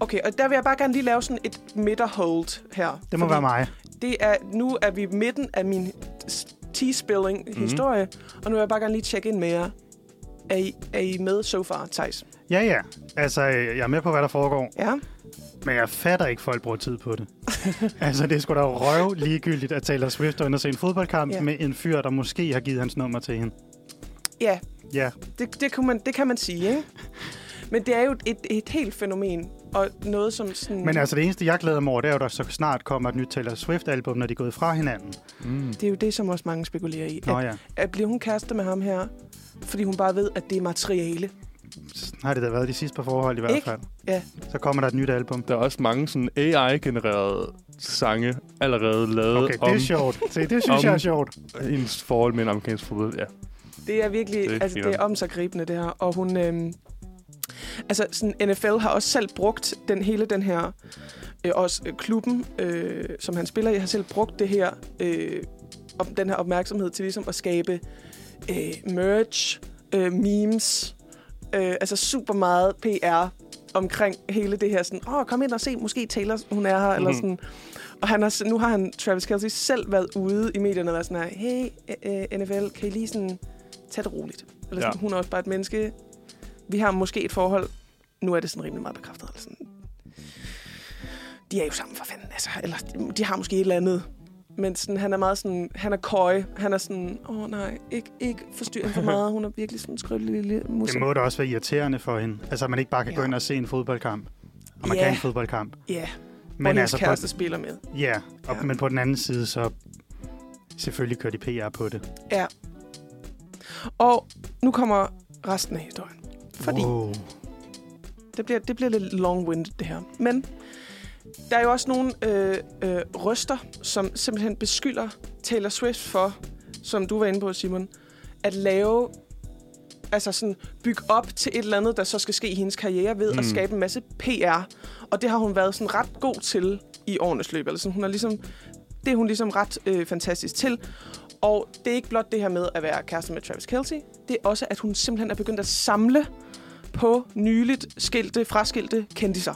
D: Okay, og der vil jeg bare gerne lige lave sådan et midterhold her.
C: Det må
D: Fordi
C: være mig.
D: Det er, nu er vi i midten af min
C: Mhm.
D: tea-spilling-historie, mm. og nu vil jeg bare gerne lige tjekke ind med jer. Er I, er I med so far, Thijs?
C: Ja, ja. Altså, øh, jeg er med på, hvad der foregår.
D: Ja?
C: Men jeg fatter ikke, folk bruger tid på det. altså, det er sgu da røv ligegyldigt, at Taylor Swift er inde og se en fodboldkamp
D: Ja.
C: yeah. med en fyr, der måske har givet hans nummer til hende.
D: Ja,
C: Ja,
D: Det, det, kunne man, det kan man sige, ikke? Men det er jo et, et helt fænomen, og noget som sådan...
C: men altså det eneste, jeg glæder mig over, det er jo, at der så snart kommer et nyt Taylor Swift-album, når de er gået fra hinanden.
B: Mm.
D: Det er jo det, som også mange spekulerer i.
C: Nå
D: at,
C: ja,
D: at bliver hun kærester med ham her, fordi hun bare ved, at det er materiale.
C: sådan har det da været de sidste par forhold i hvert
D: Ikke?
C: fald.
D: Ja.
C: Så kommer der et nyt album.
B: Der er også mange sådan AI-genererede sange allerede lavet
C: Okay, det
B: om
C: er sjovt. Se, det synes
B: om-
C: jeg er sjovt.
B: hendes forhold med en amerikansk fodbold. Ja.
D: Det er virkelig...
B: Det
D: Det
B: er
D: er, altså, det
B: grineren.
D: er om sig gribende, det her. Og hun... Øhm, altså, sådan, NFL har også selv brugt den hele den her... Øh, også øh, klubben, øh, som han spiller i, har selv brugt det her... Øh, om den her opmærksomhed til ligesom at skabe øh, merch, øh, memes, øh, altså super meget PR omkring hele det her sådan, åh, kom ind og se, måske Taylor, hun er her, mm. eller
B: Mhm.
D: sådan. Og han har, s- nu har han, Travis Kelce, selv været ude i medierne og været sådan her, hey, øh, NFL, kan I lige sådan tage det roligt? Eller sådan,
B: Ja.
D: ja. hun er også bare et menneske. Vi har måske et forhold. Nu er det sådan rimelig meget bekræftet, eller sådan. De er jo sammen for fanden, altså. Eller de har måske et eller andet. Men sådan, han er meget sådan, han er køj. Han er sådan, åh oh, nej, ikke, ikke forstyr hende for meget. Hun er virkelig sådan en skrøbelig lille
C: Det
D: musik.
C: må da også være irriterende for hende. Altså, at man ikke bare kan gå
D: Ja.
C: ind og se en fodboldkamp. Amerikansk
D: Ja.
C: fodboldkamp.
D: Ja, men
C: Men
D: hendes
C: altså,
D: altså,
C: på,
D: kæreste spiller med.
C: ja, og,
D: Ja.
C: men på den anden side, så selvfølgelig kører de PR på det.
D: Og nu kommer resten af historien. Fordi
C: Wow.
D: Det bliver, det bliver lidt long-winded, det her. Men der er jo også nogle øh, øh, røster, som simpelthen beskylder Taylor Swift for, som du var inde på, Simon, at lave, altså sådan bygge op til et eller andet, der så skal ske i hendes karriere ved mm.
B: Mm.
D: at skabe en masse PR. Og det har hun været sådan ret god til i årenes løb. Altså, hun er ligesom, det er hun ligesom ret øh, fantastisk til. Og det er ikke blot det her med at være kæreste med Travis Kelce. Det er også, at hun simpelthen er begyndt at samle på nyligt skilte, fraskilte kendiser,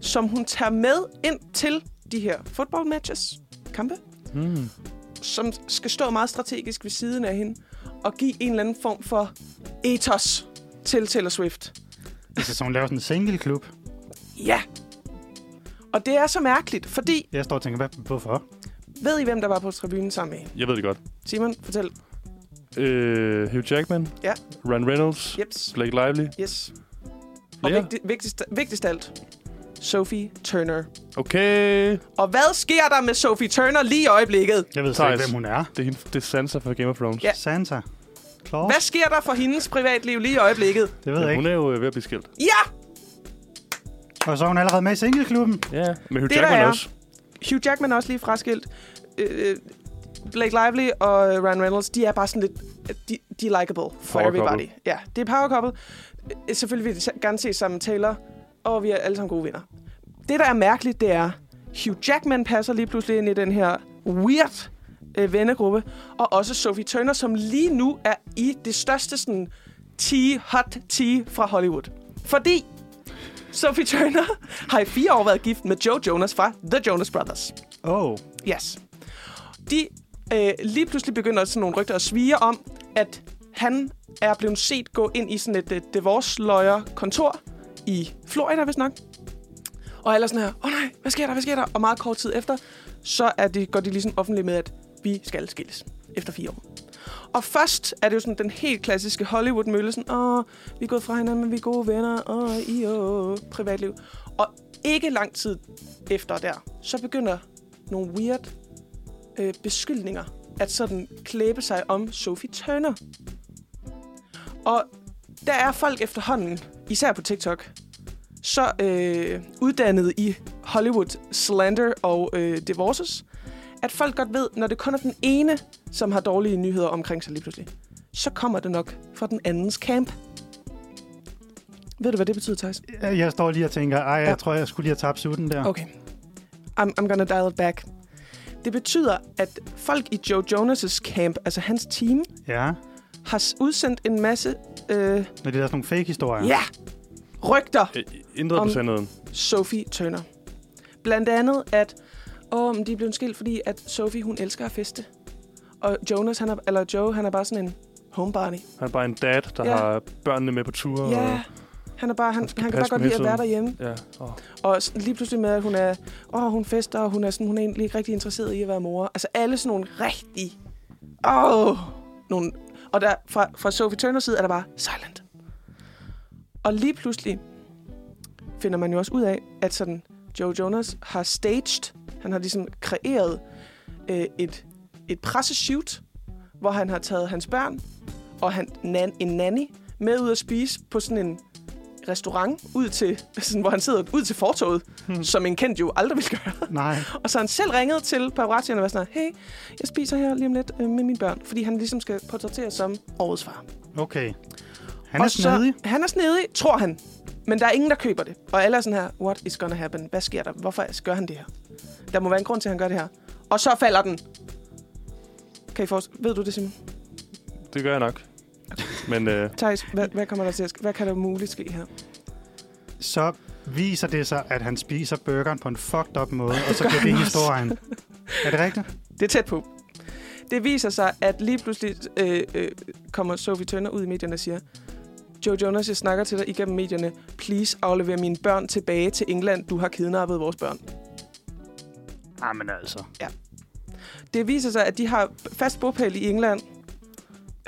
D: som hun tager med ind til de her football matches, kampe,
B: Mm.
D: som skal stå meget strategisk ved siden af hende og give en eller anden form for ethos til Taylor Swift.
C: Altså, så hun laver sådan en single-klub.
D: Ja! Og det er så mærkeligt, fordi
C: Jeg står og tænker, hvad, hvorfor?
D: ved I, hvem der var på tribunen sammen med hende?
B: Jeg ved det godt.
D: Simon, fortæl.
B: øh, Hugh Jackman,
D: Ja.
B: Ryan Reynolds,
D: Jeps.
B: Blake Lively.
D: Yes. Og
B: Lea?
D: vigtig, vigtigst, vigtigst af alt, Sophie Turner.
B: Okay,
D: Og hvad sker der med Sophie Turner lige i øjeblikket?
C: Jeg ved så ikke,
B: Thijs.
C: hvem hun er.
B: det er, hende- det er Sansa fra Game of Thrones.
D: Ja.
C: Santa. Claus?
D: Hvad sker der for hendes privatliv lige i øjeblikket?
C: Det ved jeg
B: Men hun
C: ikke.
B: er jo øh, ved at blive skilt.
D: Ja!
C: Og så er hun allerede med i singleklubben.
B: Ja. Men Hugh
D: Det, der
B: Jackman
D: er-
B: også.
D: Hugh Jackman er også lige fraskilt. Øh, Blake Lively og øh, Ryan Reynolds, de er bare sådan lidt... De, de er likable for
B: Power
D: everybody.
B: couple.
D: Ja, det er power couple. Øh, Selvfølgelig vil de gerne se sammen med Taylor, og vi er alle sammen gode venner. Det, der er mærkeligt, det er, Hugh Jackman passer lige pludselig ind i den her weird øh, vennegruppe, og også Sophie Turner, som lige nu er i det største sådan tea, hot tea fra Hollywood. Fordi Sophie Turner har i fire år været gift med Joe Jonas fra The Jonas Brothers.
C: Oh.
D: Yes. De øh, lige pludselig begynder sådan nogle rygter at svige om, at han er blevet set gå ind i sådan et øh, divorce lawyer kontor i Florida, hvis nok. Og alle er sådan her, åh oh, nej, hvad sker der, hvad sker der? Og meget kort tid efter, så er de, går de ligesom offentligt med, at vi skal skilles efter fire år. Og først er det jo sådan den helt klassiske Hollywood-mølle, sådan, åh, vi er gået fra hinanden, men vi er gode venner, åh, i åh, privatliv. Og ikke lang tid efter der, så begynder nogle weird øh, beskyldninger at sådan klæbe sig om Sophie Turner. Og der er folk efterhånden, især på TikTok, så øh, uddannet i Hollywood slander og øh, divorces, at folk godt ved, når det kun er den ene, som har dårlige nyheder omkring sig lige pludselig, så kommer det nok fra den andens camp. Ved du, hvad det betyder, Thijs?
C: Jeg står lige og tænker, ej, jeg
D: Ja.
C: tror, jeg skulle lige have tabt sutten der.
D: Okay. I'm, I'm gonna dial it back. Det betyder, at folk i Joe Jonas' camp, altså hans team,
C: Ja.
D: har s- udsendt en masse øh,
C: Men det er da sådan nogle fake-historier.
D: ja, rygter
B: Øh, Intet
D: Om-
B: på sandheden.
D: Sophie Turner. Blandt andet, at åh, men de er blevet skilt, fordi at Sophie, hun elsker at feste. Og Jonas, han er, eller Joe, han er bare sådan en homebody.
B: Han er bare en dad, der
D: Ja.
B: har børnene med på ture.
D: Ja, han er bare, han,
B: skal
D: han kan bare
B: passe
D: godt
B: dem
D: lide at
B: hele
D: være
B: tiden.
D: derhjemme.
B: Og, ja. Oh.
D: Og s- lige pludselig med, at hun er, åh, hun fester, og hun er, sådan, hun er egentlig ikke rigtig interesseret i at være mor. Altså alle sådan nogle rigtig, åh, nogle, og der, fra, fra Sophie Turners side er der bare silent. Og lige pludselig finder man jo også ud af, at sådan Joe Jonas har staged, han har ligesom kreeret øh, et, et presseshoot, hvor han har taget hans børn og han, nan, en nanny med ud at spise på sådan en restaurant, ud til, sådan, hvor han sidder ud til fortoget, hmm. som en kendt jo aldrig ville gøre.
C: Nej.
D: Og så har han selv ringet til paparazzierne og var sådan, her, hey, jeg spiser her lige om lidt øh, med mine børn, fordi han ligesom skal portrætteres som årets far.
C: Okay. Han er
D: Og så-
C: snedig.
D: Han er snedig, tror han. Men der er ingen, der køber det. Og alle er sådan her, what is gonna happen? Hvad sker der? Hvorfor gør han det her? Der må være en grund til, at han gør det her. Og så falder den. Kan I forst- Ved du det, Simon?
B: Det gør jeg nok. Men øh,
D: Thijs, hvad, hvad, kommer der til at ske? Hvad kan der muligt ske her?
C: Så viser det sig, at han spiser burgeren på en fucked up måde, og så bliver det
D: han
C: historien. Er det rigtigt?
D: Det er tæt på. Det viser sig, at lige pludselig øh, øh, kommer Sophie Tønder ud i medierne og siger, Joe Jonas, jeg snakker til dig igennem medierne. Please aflever mine børn tilbage til England. Du har kidnappet vores børn. Ah,
C: Jamen altså.
D: Det viser sig, at de har fast bopæl i England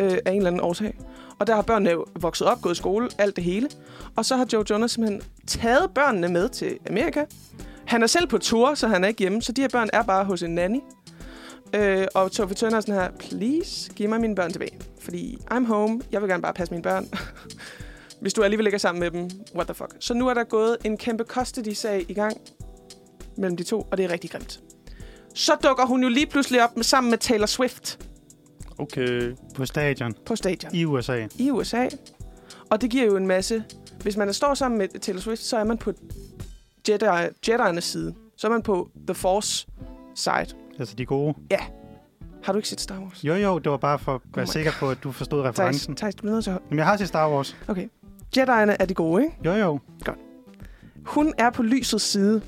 D: øh, af en eller anden årsag. Og der har børnene jo vokset op, gået i skole, alt det hele. Og så har Joe Jonas simpelthen taget børnene med til Amerika. Han er selv på tour, så han er ikke hjemme, så de her børn er bare hos en nanny. Øh, og Sophie Turner er sådan her, please, giv mig mine børn tilbage. Fordi I'm home, jeg vil gerne bare passe mine børn. Hvis du alligevel ikke er sammen med dem, what the fuck. Så nu er der gået en kæmpe custody-sag i gang mellem de to, og det er rigtig grimt så dukker hun jo lige pludselig op med, sammen med Taylor Swift
B: okay.
C: På stadion
D: på stadion
C: i USA.
D: i USA. Og det giver jo en masse... Hvis man står sammen med Taylor Swift, så er man på Jedi, Jedi'ernes side. Så er man på The Force side.
C: Altså de gode.
D: Har du ikke set Star Wars?
C: Jo, jo, det var bare for at være
D: Oh my
C: sikker på, at du forstod
D: Thijs,
C: referencen.
D: Thijs, du bliver nødt til at...
C: Jamen, jeg har set Star Wars.
D: Okay. Jedi'erne er de gode, ikke?
C: Jo, jo.
D: Hun er på lysets side,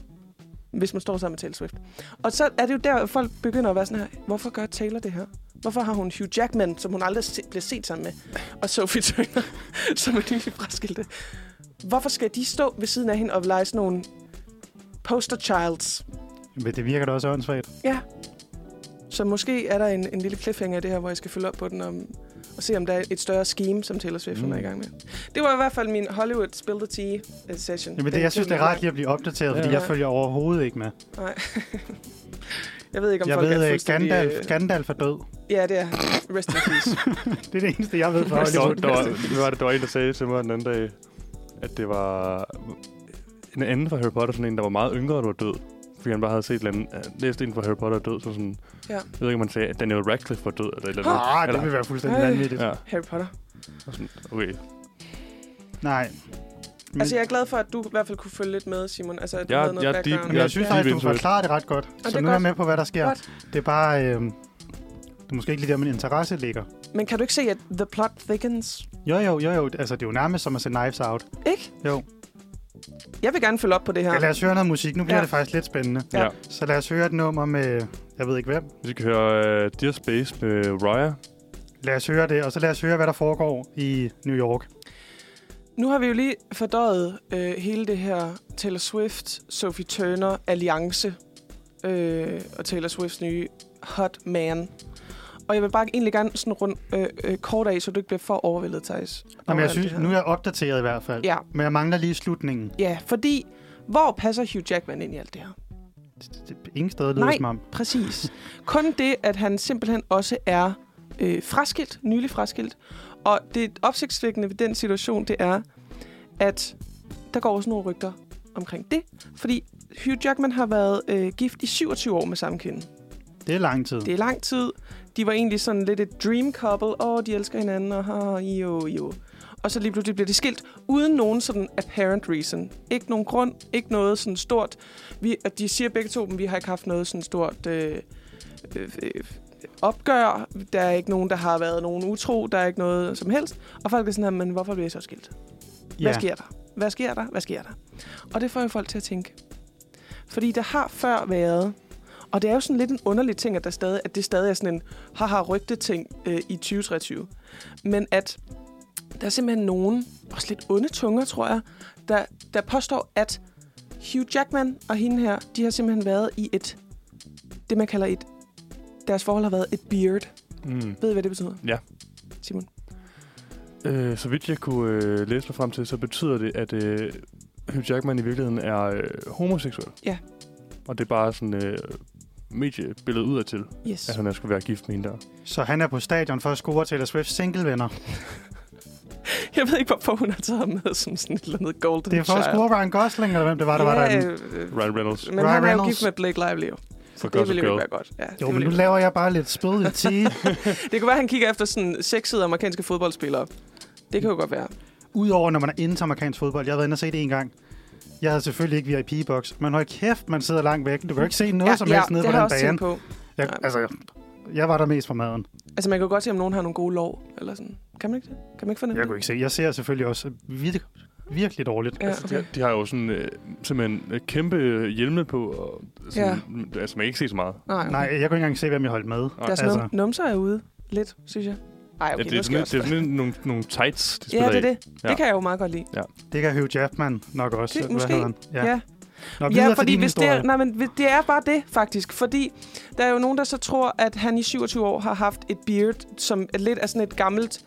D: hvis man står sammen med Taylor Swift. Og så er det jo der, at folk begynder at være sådan her, hvorfor gør Taylor det her? Hvorfor har hun Hugh Jackman, som hun aldrig se, bliver set sammen med, og Sophie Turner, som er nylig fraskilte? Hvorfor skal de stå ved siden af hende og lege sådan nogle poster childs?
C: Men det virker da også åndssvagt.
D: Ja. Så måske er der en, en lille cliffhanger i det her, hvor jeg skal følge op på den om og se, om der er et større scheme, som Taylor Swift mm. er i gang med. Det var i hvert fald min Hollywood Spill the Tea øh, session.
C: Jamen, det,
D: Den
C: jeg synes, det er
D: blev
C: rart lige at blive opdateret, fordi
B: Ja.
C: jeg følger overhovedet ikke med.
D: Nej. jeg ved ikke, om
C: Jeg
D: folk
C: ved,
D: er
C: at
D: fuldstændig... øh,
C: Gandalf, Gandalf er død.
D: Ja, det er. Rest in peace.
C: Det er det eneste, jeg ved fra
B: Der, var,
C: Hollywood.
B: der, var, hvad var, det, der var en, der sagde til mig den anden dag, at det var en anden fra Harry Potter, sådan en, der var meget yngre, der var død. Fordi han bare havde set et eller andet, øh, læst en fra Harry Potter er død, så sådan,
D: Ja.
B: jeg ved ikke, om man sagde, at Daniel Radcliffe var død, eller et eller andet.
C: Ah, det
B: eller,
C: vil være fuldstændig
D: Ej.
C: vanvittigt.
B: Ja,
D: Harry Potter.
B: og sådan, okay.
C: Nej. Men,
D: Altså, jeg er glad for, at du i hvert fald kunne følge lidt med, Simon. Altså, at du
B: Jeg-
D: havde noget
B: jeg er deep-
D: background.
C: men jeg synes
B: Ja.
C: faktisk, du
B: Deep into it.
C: forklarer det ret godt.
D: det
C: Så
D: er
C: nu er jeg
D: godt.
C: med på, hvad der sker.
D: Godt.
C: Det er bare... Øh, det er måske ikke lige der, min interesse ligger.
D: Men kan du ikke se, at the plot thickens?
C: Jo, jo, jo, jo. Altså, det er jo nærmest som at se Knives Out.
D: Ikke?
C: Jo.
D: Jeg vil gerne følge op på det her.
C: Ja. Lad os høre noget musik. Nu bliver
D: Ja.
C: ja. det faktisk lidt spændende.
D: Ja.
B: Ja. ja.
C: Så lad os høre et nummer med... Jeg ved ikke hvem.
B: Vi kan høre uh, Dear Space med Raya.
C: Lad os høre det, og så lad os høre, hvad der foregår i New York.
D: Nu har vi jo lige fordøjet øh, hele det her Taylor Swift, Sophie Turner, Alliance øh, og Taylor Swifts nye Hot Man. Og jeg vil bare egentlig gerne sådan rundt øh, øh, kort af, så du ikke bliver for overvældet, Thijs.
C: Jamen,
D: over
C: jeg
D: alt
C: synes,
D: det her.
C: nu er jeg opdateret i hvert fald.
D: Ja,
C: Men jeg mangler lige slutningen.
D: ja, fordi hvor passer Hugh Jackman ind i alt det her?
C: Det- det- Ingen steder lyder
D: Nej.
C: det som om.
D: Præcis. Kun det, at han simpelthen også er øh, fraskilt, nylig fraskilt. Og det opsigtsvækkende ved den situation, det er, at der går også nogle rygter omkring det. Fordi Hugh Jackman har været øh, gift i 27 år med samme kvinde.
C: Det er lang tid.
D: Det er lang tid. De var egentlig sådan lidt et dream couple. Åh, de elsker hinanden, og ha, jo, jo. Og så lige pludselig bliver de skilt, uden nogen sådan apparent reason. Ikke nogen grund, ikke noget sådan stort. Vi, og de siger begge to, at vi har ikke haft noget sådan stort øh, øh, øh, opgør. Der er ikke nogen, der har været nogen utro. Der er ikke noget som helst. Og folk er sådan her, men hvorfor bliver I så skilt? Hvad
C: ja.
D: sker der? Hvad sker der? Hvad sker der? Og det får jo folk til at tænke. Fordi der har før været, og det er jo sådan lidt en underlig ting, at, der stadig, at det stadig er sådan en haha rygte ting øh, i 2023. Men at der er simpelthen nogen, også lidt onde tunger, tror jeg, der, der påstår, at Hugh Jackman og hende her, de har simpelthen været i et, det man kalder et, deres forhold har været et beard.
B: Mm.
D: Ved I, hvad det betyder?
B: Ja.
D: Simon.
B: Øh, så vidt jeg kunne øh, læse mig frem til, så betyder det, at øh, Hugh Jackman i virkeligheden er øh, homoseksuel.
D: Ja.
B: Og det er bare sådan øh, mediebilledet udadtil,
D: Yes.
B: at han er skulle være gift med hende der.
C: Så han er på stadion for at score Taylor Swift's singlevenner.
D: Jeg ved ikke, hvorfor hun har taget ham med som sådan et eller andet golden
C: Det er for at
D: child.
C: score Ryan Gosling, eller hvem det var, der var derinde.
D: øh, øh,
B: Ryan Reynolds.
D: Men han er jo
C: Reynolds.
D: gift med Blake Lively, jo.
B: For
D: Det
B: Gossip
D: ville jo
B: Girl.
D: ikke være godt. Ja,
C: Jo,
D: det,
C: men
D: ville
C: nu
D: ikke være
C: laver jeg bare lidt spød i tea.
D: godt. det kan være, han kigger efter sådan sexede amerikanske fodboldspillere. Det kan jo godt være.
C: Udover når man er inde til amerikansk fodbold. Jeg har været inde og set det en gang. Jeg havde selvfølgelig ikke VIP-box, men hold kæft, man sidder langt væk. Du kan jo ikke se noget
D: ja,
C: som
D: ja,
C: helst nede
D: det
C: på
D: har jeg
C: den
D: også
C: bane.
D: tænkt på.
C: Jeg,
D: Nej.
C: altså, jeg var der mest for maden.
D: Altså, man kan jo godt se, om nogen har nogle gode lov, eller sådan. Kan man ikke det? Kan man ikke fornemme
C: Jeg kunne ikke se. Jeg ser selvfølgelig også vir- virkelig dårligt.
D: det? Ja,
B: Altså, De, har-
D: okay.
B: de har jo sådan øh, simpelthen øh, kæmpe hjelme på, og sådan, ja. altså man kan ikke se så meget.
D: Nej,
C: Nej, jeg kunne ikke engang se, hvem jeg holdt med.
D: Der er sådan
C: altså.
D: noget numser er ude lidt, synes jeg. Ej,
B: ja,
D: okay,
B: det,
D: nu
B: er
D: skal
B: sådan,
D: jeg
B: det er
D: også.
B: sådan nogle, nogle tights, de
D: Ja,
B: spiller
D: det er
B: i.
D: det. Det
B: Ja.
D: kan jeg jo meget godt lide.
C: Det kan Hugh Jackman nok også.
D: Det-
C: Hvad
D: måske.
C: hedder han? Ja.
D: ja.
C: Nå, videre
D: Ja,
C: til
D: fordi
C: din
D: hvis det, er,
C: historie.
D: nej, men hvis- det er bare det, faktisk. Fordi der er jo nogen, der så tror, at han i 27 år har haft et beard, som er lidt er sådan et gammelt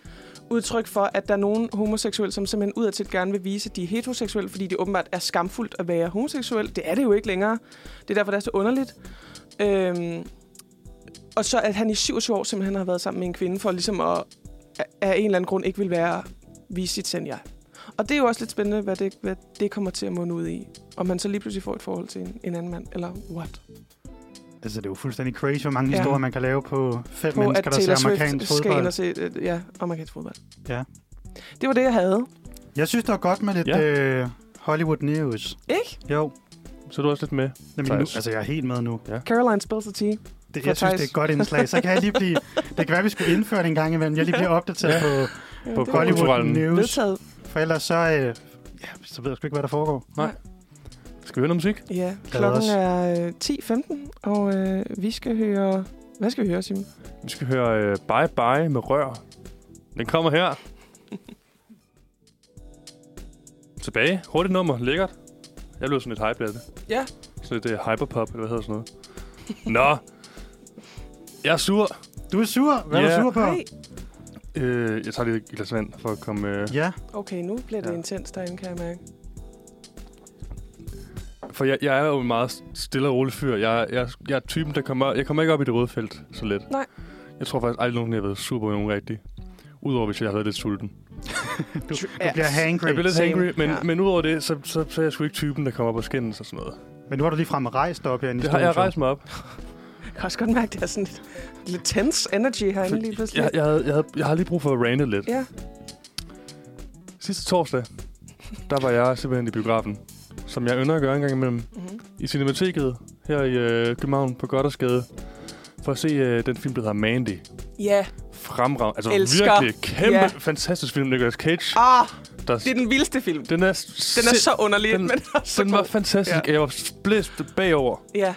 D: udtryk for, at der er nogen homoseksuelle, som simpelthen udadtil gerne vil vise, at de er heteroseksuelle, fordi det åbenbart er skamfuldt at være homoseksuel. Det er det jo ikke længere. Det er derfor, det er så underligt. Øhm, og så, at han i 27 år simpelthen har været sammen med en kvinde, for ligesom at af en eller anden grund ikke vil være vise sit send jeg. Og det er jo også lidt spændende, hvad det, hvad det kommer til at munde ud i. Om man så lige pludselig får et forhold til en, en anden mand, eller what?
C: Altså, det er jo fuldstændig crazy, hvor mange
D: Ja.
C: ja. historier, man kan lave på fem
D: På at
C: mennesker, der
D: Taylor
C: ser
D: Swift
C: amerikansk
D: skal ind
C: fodbold.
D: og se øh, ja, amerikansk fodbold.
C: Ja.
D: Det var det, jeg havde.
C: Jeg synes, det var godt med lidt
B: Ja.
C: ja. øh, Hollywood News.
D: Ikke?
C: Jo,
B: Så er du også lidt med.
C: Jamen, nu,
B: Thijs.
C: altså jeg er helt med nu.
D: Caroline spills the tea.
C: Det,
D: Fra
C: jeg synes, det er
D: Thijs.
C: et godt indslag. Så kan jeg lige blive... Det kan være, vi skulle indføre det en gang imellem. Jeg lige bliver opdateret
B: Ja.
C: ja. på,
D: Ja,
B: På
D: det var
C: Hollywood
B: kulturelle.
C: News.
D: Vedtaget.
C: For ellers så... Øh, ja, så ved jeg sgu ikke, hvad der foregår.
B: Skal vi høre noget musik?
D: Ja,
C: Glad
D: klokken
C: os.
D: er øh, 10.15, og øh, vi skal høre... Hvad skal vi høre, Simon?
B: Vi skal høre øh, Bye Bye med Rør. Den kommer her. Tilbage. Hurtigt nummer. Lækkert. Jeg blev sådan lidt hype af det.
D: Ja.
B: Så det er hyperpop, eller hvad hedder sådan noget. Nå. Jeg er sur.
C: Du er sur. Hvad er
B: Ja.
C: du sur på?
D: Hej.
B: Øh, jeg tager lige et glas vand for at komme... Øh,
C: Ja,
D: Okay, nu bliver det
B: Ja.
D: ja. intens derinde, kan jeg mærke.
B: For jeg, jeg er jo en meget stille og rolig fyr. Jeg, jeg, jeg er typen, der kommer... Jeg kommer ikke op i det røde felt så let.
D: Nej.
B: Jeg tror faktisk aldrig nogen, jeg har været super nogen rigtig. Udover hvis jeg har været lidt sulten.
C: du, du bliver hangry.
B: Jeg blev lidt
D: same.
B: hangry, men, ja.
D: Ja.
B: men udover det, så, så, så er jeg sgu ikke typen, der kommer op og skændes og sådan noget.
C: Men nu har du lige frem rejst op her i
B: Det har
C: studiet.
B: jeg rejst mig op.
D: Jeg kan også godt mærke, at det er sådan lidt, lidt tense energy herinde lige pludselig.
B: Jeg, jeg, havde- jeg, havde, jeg har lige brug for at rande lidt.
D: Ja.
B: Sidste torsdag, der var jeg simpelthen i biografen. Som jeg ynder at gøre en gang imellem.
D: Mm-hmm.
B: i Cinemateket her i øh, København på Goddersgade for at se øh, den film, der hedder Mandy.
D: Ja.
B: Fremragende. Altså
D: Elsker.
B: virkelig kæmpe,
D: Ja.
B: yeah. fantastisk film, Nicolas Cage.
D: Ah,
B: Der,
D: det er den vildeste film.
B: den er,
D: Den er så underlig,
B: den-
D: den, men også
B: den var
D: god.
B: fantastisk.
D: Ja.
B: Ja. Jeg var splæst bagover.
D: Ja,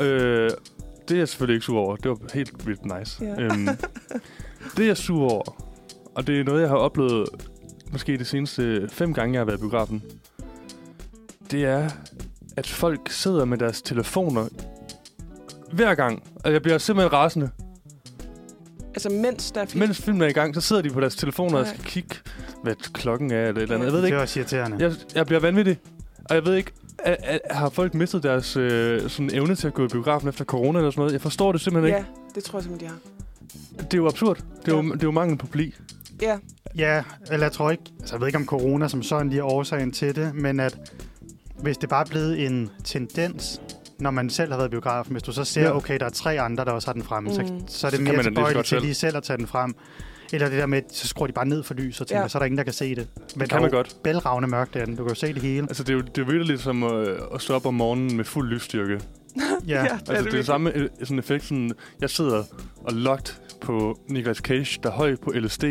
B: Øh, det er jeg selvfølgelig ikke sur over. Det var helt vildt nice.
D: Ja.
B: Øhm, det er jeg sur over. Og det er noget, jeg har oplevet måske de seneste fem gange, jeg har været i biografen. Det er, at folk sidder med deres telefoner hver gang. Og jeg bliver simpelthen rasende.
D: altså mens der er film.
B: Mens filmen er i gang, så sidder de på deres telefoner og
D: Nej.
B: skal kigge, hvad klokken er eller et eller andet. Jeg ved det
C: Det er
B: ikke.
C: også irriterende.
B: Jeg, jeg bliver vanvittig. Og jeg ved ikke, er, er, har folk mistet deres øh, sådan evne til at gå i biografen efter corona eller sådan noget? Jeg forstår det simpelthen ikke.
D: Ja, det tror jeg simpelthen, de har.
B: Det er jo absurd. Det er jo, det er jo mangel på pli.
D: Ja,
C: Ja, eller jeg tror ikke, altså jeg ved ikke om corona som sådan lige er årsagen til det, men at hvis det bare er blevet en tendens, når man selv har været i biografen, hvis du så ser,
B: Ja.
C: okay, der er tre andre, der også har den fremme, mm. så,
D: Mm.
C: så er det
B: Så kan
C: mere
B: man da lige så
C: tilbøjeligt
B: godt
C: til
B: selv.
C: lige selv at tage den frem. Eller det der med, så skruer de bare ned for lys og tænker, ja.
D: Ja.
C: så er der ingen, der kan se det. Men
B: Det kan man godt.
C: bælragende mørkt derinde, du kan jo se det hele.
B: Altså, det er jo det er virkelig lidt som øh, at stå op om morgenen med fuld lysstyrke. Altså,
C: Ja, ja.
B: det er det,
D: virkelig.
B: samme øh, sådan effekt. Sådan, jeg sidder og locked på Nicolas Cage, der er høj på LSD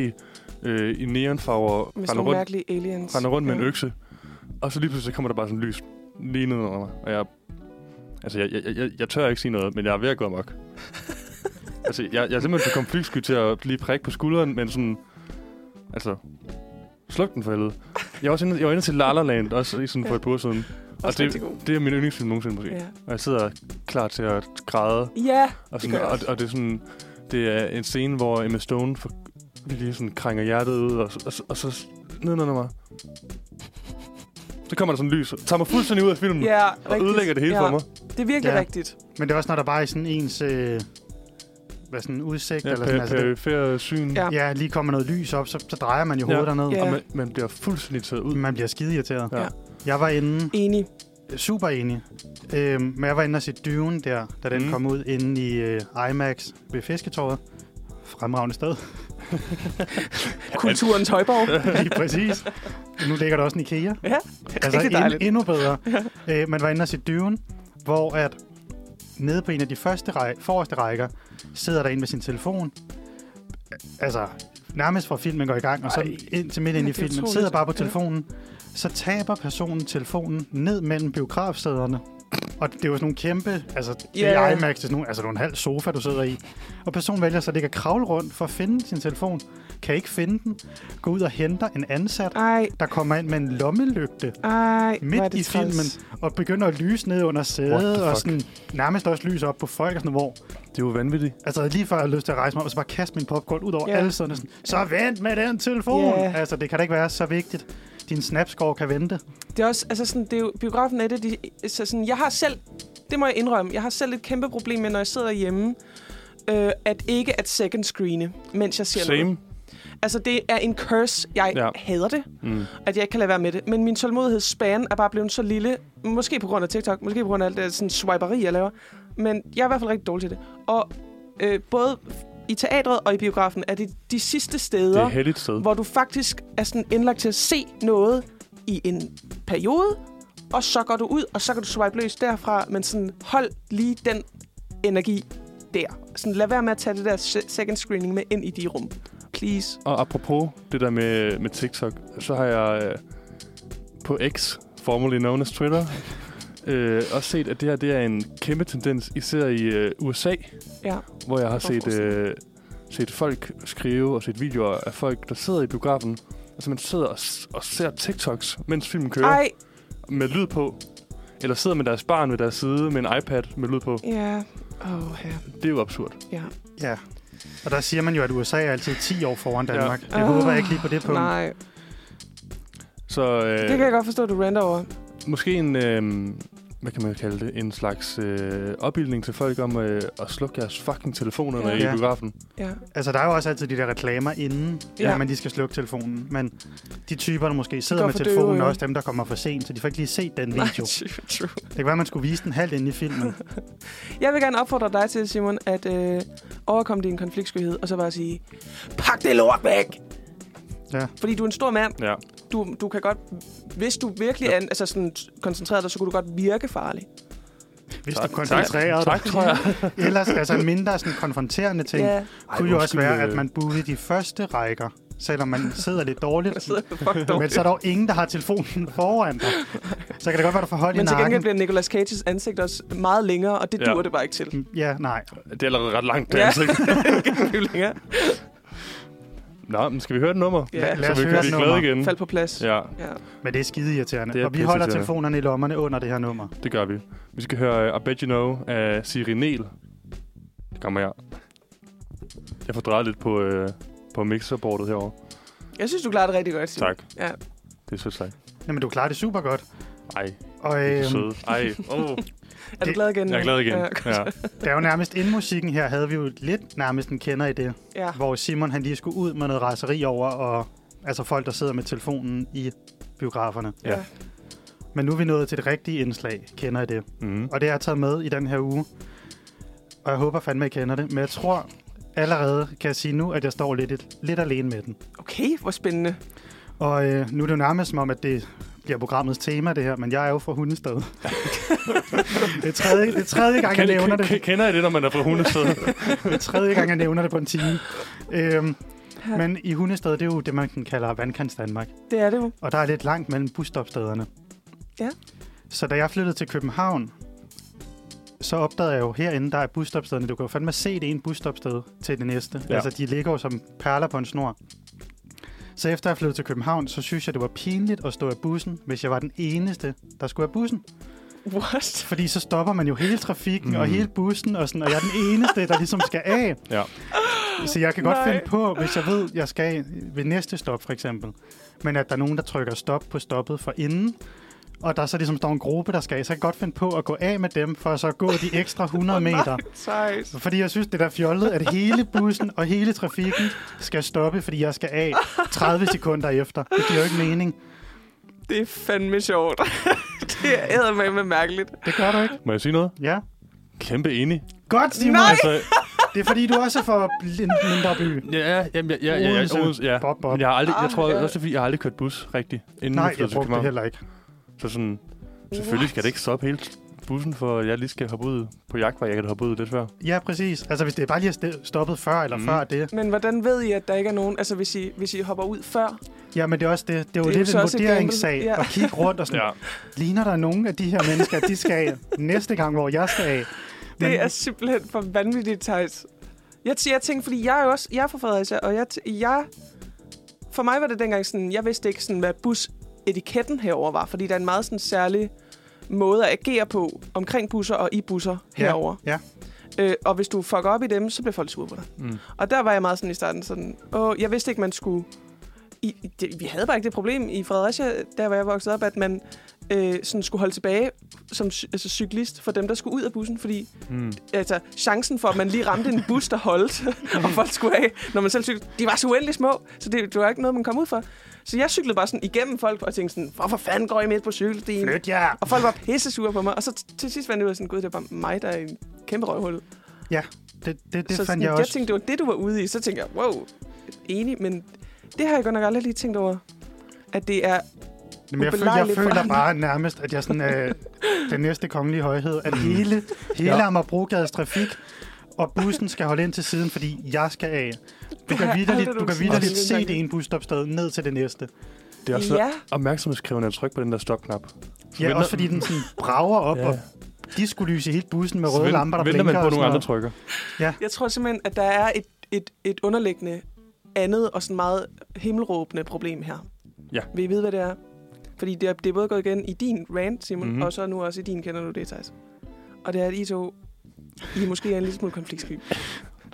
B: øh, i neonfarver,
D: Med sådan
B: render
D: nogle
B: rundt,
D: mærkelige aliens.
B: render rundt med en
D: Ja.
B: økse. Og så lige pludselig så kommer der bare sådan lys lige ned under mig. Og jeg, altså, jeg, jeg, jeg, jeg tør ikke sige noget, men jeg er ved at gå amok. altså, jeg, jeg er simpelthen så konfliktsky til at lige prikke på skulderen, men sådan... Altså, sluk den for helvede. Jeg var også inde, jeg var inde til La La Land, også i sådan for et par uger siden. Og
D: Også
B: det,
D: rigtig god.
B: det er min yndlingsfilm nogensinde måske.
D: Ja.
B: Og jeg sidder klar til at græde.
D: ja,
B: Og,
D: Det
B: sådan,
D: gør jeg
B: og,
D: også.
B: og, det er sådan... Det er en scene, hvor Emma Stone for, lige sådan krænger hjertet ud, og, så- og, så- og så nedenunder mig. Så kommer der sådan lys, og tager mig fuldstændig ud af filmen.
D: ja
B: og ødelægger det hele
D: ja.
B: for mig.
D: Det er virkelig
C: Ja.
D: ja. rigtigt.
C: men det er også, når der bare er sådan ens øh, hvad sådan, udsigt, ja, eller sådan,
B: Ja,
C: altså, det,
B: perifære syn.
D: Ja.
C: ja, lige kommer noget lys op, så, så drejer man jo
B: Ja.
C: hovedet derned.
D: Ja.
B: Og man, man bliver fuldstændig taget ud.
C: Man bliver skide irriteret.
B: Ja.
D: Ja.
C: Jeg var inde
D: Enig.
C: Super enig. Øhm, men jeg var inde og se Dune der, da den
B: Mm.
C: mm. kom ud inde i øh, IMAX ved Fisketåret. Fremragende sted,
D: Kulturens højborg.
C: lige præcis. Nu ligger der også en IKEA.
D: Ja,
C: altså
D: rigtig dejligt.
C: endnu bedre. øh, man var inde og se Dune, hvor at nede på en af de første ræ- forreste rækker sidder der en med sin telefon. Altså, nærmest fra filmen går i gang, og så ind til midt ind i
D: Ja, det er
C: filmen,
D: utroligt.
C: sidder bare på
D: Ja.
C: telefonen. Så taber personen telefonen ned mellem biografsæderne. Og det er jo sådan nogle kæmpe, altså det
D: Ja,
C: er
D: ja.
C: IMAX, det er sådan nogle, altså det er en halv sofa, du sidder i. Og personen vælger så at ligge og kravle rundt for at finde sin telefon. Kan ikke finde den. Går ud og henter en ansat,
D: Ej,
C: der kommer ind med en lommelygte
D: ej. hvor er
C: midt
D: det
C: i
D: træls.
C: filmen, og begynder at lyse ned under
B: What
C: sædet,
B: the
C: og
B: fuck?
C: sådan, nærmest også lys op på folk, og sådan, hvor
B: Det er jo vanvittigt.
C: altså, lige før jeg havde lyst til at rejse mig op, og så bare kaste min popcorn ud over
D: Ja.
C: yeah. alle sådan, sådan, så vent med den telefon!
D: Ja.
C: Yeah. Altså, det kan da ikke være så vigtigt. Din snapscore kan vente.
D: Det er også, altså sådan, det er jo, biografen er det, de, så sådan, jeg har selv, det må jeg indrømme, jeg har selv et kæmpe problem med, når jeg sidder hjemme, øh, at ikke at second screene, mens jeg ser noget.
B: Same.
D: Altså, det er en curse. Jeg
B: Ja.
D: ja. hader det,
B: Mm.
D: at jeg ikke kan lade være med det. Men min tålmodighedsspan er bare blevet så lille. Måske på grund af TikTok, måske på grund af alt det sådan swiperi, jeg laver. Men jeg er i hvert fald rigtig dårlig til det. Og øh, både i teatret og i biografen er det de sidste
B: Det er
D: steder,
B: et heldigt sted.
D: hvor du faktisk er sådan indlagt til at se noget i en periode, og så går du ud, og så kan du swipe løs derfra, men sådan hold lige den energi der. Sådan, lad være med at tage det der se- second screening med ind i de rum. Please.
B: Og apropos det der med, med TikTok, så har jeg øh, på X, formerly known as Twitter, øh, også set, at det her det er en kæmpe tendens, især i øh, USA,
D: Ja.
B: hvor jeg har
D: Hvorfor
B: set, øh, set folk skrive og set videoer af folk, der sidder i biografen, altså man sidder og, s- og ser TikToks, mens filmen kører,
D: Ej,
B: med lyd på. Eller sidder med deres barn ved deres side med en iPad med lyd på.
D: ja. Åh, oh, ja.
B: Det er jo absurd.
D: ja.
C: Ja. Og der siger man jo, at USA er altid 10 år foran
B: Ja.
C: Danmark. Jeg
D: Ah,
C: håber jeg ikke lige på det punkt.
D: Nej,
B: Så øh,
D: det kan jeg godt forstå, du render over.
B: måske en, øh, hvad kan man kalde det, en slags øh, opbildning til folk om øh, at slukke jeres fucking telefoner, når I er
C: Ja.
B: i biografen.
D: Ja.
C: Altså, der er jo også altid de der reklamer inden,
D: Ja.
C: ja. når man lige skal slukke telefonen. Men de typer, der måske sidder
D: går
C: med
D: for døve
C: telefonen, er
D: ører.
C: også dem, der kommer for sent, så de får ikke lige set den video.
D: Nej, true, true.
C: Det kan være, man skulle vise den halvt inde i filmen.
D: Jeg vil gerne opfordre dig til, Simon, at øh, overkomme din konfliktskyhed, og så bare sige, pak det lort væk!
C: Ja.
D: Fordi du er en stor mand.
B: Ja.
D: Du, du kan godt, hvis du virkelig er altså sådan, koncentreret dig, så kunne du godt virke farlig.
C: Hvis
B: Tak.
C: du koncentrerer
B: Tak,
C: dig.
B: tror jeg.
C: Ellers, altså en mindre sådan, konfronterende ting, ja. kunne jo også
B: øh.
C: være, at man boede i de første rækker, selvom man sidder lidt dårligt.
D: Jeg sidder fuck dog.
C: Men så er der jo ingen, der har telefonen foran dig. Så kan det godt være, at du får hold i
D: Men til gengæld
C: nakken.
D: bliver Nicolas Cages ansigt også meget længere, og det
B: Ja.
D: ja. dur det bare ikke til.
C: Ja, nej.
B: Det er allerede ret langt, det
D: Ja.
B: ansigt.
D: det kan blive længere.
B: Nå, men skal vi høre et nummer?
D: Ja.
C: Lad
B: så
C: os
B: vi
C: høre
B: kan
C: et
B: blive
C: nummer.
B: glade igen.
D: Fald på plads. Ja.
B: Ja,
D: ja.
C: Men det er skide irriterende.
B: Det er
C: og vi holder
B: pisseirriterende.
C: telefonerne i lommerne under det her nummer.
B: det gør vi. Vi skal høre uh, I Bet You Know af Siri Niel. Det kommer jeg. Jeg får drejet lidt på, øh, på mixerbordet herovre.
D: Jeg synes, du klarer det rigtig godt, Simon.
B: Tak.
D: Ja.
B: Det er sødt sagt.
C: Jamen, du klarer det super godt.
B: Ej,
C: Og
B: det er
C: øhm,
B: så søde. Ej, oh.
D: Er du
C: Det-
D: glad igen?
B: jeg er glad igen.
D: Ja.
B: Ja.
C: der er jo nærmest inden musikken her, havde vi jo lidt nærmest en kender i det.
D: ja.
B: Ah.
C: Hvor Simon han lige skulle ud med noget raseri over, og altså folk, der sidder med telefonen i biograferne.
B: Ja.
C: Men nu er vi nået til det rigtige indslag, kender I det.
B: Mm.
C: Og det har jeg taget med i den her uge. Og jeg håber fandme, I kender det. Men jeg tror allerede, kan jeg sige nu, at jeg står lidt, lidt alene med den.
D: Okay, hvor spændende.
C: Og øh, nu er det jo nærmest som om, at det bliver programmets tema, det her. Men jeg er jo fra Hundested. det, er tredje, det er tredje gang, jeg nævner det.
B: Kend- Kender I det, når man er fra hundested?
C: Det er tredje gang, jeg nævner det på en time. Øhm, men i Hundested, det er jo det, man sådan kalder vandkants Danmark.
D: Det er det jo.
C: Og der er lidt langt mellem busstopstederne.
D: Ja.
C: Så da jeg flyttede til København, så opdagede jeg jo herinde, der er busstopstederne. Du kan jo fandme se det ene busstopsted til det næste.
B: Ja.
C: Ja. Altså, de ligger jo som perler på en snor. Så efter jeg flyttede til København, så synes jeg, det var pinligt at stå af bussen, hvis jeg var den eneste, der skulle af bussen.
D: What?
C: Fordi så stopper man jo hele trafikken mm. og
B: Mm.
C: hele bussen, og, sådan, og jeg er den eneste, der ligesom skal af.
B: Ja.
C: Så jeg kan godt
D: Nej.
C: finde på, hvis jeg ved, jeg skal af ved næste stop for eksempel, men at der er nogen, der trykker stop på stoppet for inden, og der så ligesom står en gruppe, der skal af, så jeg kan godt finde på at gå af med dem, for at så gå de ekstra 100 meter.
D: Sejt.
C: Fordi jeg synes, det der fjollet, at hele bussen og hele trafikken skal stoppe, fordi jeg skal af 30 sekunder efter. Det giver jo ikke mening.
D: Det er fandme sjovt. det er med mærkeligt.
C: Det gør du ikke.
B: Må jeg sige noget?
C: Ja.
B: Kæmpe enig.
C: Godt, Simon.
D: Nej!
B: Altså,
C: Det er fordi, du også er fra en mindre by.
B: ja, jamen, ja, ja, ja, ja,
C: Odense.
B: Odense, ja.
C: Bob, Bob.
B: Jeg, har aldrig, jeg
D: Ah,
B: tror
D: ja.
B: også, det er, fordi jeg har aldrig kørt bus rigtigt, inden
C: Nej,
B: jeg
C: jeg
B: flyttede til
C: brugte det
B: København.
C: heller ikke.
B: Så sådan, selvfølgelig skal det ikke stoppe hele bussen, for jeg lige skal hoppe ud på jagtvej. Jeg kan da hoppe ud lidt før.
C: Ja, præcis. Altså, hvis det bare lige er st- stoppet før eller
B: Mm.
C: mm. før det.
D: Men hvordan ved I, at der ikke er nogen... Altså, hvis I, hvis I hopper ud før...
C: Ja, men det er også det. Det er jo
D: Det er jo
C: lidt
D: så
C: en
D: også et gamble.
C: vurderingssag
D: Ja.
C: ja. at kigge rundt og sådan, ja. ligner der nogen af de her mennesker, de skal af næste gang, hvor jeg skal af?
D: Det er simpelthen for vanvittigt, Thijs. Jeg, t- jeg tænkte, fordi jeg er jo også... Jeg er fra Fredericia, og jeg, t- jeg... For mig var det dengang sådan... Jeg vidste ikke, sådan, hvad busetiketten herover var, fordi der er en meget sådan særlig måde at agere på omkring busser og i busser
C: Ja.
D: herover.
C: Ja.
D: Øh, og hvis du fucker op i dem, så bliver folk sure på dig.
B: Mm.
D: Og der var jeg meget sådan i starten sådan, åh, jeg vidste ikke, man skulle... I, i- det, vi havde bare ikke det problem i Fredericia, der var jeg vokset op, at man øh, sådan skulle holde tilbage som cy- altså, cyklist for dem, der skulle ud af bussen, fordi
B: Mm.
D: altså, chancen for, at man lige ramte en bus, der holdt, og folk skulle af, når man selv cyklede, de var så uendelig små, så det, det var ikke noget, man kom ud for. Så jeg cyklede bare sådan igennem folk og tænkte sådan, hvorfor fanden går I midt på cykelstien?
C: Flyt jer!
D: Og folk var pisse sure på mig, og så t- til sidst fandt jeg ud af sådan, gud, det var bare mig, der er i en kæmpe røvhul.
C: Ja, det, det, det så
D: så sådan,
C: fandt jeg også.
D: tænkte, det var det, du var ude i. Så tænkte jeg, wow, enig, men det har jeg godt nok aldrig lige tænkt over. At det er...
C: Men jeg, føler, jeg
D: ubelejligt for
C: føler
D: andre.
C: bare nærmest, at jeg sådan er den næste kongelige højhed, at hele, hele
B: Mhm. Ja.
C: ja. Amagerbrogades trafik og bussen skal holde ind til siden, fordi jeg skal af. Du
D: Det har
C: kan
D: jeg
C: vidderligt, du kan
D: aldrig nogensinde
C: vidderligt
D: tænkt.
C: se det ene busstopsted ned til det næste.
B: Det er også
D: Ja.
B: ja. opmærksomhedskrævende at trykke på den der stopknap.
C: Ja,
B: venter-
C: også fordi den sådan brager op,
B: Ja.
C: ja. og de skulle lyse hele bussen med
B: Så
C: røde
B: vent-
C: lamper, der
B: venter man
C: blinker
B: på
C: og
B: nogle
C: sådan
B: andre
C: noget.
B: trykker.
D: Jeg tror simpelthen, at der er et, et, et underliggende andet og sådan meget himmelråbende problem her.
B: Ja.
D: Vil I vide, hvad det er? Fordi det er, det er både gået igen i din rant, Simon,
B: Mhm.
D: mm-hmm. og så nu også i din kender du det, Thijs. Og det er, at I to... I er måske en lille smule konfliktsky.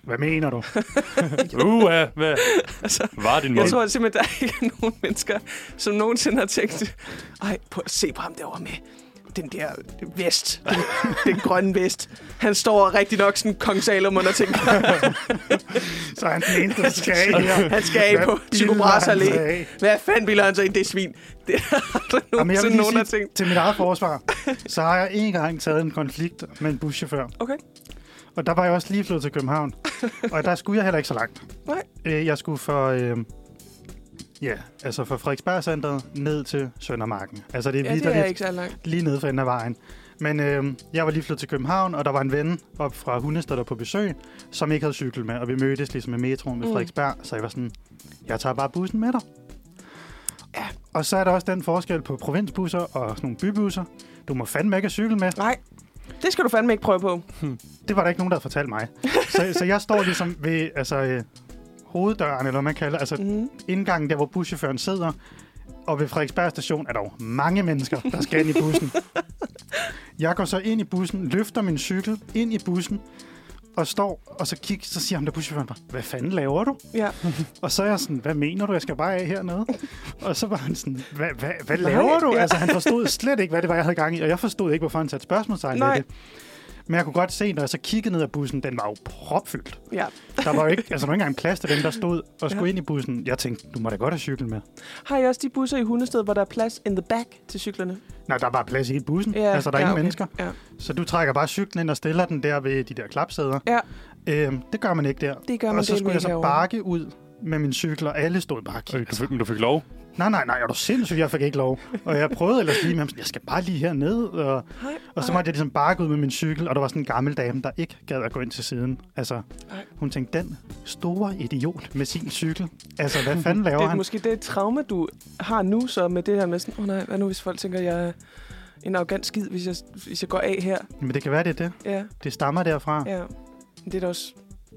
C: Hvad mener du?
B: Uh, hvad
D: Altså,
B: var din mund?
D: jeg tror simpelthen, der ikke er nogen mennesker, som nogensinde har tænkt, ej, prøv at se på ham derovre med den der vest, den, den grønne vest. Han står rigtig nok sådan kong Salomon og tænker,
C: Så er han den eneste, der skal af her.
D: han skal af
C: Hvad
D: på Tycho
C: bilder
D: Brahes
C: han sig
D: Allé.
C: af?
D: Hvad fanden vil han så i det svin? Det har der
C: Jamen, jeg vil
D: nogensinde
C: lige
D: nogen, der
C: sige,
D: tænkt.
C: til mit eget forsvar, så har jeg en gang taget en konflikt med en buschauffør.
D: Okay,
C: Og der var jeg også lige flyttet til København. og der skulle jeg heller ikke så langt.
D: Nej.
C: Øh, Jeg skulle for... Øh, ja, altså fra Frederiksberg Centeret ned til Søndermarken. Altså det er
D: ja,
C: lige,
D: det
C: ja,
D: er
C: det
D: ikke så langt.
C: lige nede for enden af vejen. Men øh, jeg var lige flyttet til København, og der var en ven op fra Hundested, der på besøg, som ikke havde cykel med, og vi mødtes ligesom med metroen ved
D: Mm.
C: Frederiksberg, så jeg var sådan, jeg tager bare bussen med dig.
D: Ja.
C: Og så er der også den forskel på provinsbusser og sådan nogle bybusser. Du må fandme ikke have cykel med.
D: Nej, det skal du fandme ikke prøve på.
C: Det var der ikke nogen, der havde fortalt mig. så, så jeg står ligesom ved altså, øh, hoveddøren, eller hvad man kalder altså
D: Mm.
C: indgangen, der hvor buschaufføren sidder. Og ved Frederiksberg station er der jo mange mennesker, der skal ind i bussen. Jeg går så ind i bussen, løfter min cykel ind i bussen, og står, og så kigger, så siger ham der buschaufføren bare, hvad fanden laver du?
D: Ja.
C: Og så er jeg sådan, hvad mener du, jeg skal bare af hernede? Og så var han sådan, hvad, hvad, hvad
D: Nej,
C: laver du?
D: ja.
C: Ja. Altså, han forstod slet ikke, hvad det var, jeg havde gang i, og jeg forstod ikke, hvorfor han satte spørgsmålstegn ved
D: Nej.
C: det. Men jeg kunne godt se, når jeg så kiggede ned ad bussen, den var jo propfyldt.
D: ja.
C: Der var jo ikke, altså, der var ikke engang plads til dem, der stod og skulle
D: Ja.
C: ja. ind i bussen. Jeg tænkte, du må da godt have cykel med.
D: Har I også de busser i Hundested, hvor der er plads in the back til cyklerne?
C: Nej, der var plads i hele bussen. Ja, altså, der er ja, ingen okay. mennesker.
D: Ja.
C: Så du trækker bare cyklen ind og stiller den der ved de der klapsæder.
D: Ja.
C: Øhm, det gør man ikke der.
D: Det gør man
C: og så skulle
D: delvis
C: jeg så
D: herovre.
C: bakke ud med min cykel, og alle stod bare og
B: Øh,
C: kiggede.
B: du fik, men du fik lov.
C: nej, nej, nej, er du sindssyg, jeg fik ikke lov. Og jeg prøvede ellers lige med ham, sådan, jeg skal bare lige herned. Og,
D: Hej,
C: og så
D: hej.
C: måtte jeg ligesom bakke ud med min cykel, og der var sådan en gammel dame, der ikke gad at gå ind til siden. Altså,
D: Nej.
C: hun tænkte, den store idiot med sin cykel. Altså, hvad fanden laver
D: Det er
C: han?
D: måske det traume, du har nu så med det her med sådan, åh oh, nej, hvad nu hvis folk tænker, jeg er en arrogant skid, hvis jeg, hvis jeg går af her.
C: Men det kan være, det er det.
D: Ja,
C: Det stammer derfra.
D: ja. Men Det er da også,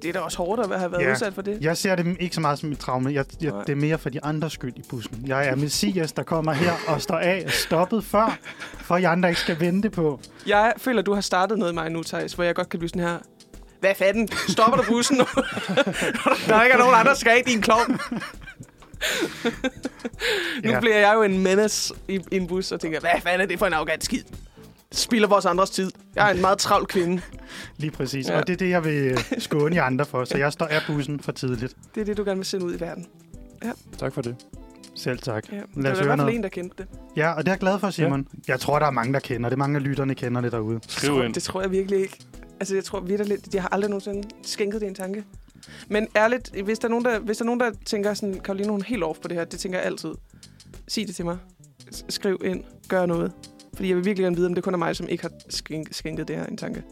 D: det er da også hårdt at have været
C: Ah. Ja.
D: udsat for det.
C: Jeg ser det ikke så meget som et traume. Jeg, jeg,
D: Nej.
C: det er mere for de andres skyld i bussen. Jeg er messias, der kommer her og står af stoppet før, for I andre ikke skal vente på.
D: Jeg føler, du har startet noget i mig nu, Thijs, hvor jeg godt kan blive sådan her, hvad fanden, stopper du bussen nu? der er ikke nogen andre, der skal i din klovn. nu
C: Ja.
D: bliver jeg jo en menace i, i en bus og tænker, hvad fanden er det for en arrogant skid? Spilder vores andres tid. Jeg er en meget travl kvinde.
C: Lige præcis.
D: Ja.
C: Ja. Og det er det, jeg vil øh, skåne jer andre for. Så jeg står af bussen for tidligt.
D: Det er det, du gerne vil sende ud i verden.
B: Tak for det.
C: Selv tak.
D: Ja.
C: os
D: Lad det var i
C: høre
D: hvert fald
C: noget.
D: en, der kendte det.
C: Ja, og det er jeg glad for, Simon. Ja. Jeg tror, der er mange, der kender det. Mange af lytterne kender det derude.
B: Skriv
D: tror,
B: ind.
D: Det tror jeg virkelig ikke. Altså, jeg tror virkelig lidt, jeg har aldrig nogensinde skænket det en tanke. Men ærligt, hvis der er nogen, der, hvis der, er nogen, der tænker sådan, Karoline, hun er helt off på det her, det tænker jeg altid. Sig det til mig. S- Skriv ind. Gør noget. Fordi jeg vil virkelig gerne vide, om det kun er mig, som ikke har skænk- skænket det her en tanke.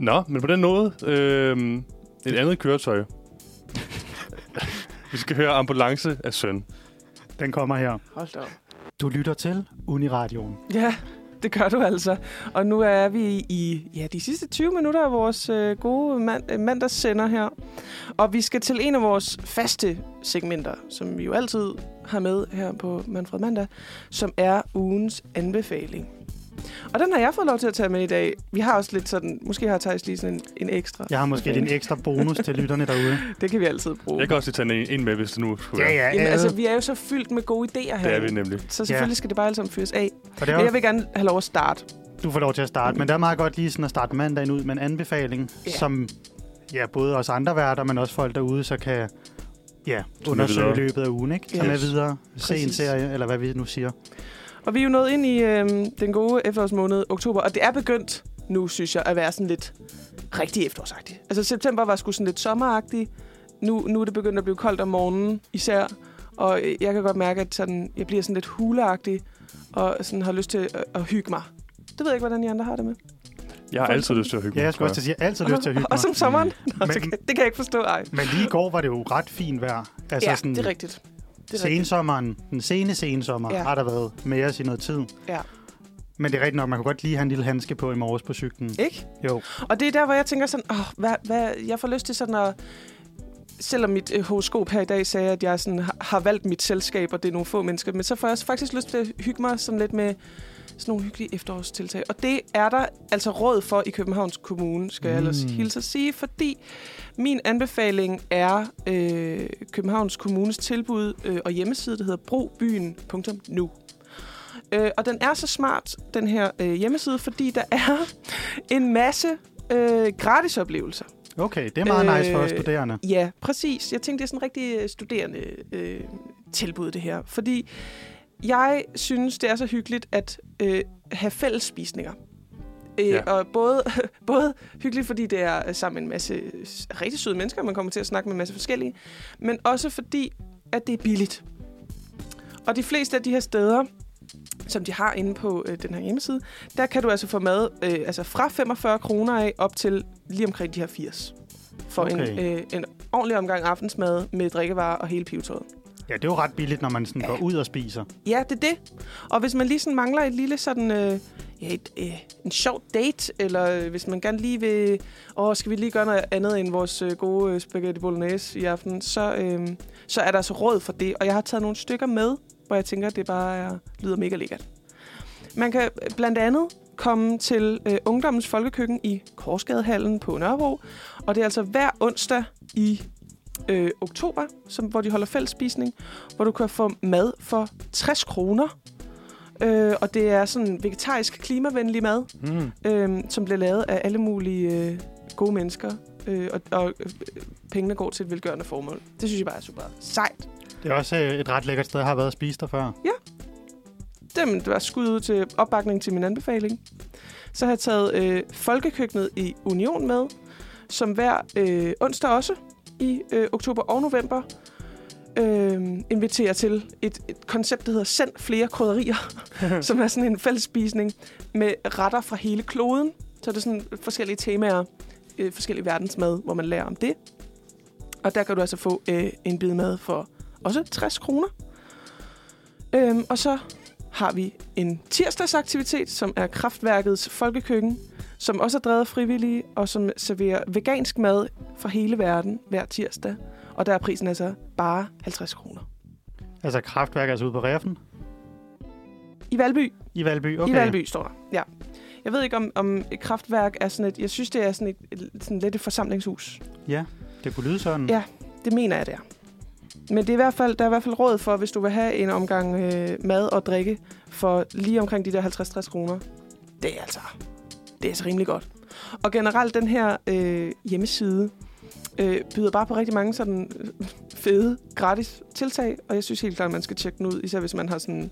B: Nå, men på den måde, øh, et andet køretøj. Vi skal høre ambulance af søn.
C: Den kommer her.
D: Hold da op.
C: Du lytter til Uniradioen.
D: Ja, det gør du altså. Og nu er vi i ja, de sidste 20 minutter af vores øh, gode mand, øh, mandagssender her. Og vi skal til en af vores faste segmenter, som vi jo altid har med her på Manfred Mandag, som er ugens anbefaling. Og den har jeg fået lov til at tage med i dag. Vi har også lidt sådan, måske har Thijs lige sådan en, en ekstra.
C: Jeg har måske en ekstra bonus til lytterne derude.
D: Det kan vi altid bruge.
B: Jeg kan også lige tage en, en med, hvis det nu skulle
C: Ja,
B: være.
C: ja.
D: Jamen,
C: alle.
D: altså, vi er jo så fyldt med gode idéer
B: Det er
D: her.
B: vi nemlig.
D: Så selvfølgelig
C: Ja.
D: skal det bare alt sammen fyres af.
C: Og det er
D: Men
C: jo
D: jeg vil gerne have lov at starte.
C: Du får lov til at starte, men det er meget godt lige sådan at starte mandagen ud med en anbefaling,
D: Ja.
C: ja. som ja, både os andre værter, men også folk derude, så kan ja, undersøge i
B: videre.
C: løbet af ugen. Ikke?
D: Ja.
C: Yes. med videre, se en
D: Præcis.
C: serie, eller hvad vi nu siger.
D: Og vi er jo nået ind i øh, den gode efterårsmåned, oktober, og det er begyndt nu, synes jeg, at være sådan lidt rigtig efterårsagtigt. Altså september var sgu sådan lidt sommeragtigt. Nu, nu er det begyndt at blive koldt om morgenen især, og øh, jeg kan godt mærke, at sådan, jeg bliver sådan lidt huleagtig og sådan har lyst til at, at hygge mig. Det ved jeg ikke, hvordan I andre har det med.
B: Jeg har altid lyst til at hygge
C: Ja, jeg skulle også til at sige, jeg har altid lyst til at hygge
D: Og
C: mig. Mm.
D: som sommeren? Nå,
C: Men- Altså
D: det, kan, det kan jeg ikke forstå, ej.
C: Men lige i går var det jo ret fint vejr.
D: Altså ja, sådan, det er rigtigt. Det er rigtigt.
C: sensommeren, den sene sensommer,
D: Ja.
C: ja. har der været med os i noget tid.
D: Ja.
C: Men det er rigtigt nok, man kunne godt lige have en lille handske på i morges på cyklen.
D: Ikke?
C: Jo,
D: Og det er der, hvor jeg tænker sådan, åh, hvad, hvad, jeg får lyst til sådan at... Selvom mit øh, horoskop her i dag sagde, at jeg sådan har, har valgt mit selskab, og det er nogle få mennesker, men så får jeg også faktisk lyst til at hygge mig sådan lidt med sådan nogle hyggelige efterårstiltag. Og det er der altså råd for i Københavns Kommune, skal jeg ellers
B: Mm.
D: hilse at sige, fordi min anbefaling er øh, Københavns Kommunes tilbud øh, og hjemmeside, der hedder brobyen.nu. Øh, og den er så smart, den her øh, hjemmeside, fordi der er en masse øh, gratisoplevelser.
C: Okay, det er meget nice for os
D: Øh,
C: studerende.
D: Ja, præcis. Jeg tænkte, det er sådan en rigtig øh, studerende øh, tilbud, det her. Fordi jeg synes, det er så hyggeligt at øh, have fælles spisninger. Øh,
B: Ja.
D: ja. Og både, både hyggeligt, fordi det er øh, sammen med en masse s- rigtig søde mennesker, og man kommer til at snakke med en masse forskellige, men også fordi, at det er billigt. Og de fleste af de her steder, som de har inde på øh, den her hjemmeside, der kan du altså få mad øh, altså fra 45 kroner af op til lige omkring de her 80. For okay. en,
C: Okay.
D: øh, en ordentlig omgang aftensmad med drikkevarer og hele pivetøjet.
C: Ja, det er jo ret billigt, når man sådan går ud og spiser.
D: Ja, det er det. Og hvis man lige sådan mangler et lille sådan... Øh, ja, et, øh, en sjov date, eller øh, hvis man gerne lige vil... Åh, skal vi lige gøre noget andet end vores øh, gode øh, spaghetti bolognese i aften? Så, øh, så er der altså råd for det. Og jeg har taget nogle stykker med, hvor jeg tænker, det bare er, lyder mega lækkert. Man kan øh, blandt andet komme til øh, Ungdommens Folkekøkken i Korsgadehallen på Nørrebro. Og det er altså hver onsdag i øh, oktober, som, hvor de holder fællesspisning, hvor du kan få mad for 60 kroner. Øh, og det er sådan vegetarisk, klimavenlig mad,
B: Mm.
D: øh, som bliver lavet af alle mulige øh, gode mennesker. Øh, og og øh, pengene går til et velgørende formål. Det synes jeg bare er super sejt.
C: Det er også øh, et ret lækkert sted, jeg har været og spist der før.
D: Dem, det var skud ud til opbakning til min anbefaling. Så har jeg taget øh, Folkekøkkenet i Union med, som hver øh, onsdag også i øh, oktober og november øh, inviterer til et, et koncept, der hedder Send flere krydderier, som er sådan en fællesspisning med retter fra hele kloden. Så er det sådan forskellige temaer, øh, forskellige verdensmad, hvor man lærer om det. Og der kan du altså få øh, en bid mad for også 60 kroner. Øhm, og så har vi en tirsdagsaktivitet, som er Kraftværkets Folkekøkken, som også er drevet af frivillige, og som serverer vegansk mad fra hele verden hver tirsdag. Og der er prisen altså bare 50 kroner.
C: Altså kraftværk er altså ude på Reffen.
D: I Valby.
C: I Valby,
D: Okay.
C: okay.
D: I Valby står der. Ja. Jeg ved ikke, om, om et kraftværk er sådan et... Jeg synes, det er sådan et, et sådan lidt et forsamlingshus.
C: Ja, det kunne lyde sådan.
D: Ja. Det mener jeg, det er. Men det er i hvert fald, der er i hvert fald råd for, hvis du vil have en omgang øh, mad og drikke for lige omkring de der 50-60 kroner. Det er altså, det er altså rimelig godt. Og generelt, den her øh, hjemmeside øh, byder bare på rigtig mange sådan øh, fede, gratis tiltag. Og jeg synes helt klart, at man skal tjekke den ud, især hvis man har sådan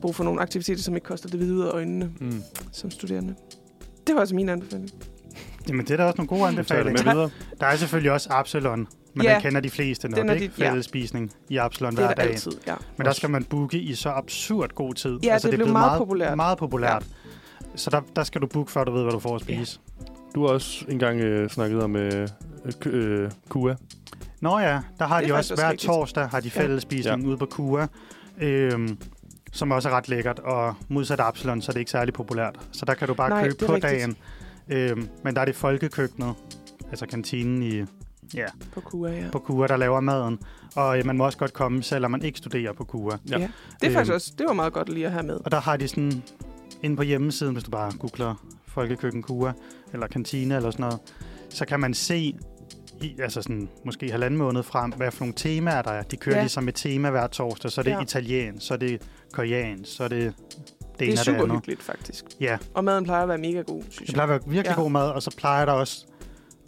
D: brug for nogle aktiviteter, som ikke koster det hvide ud af øjnene
B: Mm.
D: som studerende. Det var altså min anbefaling.
C: Jamen, det er da også nogle gode
B: Jeg tager det
C: anbefalinger.
B: med videre.
C: Der er selvfølgelig også Absalon, men
D: Ja,
C: den kender de fleste nok,
D: den er
C: ikke?
D: de- ja.
C: Fællesspisning i Absalon
D: Det er
C: hver
D: der
C: dag.
D: altid, ja.
C: Men der skal man booke i så absurd god tid. Altså,
D: Ja, det
C: er
D: blev
C: blevet
D: meget populært.
C: Meget populært. Ja. Så der, der skal du booke, før du ved, hvad du får at spise. Ja.
B: Du har også engang øh, snakket om øh, øh, kø- øh, KUA.
C: Nå ja, der har
D: Det er
C: de
D: faktisk
C: også
D: også
C: hver
D: rigtigt.
C: torsdag har de
D: Ja.
C: fællesspisning ja. ude på Kua, øhm, som også er ret lækkert. Og modsat Absalon, så er det ikke særlig populært. Så der kan du bare
D: Nej, det
C: købe
D: er
C: på
D: rigtigt.
C: dagen. Øhm, men der er det folkekøkkenet, altså kantinen i, ja,
D: På KUA, ja.
C: på Kua, der laver maden. Og øh, man må også godt komme, selvom man ikke studerer på Kua.
B: Ja.
D: ja. Det er
C: Øhm.
D: faktisk også, det var meget godt lige at have med.
C: Og der har de sådan, inde på hjemmesiden, hvis du bare googler Folkekøkken Kua, eller kantine eller sådan noget, så kan man se, i, altså sådan, måske halvanden måned frem, hvad for nogle temaer der er. De kører
D: Ja.
C: ja. ligesom et tema hver torsdag, så er det
D: Ja.
C: ja. italiensk, så er det koreansk, så er det det ene
D: Det er
C: og det
D: super
C: andet.
D: hyggeligt, faktisk.
C: Ja.
D: Og maden plejer at være mega god, synes
C: Det
D: jeg.
C: plejer at være virkelig
D: Ja.
C: ja. god mad, og så plejer der også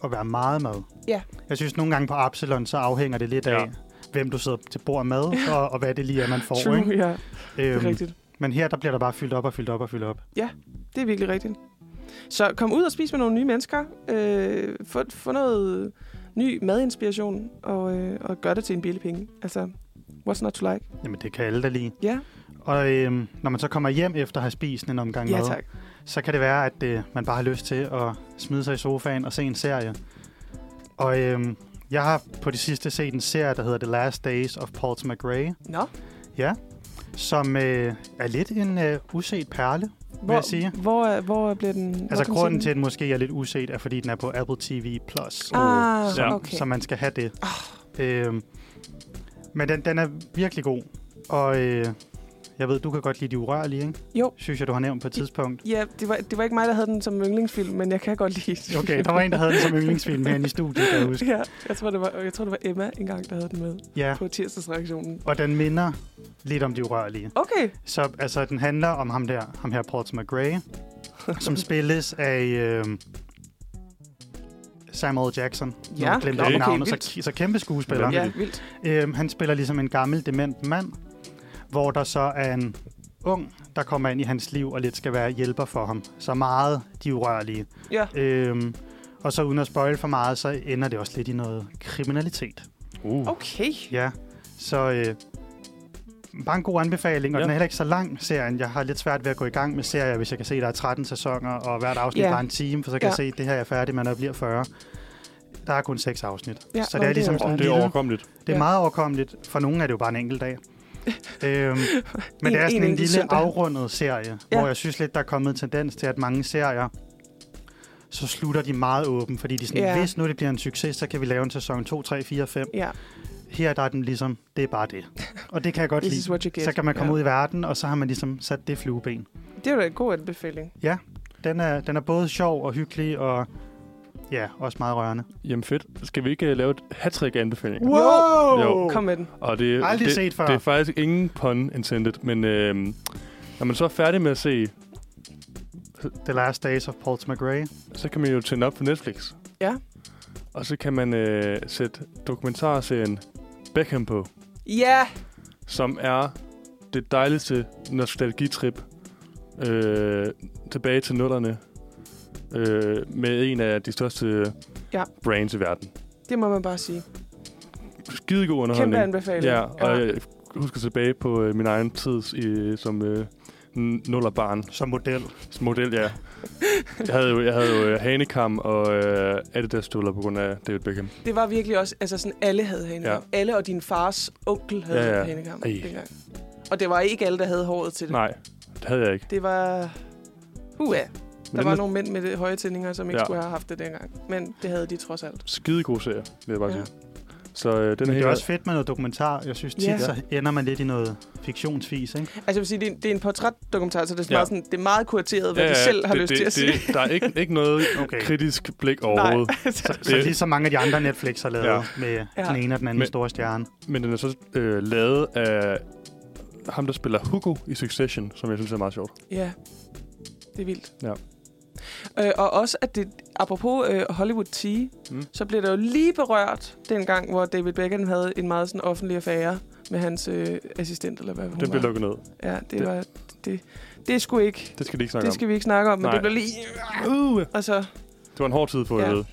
C: at være meget mad.
D: Ja.
C: Jeg synes, nogle gange på Absalon, så afhænger det lidt af,
B: Ja.
C: hvem du sidder til bord med, og, og hvad det lige er, man får.
D: True,
C: Ikke? Øhm,
D: ja. Det er rigtigt.
C: men her, der bliver der bare fyldt op og fyldt op og fyldt op.
D: Det er virkelig rigtigt. Så kom ud og spis med nogle nye mennesker. Øh, få, få noget ny madinspiration, og, øh, og gør det til en billig penge. Altså, what's not to like?
C: Jamen, det kan alle da lige.
D: Ja,
C: Og øhm, når man så kommer hjem efter at have spist en omgang
D: ja
C: mad,
D: tak.
C: så kan det være, at øh, man bare har lyst til at smide sig i sofaen og se en serie. Og øhm, jeg har på det sidste set en serie, der hedder The Last Days of Paul McRae,
D: Nå,
C: som øh, er lidt en øh, uset perle.
D: hvor,
C: jeg sige?
D: hvor, er- hvor bliver den... hvor
C: Altså
D: kan man
C: grunden
D: se
C: til,
D: den?
C: at den måske er lidt uset, er fordi den er på Apple TV+. Plus,
D: Ah,
B: Ja.
D: okay. Ah.
C: Så man skal have det. Øhm, men den, den er virkelig god. Og øh, jeg Jeg ved, du kan godt lide de urørlige, ikke?
D: Jo.
C: Synes jeg, du har nævnt på et tidspunkt.
D: Ja, det var, det var ikke mig, der havde den som yndlingsfilm, men jeg kan godt lide
C: Okay, der var en, der havde den som yndlingsfilm herinde i studiet, kan jeg huske.
D: Ja, jeg tror, det var, jeg tror, det var Emma engang, der havde den med
C: Ja,
D: på tirsdagsreaktionen.
C: og den minder lidt om de urørlige.
D: Okay.
C: Så altså, den handler om ham der, ham her Paul McRae, som spilles af øh, Samuel Jackson. Nu
D: Ja,
C: glemte
B: okay.
C: jeg navnet,
D: Okay,
C: så, så kæmpe skuespiller.
B: Vanvittigt.
D: Ja, vildt.
C: Øhm, han spiller ligesom en gammel, dement mand, hvor der så er en ung, der kommer ind i hans liv og lidt skal være hjælper for ham. Så meget de urørlige.
D: Ja.
C: Øhm, og så uden at spoil for meget, så ender det også lidt i noget kriminalitet.
B: Uh.
D: Okay.
C: Ja, så øh, bare en god anbefaling, og
B: Ja.
C: ja. den er heller ikke så lang, serien. Jeg har lidt svært ved at gå i gang med serier, hvis jeg kan se, at der er 13 sæsoner, og hvert afsnit
D: Ja.
C: ja. var en time, for så kan
D: Ja.
C: ja. jeg se, at det her er færdig, men når jeg bliver 40. Der er kun seks afsnit.
D: Ja,
C: Ja, så
D: nå,
C: det er
D: det er
C: ligesom
D: jo-
C: sådan en
B: Det er
C: lille-
B: overkommeligt.
C: det er
D: Ja.
C: ja. meget overkommeligt. For nogle er det jo bare en enkelt dag. øhm, men
D: En-
C: det er sådan
D: en
C: en,
D: enkelt
C: lille
D: søndag.
C: afrundet serie,
D: Ja.
C: ja. hvor jeg synes lidt, der er kommet en tendens til, at mange serier, så slutter de meget åben, fordi de er sådan,
D: Ja.
C: ja. hvis nu det bliver en succes, så kan vi lave en sæson 2, 3, 4, 5.
D: Ja,
C: Her der er den ligesom, det er bare det. Og det kan jeg godt
D: this is
C: lide.
D: what you get.
C: Så kan man komme
D: ja.
C: ud i verden, og så har man ligesom sat det flueben.
D: Det er da en god anbefaling.
C: Den er, den er både sjov og hyggelig, og ja, også meget rørende.
B: Jamen fedt. Skal vi ikke øh, lave et hat af anbefalinger?
D: Wow!
B: Jo.
D: Kom med den.
B: Og det,
C: Uh. Aldrig
B: det,
C: set før.
B: Det er faktisk ingen pun intended, men øh, når man så er færdig med at se,
C: The Last Days of Paul McRae.
B: så kan man jo tænde op på Netflix.
D: Ja.
B: Og så kan man øh, sætte dokumentarserien Beckham på,
D: Ja!
B: som er det dejligste nostalgitrip øh, tilbage til nullerne øh, med en af de største
D: Ja.
B: brands i verden.
D: Det må man bare sige.
B: Skidegod underholdning.
D: Kæmpe anbefaling.
B: Ja, og jeg husker tilbage på øh, min egen tid i, som øh, n- nullerbarn
C: Som model.
B: model, ja. Jeg havde jo, jeg havde jo øh, hanekam og øh, Adidas støvler på grund af David Beckham.
D: Det var virkelig også, altså sådan, alle havde hanekam. Ja. Alle og din fars onkel havde
B: Ja,
D: ja,
B: ja.
D: ja. hanekam
B: Ej.
D: dengang. Og det var ikke alle, der havde håret til det.
B: Nej, det havde jeg ikke.
D: Det var... Uha,
B: Men
D: der
B: den
D: var
B: er
D: nogle mænd med det høje tændinger, som ikke
B: Ja.
D: ja. skulle have haft det dengang. Men det havde de trods alt.
B: skidegod serie, vil jeg bare
D: Ja.
B: sige. Så øh, den er
C: Men det
B: helt
C: er også fedt med noget dokumentar. Jeg synes tit,
D: Ja.
C: yeah. så ender man lidt i noget fiktionsfis, ikke?
D: Altså jeg vil sige, det er, det er en portrætdokumentar, så det er,
B: Ja.
D: ja. meget sådan, det er meget kurateret, hvad ja, de selv har
B: det,
D: lyst
B: det,
D: til at sige.
B: det, Der er ikke, ikke noget okay.
C: Okay.
B: kritisk blik
D: Nej,
B: overhovedet.
D: altså,
C: Så lige så mange af de andre Netflix har lavet
B: Ja.
C: ja. med
D: Ja.
C: den ene og den anden
B: Men-
C: Men... store stjerne.
B: Men den er så øh, lavet af ham, der spiller Hugo i Succession, som jeg synes er meget sjovt.
D: ja, det er vildt.
B: Ja.
D: Øh, og også, at det, apropos øh, Hollywood Tea,
B: Mm.
D: mm. så blev der jo lige berørt dengang, hvor David Beckham havde en meget sådan offentlig affære med hans øh, assistent, eller hvad hun
B: Den
D: var.
B: bliver lukket ned.
D: Ja, det,
B: Det-
D: det. var... Det, det er sgu ikke...
B: Det skal de ikke snakke
D: Det skal vi ikke snakke om, men
B: Nej.
D: Nej. det blev lige...
B: om. Uh,
D: Og så,
B: det var en hård tid for
D: Ja.
B: ja. ved.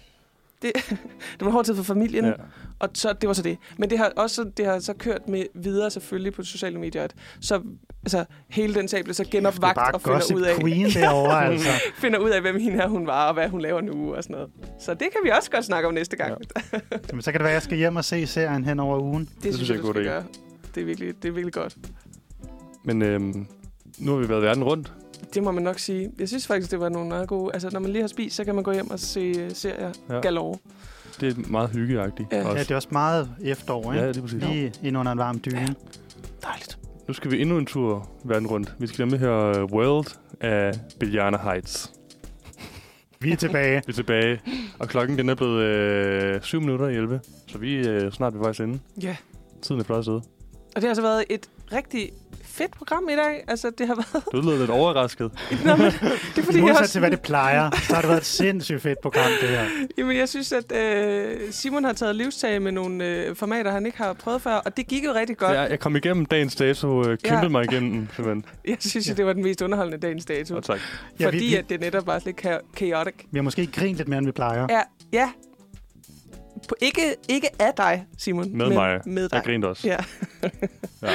D: det var hårdt tid for familien,
B: Ja.
D: ja. Og så, det var så det. Men det har også det har så kørt med videre selvfølgelig på sociale medier, at så, altså, hele den sag blev så
C: det er
D: genopvagt
C: bare
D: og finder
C: Gossip
D: ud, af,
C: Queen derovre, altså.
D: finder ud af, hvem hende her hun var, og hvad hun laver nu og sådan noget. Så det kan vi også godt snakke om næste gang.
B: Ja.
D: Ja.
C: Jamen, så kan det være, at jeg skal hjem og se serien hen over ugen.
D: Det, det synes jeg,
B: er
D: du
B: en god
D: skal
B: idé.
D: gøre. Det er, virkelig, det er virkelig godt.
B: Men øhm, nu har vi været verden rundt.
D: Det må man nok sige. Jeg synes faktisk, det var nogle meget gode... Altså, når man lige har spist, så kan man gå hjem og se øh, serier
B: Ja.
D: ja. galore.
B: Det er meget hyggeagtigt.
D: Ja.
B: også.
C: Ja, det er også meget efterår,
B: ja,
C: ikke?
B: det er præcis.
C: Ja. Lige ind under en varm dyne. Ja.
D: Dejligt.
B: Nu skal vi endnu en tur verden rundt. Vi skal nemlig høre øh, World af Biljana Heights.
C: Vi er tilbage.
B: Vi er tilbage, og klokken den er blevet øh, 7 minutter i 11, så vi er øh, snart ved vejs ende.
D: Ja.
B: Tiden er flot afsted.
D: Og det har så været et rigtig fedt program i dag. Altså, det har været...
B: Du lyder lidt overrasket.
D: Nå, men, det er fordi, jeg
C: Modsat
D: også-
C: til, hvad det plejer, så har det været et sindssygt fedt program, det her.
D: Jamen, jeg synes, at øh, Simon har taget livstag med nogle øh, formater, han ikke har prøvet før, og det gik jo rigtig godt. Ja.
B: Jeg, jeg kom igennem dagens dato, øh, kæmpede ja.
D: Ja.
B: mig igennem den, simpelthen.
D: Jeg synes jo, det var den mest underholdende dagens dato.
B: Og tak.
C: Ja,
D: fordi
C: vi, vi,
D: at det netop var lidt ka- chaotic.
C: vi har måske grint lidt mere, end vi plejer.
D: Ja, ja. På, ikke, ikke af dig, Simon.
B: Med
D: men
B: mig.
D: Med dig.
B: Jeg grinte også.
D: Ja.
B: Ja.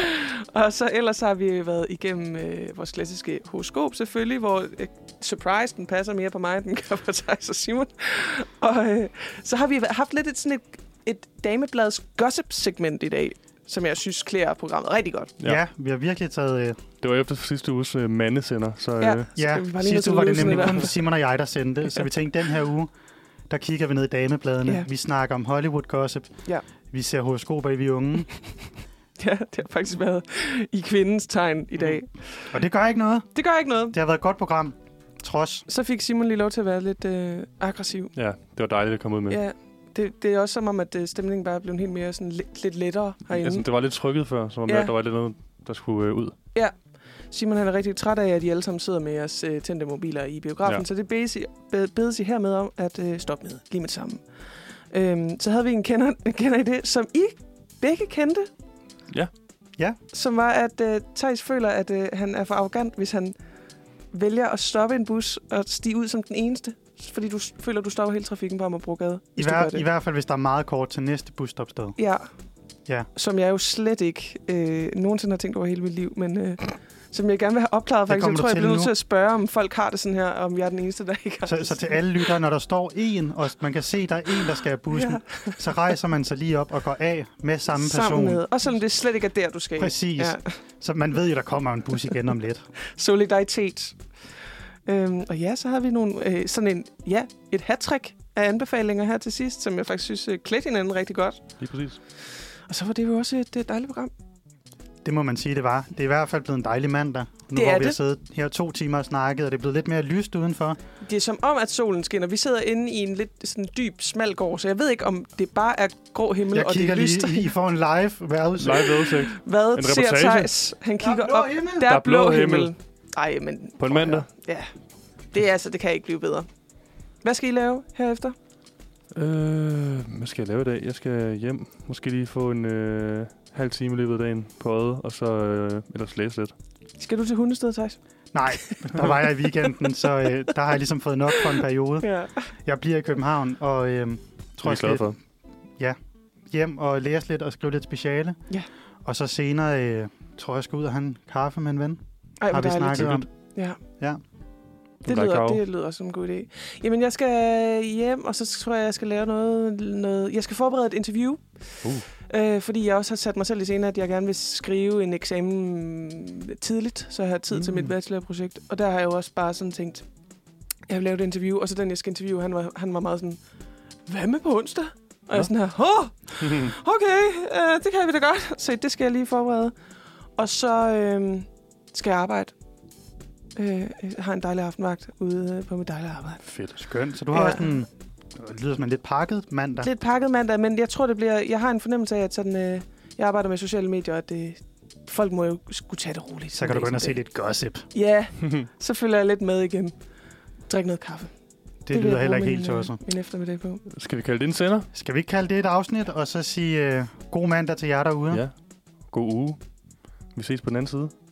D: Og så ellers har vi været igennem øh, vores klassiske horoskop selvfølgelig, hvor øh, surprise, den passer mere på mig, end den gør på Thijs og Simon. Og øh, så har vi væ- haft lidt et, sådan et, et dameblads gossip-segment i dag, som jeg synes klæder programmet rigtig godt.
B: Ja.
C: Ja, ja vi har virkelig taget... Øh,
B: Det var efter sidste uges øh, mandesender, så øh,
D: Ja.
B: ja.
C: ja,
D: vi bare lige nødt
C: sidste
D: til
C: uge var
D: at
C: det
D: løse
C: nemlig
D: det der.
C: kun Simon og jeg, der sendte det, så vi tænkte, den her uge, der kigger vi ned i damebladene.
D: Ja.
C: Vi snakker om Hollywood-gossip.
D: Ja.
C: Vi ser horoskoper i vi er unge.
D: Ja, det har faktisk været i kvindens tegn i dag.
C: Og det gør ikke noget.
D: Det gør ikke noget.
C: Det har været et godt program. Trods.
D: Så fik Simon lige lov til at være lidt øh, aggressiv.
B: Ja, det var dejligt at komme ud med.
D: Ja, det, det er også som om, at øh, stemningen bare er blevet helt mere sådan lidt, lidt lettere herinde.
B: Altså, det var lidt trykket før, som om
D: Ja.
B: ja. der var lidt noget, der skulle øh, ud.
D: Simon han er rigtig træt af, at de alle sammen sidder med jeres øh, tændte mobiler i biografen, ja.
B: Ja.
D: så det bedes I, be- bedes I hermed om at øh, stoppe med lige med det samme. Øhm, så havde vi en kender, kender i det, som I begge kendte.
B: Ja.
C: Ja.
D: Som var, at øh, Thijs føler, at øh, han er for arrogant, hvis han vælger at stoppe en bus og stige ud som den eneste. Fordi du s- føler, du stopper hele trafikken på Amagerbrogade.
C: I,
D: hvis du gør
C: hver,
D: det.
C: I hvert fald, hvis der er meget kort til næste busstopsted.
D: Ja.
C: Ja.
D: Som jeg jo slet ikke øh, nogensinde har tænkt over hele mit liv, men øh, som jeg gerne vil have opklaret
C: Det
D: faktisk. Jeg
C: kommer
D: tror,
C: du
D: jeg
C: til
D: bliver nødt
C: nu.
D: til at spørge, om folk har det sådan her, og om jeg er den eneste, der ikke har
C: Så,
D: det.
C: så til alle lyttere, når der står en, og man kan se, der er en, der skal have bussen,
D: Ja.
C: ja. så rejser man sig lige op og går af med samme person.
D: Sammen med. Og selvom det slet ikke er der, du skal.
C: Præcis.
D: Ja.
C: Så man ved jo, der kommer en bus igen om lidt.
D: Solidaritet. Øhm, og ja, så har vi nogle, øh, sådan en, ja, et hattrick af anbefalinger her til sidst, som jeg faktisk synes øh, klædte hinanden rigtig godt.
B: Lige præcis.
D: Og så var det jo også et øh, dejligt program.
C: Det må man sige, det var. Det er i hvert fald blevet en dejlig mandag. Nu
D: Det er
C: hvor vi har
D: det.
C: siddet her to timer og snakket, og det er blevet lidt mere lyst udenfor.
D: Det er som om, at solen skinner. Vi sidder inde i en lidt sådan dyb, smal gård, så jeg ved ikke, om det bare er grå himmel,
C: Jeg
D: og det
C: kigger
D: er lyst.
C: lige, I får en live vejrudsigt.
B: Live udsigt
D: Hvad
B: En
D: ser
B: reportage.
D: Thijs? Han
C: Der er
D: kigger
C: blå
D: op.
C: himmel.
D: Der er blå
B: himmel.
D: himmel. Ej, men
B: på en mandag.
D: det er altså, det kan ikke blive bedre. Hvad skal I lave herefter?
B: Øh, hvad skal jeg lave i dag? Jeg skal hjem. Måske lige få en øh, halv time i løbet af dagen på øjet, og så øh, ellers læse lidt.
D: Skal du til hundestedet, Thijs?
C: Nej, der var jeg i weekenden, så øh, der har jeg ligesom fået nok for en periode.
D: Ja.
C: Jeg bliver i København, og øh,
B: Det er
C: tror,
B: jeg
C: jeg skal
B: glad for.
C: hjem og læse lidt og skrive lidt speciale.
D: Ja.
C: Og så senere øh, tror jeg, jeg skal ud og have en kaffe med en ven.
D: Ej, hvor
C: har vi
D: dejligt.
C: snakket om.
D: Ja.
C: Ja.
D: Det
B: Black
D: lyder,
B: Cow.
D: det lyder som en god idé. Jamen, jeg skal øh, hjem, og så tror jeg, jeg skal lave noget... noget jeg skal forberede et interview.
B: Uh.
D: Øh, fordi jeg også har sat mig selv i scenen, at jeg gerne vil skrive en eksamen tidligt, så jeg har tid mm. til mit
C: Mm.
D: bachelorprojekt. Og der har jeg jo også bare sådan tænkt, jeg vil lave et interview, og så den, jeg skal interviewe, han var, han var meget sådan, hvad med på onsdag? Og jeg er
C: Nå.
D: sådan her, Hå, okay, øh, det kan vi da godt. Så det skal jeg lige forberede. Og så øh, skal jeg arbejde. Øh, jeg har en dejlig aftenvagt ude øh, på mit dejlige arbejde.
B: Fedt.
C: Skønt. Så du har
D: Ja.
C: ja. også en, det lyder som en lidt pakket mandag.
D: Lidt pakket mandag, men jeg tror, det bliver... Jeg har en fornemmelse af, at sådan, øh, jeg arbejder med sociale medier, at det, folk må jo skulle tage det roligt.
C: Så kan du gå ind og se
D: det.
C: lidt gossip.
D: Ja, så følger jeg lidt med igen. Drik noget kaffe.
C: Det,
D: vil
C: det
D: jeg
C: lyder heller
D: bruge
C: ikke helt
D: min, øh,
C: tosset.
D: Min eftermiddag på.
B: Skal vi kalde det en sender?
C: Skal vi ikke kalde det et afsnit, og så sige øh, god mandag til jer derude?
B: God uge. Vi ses på den anden side.